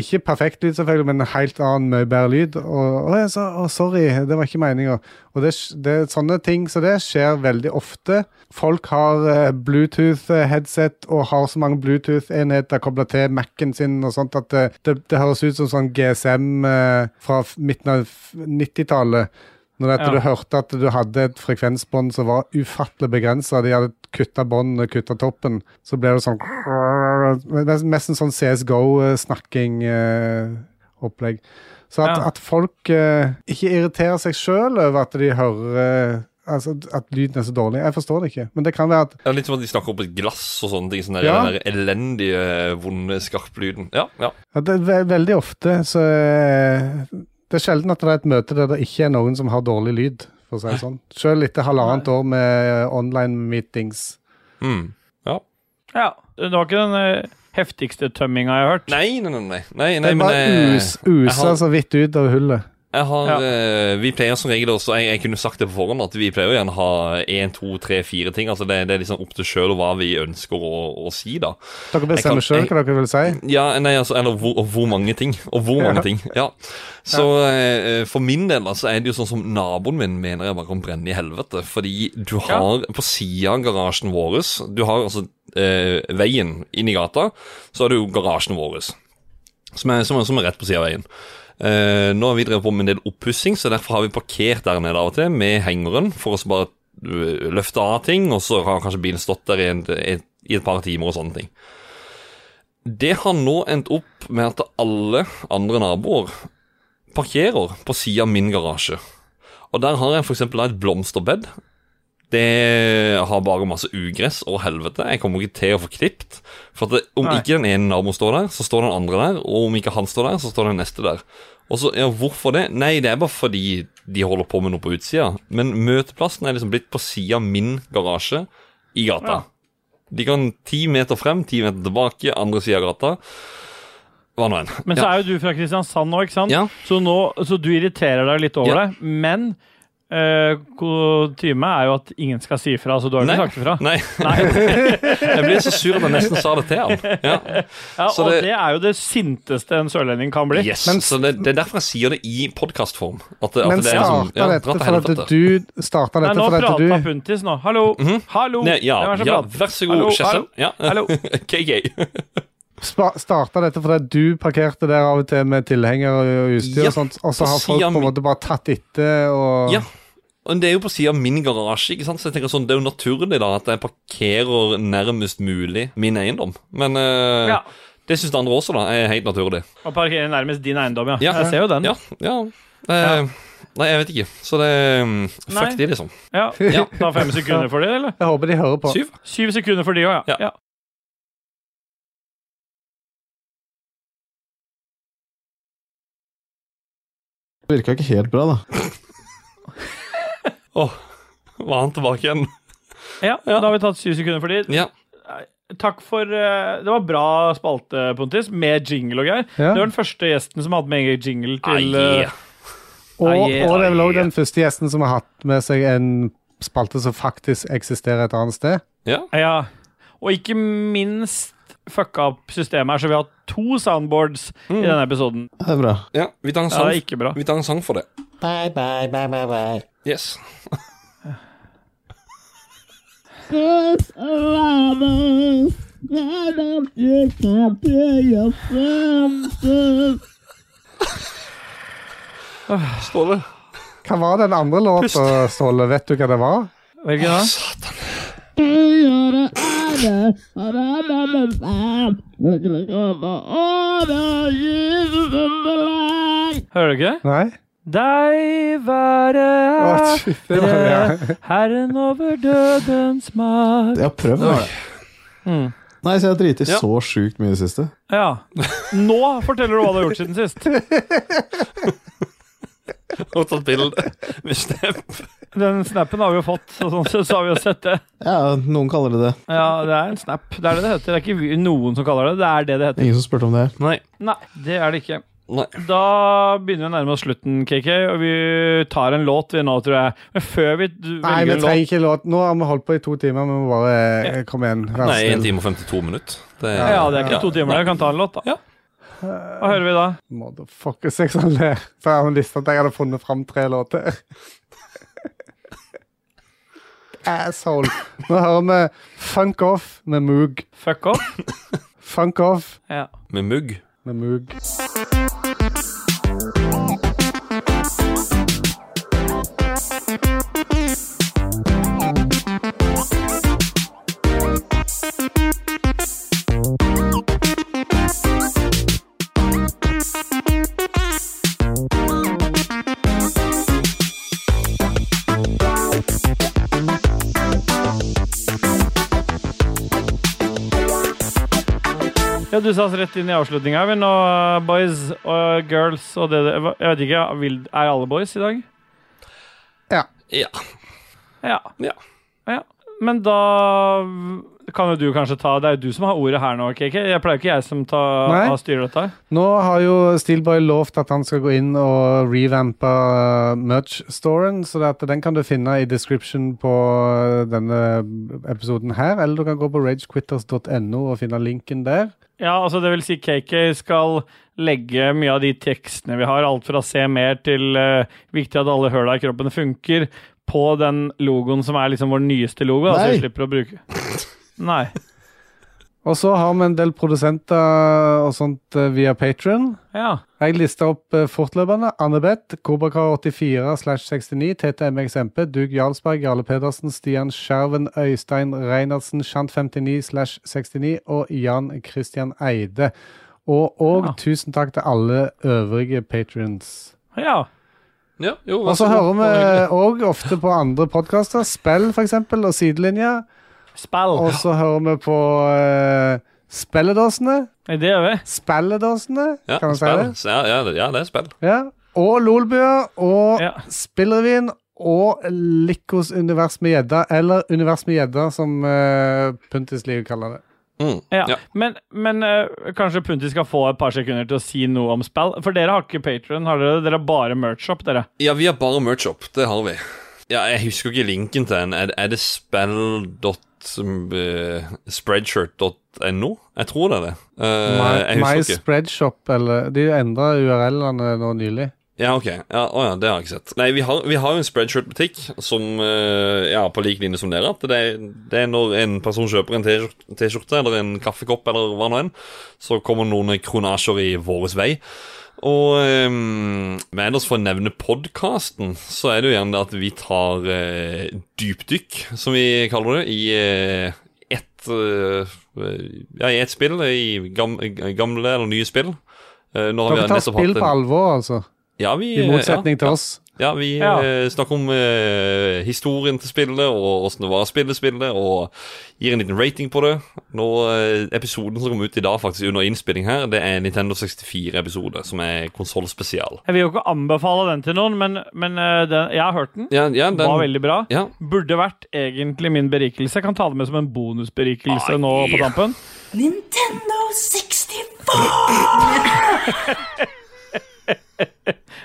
Ikke perfekt lyd, selvfølgelig, men en helt annen, mye bedre lyd. Og, og jeg sa å, 'sorry, det var ikke meninga'. Og det, det er sånne ting som det skjer veldig ofte. Folk har eh, Bluetooth-headset og har så mange Bluetooth-enheter kobla til Mac-en sin og sånt at det, det, det høres ut som sånn GSM eh, fra f- midten av f- 90-tallet. Når dette
Ja.
du hørte at du hadde et frekvensbånd som var ufattelig begrensa, de hadde kutta båndet, kutta toppen, så ble det sånn Mest mest en sånn CSGO-snakking-opplegg. eh, Så at, at folk eh, ikke irriterer seg sjøl over at de hører eh, Altså at lyden er så dårlig. Jeg forstår det ikke. Men det kan være at
Det er litt som at de snakker opp et glass og sånne ting. Sånn der,
Ja.
den der elendige, vonde skarplyden. Ja, ja.
Ja, det er ve veldig ofte så eh, Det er sjelden at det er et møte der det ikke er noen som har dårlig lyd, for å si det sånn. Sjøl etter halvannet år med eh, online meetings.
Ja.
ja. Det var ikke den eh, heftigste tømminga jeg har hørt.
Nei, nei, nei. nei, nei,
det
nei
er
men
bare
eh,
us usa
jeg har-
så vidt ut av hullet.
Jeg har, eh, Vi pleier som regel også jeg, jeg kunne sagt det på forhånd, at vi pleier jo gjerne å ha én, to, tre, fire ting. altså Det, det er liksom opp til sjøl hva vi ønsker å, å si, da.
Dere
Jeg kan-
bestemmer sjøl
jeg-
hva dere vil si.
Ja, nei, altså, eller hvor, og hvor mange ting. Og hvor
Ja.
mange ting, ja. Så eh, for min del da, så er det jo sånn som naboen min mener jeg bare kan brenne i helvete. Fordi du har på sida av garasjen vår Du har altså eh, veien inn i gata, så har du jo garasjen vår. Som er, som, er, som er rett på sida av veien. Eh, nå har vi drevet på med en del oppussing, så derfor har vi parkert der nede av og til med hengeren. For å så bare eh, løfte av ting, og så har kanskje bilen stått der i, en, et, i et par timer og sånne ting. Det har nå endt opp med at alle andre naboer parkerer på sida av min garasje. Og der har jeg f.eks. et blomsterbed. Det har bare masse ugress og helvete. Jeg kommer ikke til å få klipt. For at det, om
Nei.
ikke den ene naboen står der, så står den andre der. Og om ikke han står der, så står den neste der. Og så, ja, Hvorfor det? Nei, det er bare fordi de holder på med noe på utsida. Men møteplassen er liksom blitt på sida av min garasje i gata. De kan ti meter frem, ti meter tilbake, andre sida av gata. Hva nå enn.
Men så er jo du fra Kristiansand nå, ikke sant? Så, nå, så du irriterer deg litt over
Ja.
det. Men eh, kutyme er jo at ingen skal si ifra, så du har jo
Nei.
ikke sagt ifra.
Nei. Jeg ble så sur at jeg nesten sa det til han. Ja.
Ja,
Så
og det,
det-
er jo det sinteste en sørlending kan bli.
Yes, så det, det er derfor jeg sier det i podkastform. At, det- at
Men
det er liksom-
starta
ja, dra
dette
til
for
helvete.
at du starta
Nei,
dette
nå
for at du
prata Puntis nå. Hallo! Hallo!
Nei, Mhm. ja,
Hvem er det som
ja,
prater?
vær så god,
Hallo,
Kjersem. Ja.
hallo.
KK.
spa- starta dette fordi at du parkerte der av og til med tilhenger og utstyr
Ja,
og sånt, og så
på
har folk
siden
på en måte bare tatt etter og
Ja. Men det er jo på siden av min garasje, ikke sant? så jeg tenker sånn, det er jo naturlig da at jeg parkerer nærmest mulig min eiendom. Men eh,
Ja.
det syns andre også da, er helt naturlig.
Å parkere nærmest din eiendom, ja.
Ja.
Jeg ser jo den.
Ja, Eh, Nei, jeg vet ikke. Så det Fuck
Nei.
de, liksom.
Ja.
Ja.
Ta fem sekunder for det, eller?
Jeg håper de hører på.
Syv.
Syv sekunder for de òg, ja. ja.
Det virka ikke helt bra, da.
Åh, var han tilbake igjen?
Ja, da har vi tatt syv sekunder for de.
Ja.
Takk for eh, Det var bra spalte, Pontus, med jingle og greier.
Ja.
Det var den første gjesten som hadde med egen jingle til
Ai,
eh,
ja.
Og,
Ai, ja.
og det er vel òg den første gjesten som har hatt med seg en spalte som faktisk eksisterer et annet sted.
Ja.
Og ikke minst fucka opp systemet her, så vi har hatt to soundboards i denne episoden.
Det er bra.
Ja, vi tar en
Ja,
sang,
det er ikke bra.
Vi tar en sang for det.
Bye, bye, bye, bye, bye.
Yes. Ståle.
Hva var den andre låta, Ståle? Vet du hva det var?
Hvilken da? Hører du ikke det?
Nei.
Deg være
Å, fy, det var
ære, Herren over dødens makt.
Jeg har prøvd, da.
Mm.
Nei, så jeg har driti
Ja.
så sjukt mye i det siste.
Ja. Nå forteller du hva du har gjort siden sist.
Og tatt bilde med snap.
Den snappen har vi jo fått, så sånn sett så har vi jo sett det.
Ja, noen kaller det det.
Ja, det er en snap. Det er det det heter. Det er ikke vi- noen som kaller det det. Det er det det heter.
Ingen som spurte om det.
Nei.
Nei, det er det ikke.
Nei.
Da begynner vi å nærme oss slutten, KK, og vi tar en låt vi nå, tror jeg. Men før vi d-
Nei,
velger
vi
en
trenger
låt
ikke låt. Nå har vi holdt på i to timer, vi må bare eh, komme igjen. Vær
Nei,
så
1
snill.
time og 52 minutter. Det
ja, ja, det er ikke to timer, jeg kan ta en låt, da. Hva hører vi da?
Motherfuckers, jeg sånn ler. For jeg har lyst til at jeg hadde funnet fram tre låter. Asshole. Nå hører vi Funk Off med Moog.
Fuck off?
Funk Off
Ja.
Med mugg.
med Moog.
Ja, du sa oss rett inn i avslutninga, vi nå, boys og girls og det det Jeg vet ikke, vil- er alle boys i dag?
Ja.
Ja.
Ja.
Ja.
ja. Men da kan jo du kanskje ta Det er jo du som har ordet her nå, KK. Jeg pleier jo ikke jeg som
Nei.
tar, styrer dette. her.
Nå har jo Steelboy lovt at han skal gå inn og revampe uh, merch-storen, så det at den kan du finne i description på uh, denne episoden her, eller du kan gå på ragequitters.no og finne linken der.
Ja, altså det vil si KK skal legge mye av de tekstene vi har, alt fra se mer til eh, viktig at alle høla i kroppen funker, på den logoen som er liksom vår nyeste logo, da, så vi
Nei.
slipper å bruke Nei.
Og så har vi en del produsenter og sånt eh, via Patron.
Ja.
Jeg lister opp eh, fortløpende. Annebeth, Kobrakar84 69, TTMXMP, Dug Jarlsberg, Jarle Pedersen, Stian Skjerven, Øystein Reinertsen, Shant59 69 og Jan Christian Eide. Og, og tusen takk til alle øvrige patrons.
Ja.
Ja, jo,
Og så hører vi òg ofte på andre podkaster, Spill f.eks., og Sidelinja.
Spill.
Og så hører vi på uh, Spelledåsene.
Det gjør vi.
Spelledåsene,
Ja,
kan man si det?
spill. Ja, ja, det- ja, det er spill.
Ja. Og Lolbua og Spillrevyen og Likos univers med gjedda, eller Univers med gjedda, som uh, Puntis liv kaller det.
Mm.
Ja. Men, men eh, kanskje Punti skal få et par sekunder til å si noe om spill? For dere har ikke Patron, har dere? Dere har bare merch-shop, dere.
Ja, vi har bare merch-up. Det har vi. Ja, jeg husker ikke linken til den. Er, er det eh, spell.spreadshirt.no? Jeg tror det er det. Eh, jeg
My,
husker
my
ikke.
Spreadshop, eller De endra URL-ene nå nylig.
Ja, ok. Ja, å ja, det har jeg ikke sett. Nei, vi har, vi har jo en spreadshirt-butikk som eh, Ja, på lik linje som dere. At det, er- det er når en person kjøper en T-skjort- T-skjorte eller en kaffekopp eller hva nå enn, så kommer noen kronasjer i våres vei. Og eh, men ellers for å nevne podkasten, så er det jo gjerne det at vi tar eh, dypdykk, som vi kaller det, i eh, ett eh, Ja, i ett spill. I gam, gamle eller nye spill. Eh, nå har vi
Dere tar
nettopp hatt
spill
en-
på alvor, altså.
ja, vi,
I motsetning
ja,
til
ja.
oss.
Ja, vi
Ja.
eh, snakker om eh, historien til spillet, og åssen det var å spille spillet, og gir en liten rating på det. Nå, eh, Episoden som kom ut i dag, faktisk under innspilling her, det er en Nintendo 64-episode, som er konsollspesial.
Jeg vil jo ikke anbefale den til noen, men, men eh, den, jeg har hørt den.
Ja, ja, den-
Var veldig bra.
Ja.
Burde vært egentlig min berikelse. Jeg kan ta det med som en bonusberikelse nå på tampen.
Nintendo 64!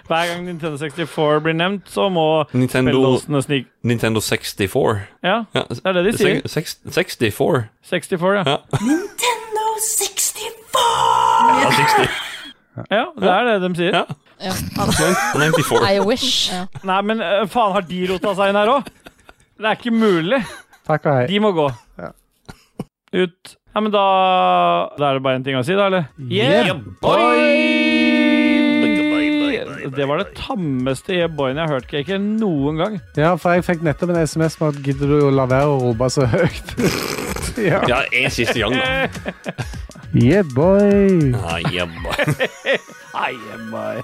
Hver gang Nintendo 64 blir nevnt, så må
Nintendo,
spilledåsene snike.
Nintendo 64.
Ja, det er det de sier.
sek- seks- 64.
64, ja.
Ja.
Nintendo 64!
Ja, 60.
Ja, det er det de sier.
Ja.
94.
I wish.
Nei, men eh, faen, har de rota seg inn her òg? Det er ikke mulig.
Takk og hei.
De må gå. Ut. Nei, men da Da er det bare én ting å si, da, eller?
Yeah,
boy! Det var det tammeste yeah boyen jeg har hørt, Kaker, noen gang.
Ja, for jeg fikk nettopp en SMS med at gidder du å la være å rope så høyt? ja.
Ja, en siste gang, da.
Yeah, boy!
Ah, yeah, boy.
Ai, yeah, boy.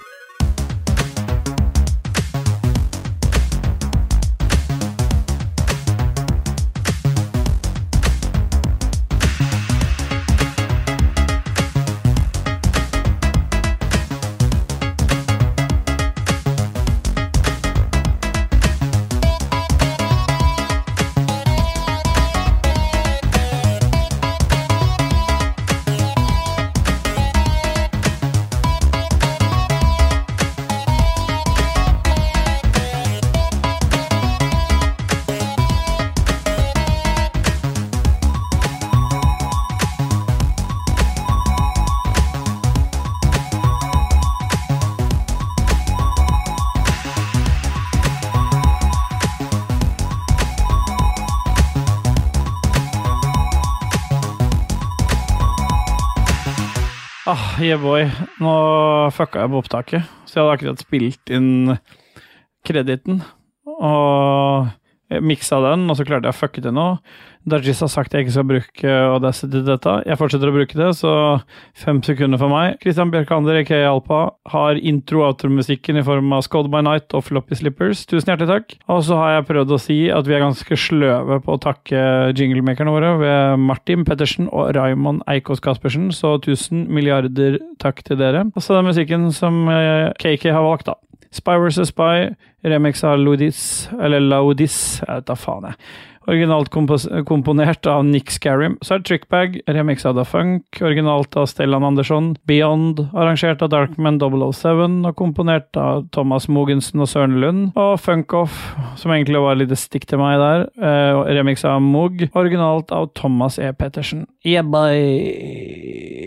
Ah, yeah boy. Nå fucka jeg på opptaket, så jeg hadde akkurat spilt inn krediten. Og jeg miksa den, og så klarte jeg å fucke til noe. Dajis har sagt jeg ikke skal bruke Audacity til dette. Jeg fortsetter å bruke det, så fem sekunder for meg. Christian Bjørkander, aka Alpa, har intro-outro-musikken i form av Scod by Night og Floppy Slippers. Tusen hjertelig takk. Og så har jeg prøvd å si at vi er ganske sløve på å takke jinglemakerne våre ved Martin Pettersen og Raymond Eikås Caspersen, så tusen milliarder takk til dere. Og så den musikken som eh, KK har valgt, da. Spy vs. Spy, remix av Lodis, eller Laudis, jeg vet da faen jeg. Originalt kompos komponert av Nick Scarim. Så er det Trickbag, remix av Da Funk, originalt av Stellan Andersson. Beyond, arrangert av Darkman 007 og komponert av Thomas Mogensen og Søren Lund. Og Funk Off, som egentlig var et lite stikk til meg der, eh, og remix av Moog, originalt av Thomas E. Pettersen. Yeah, bye.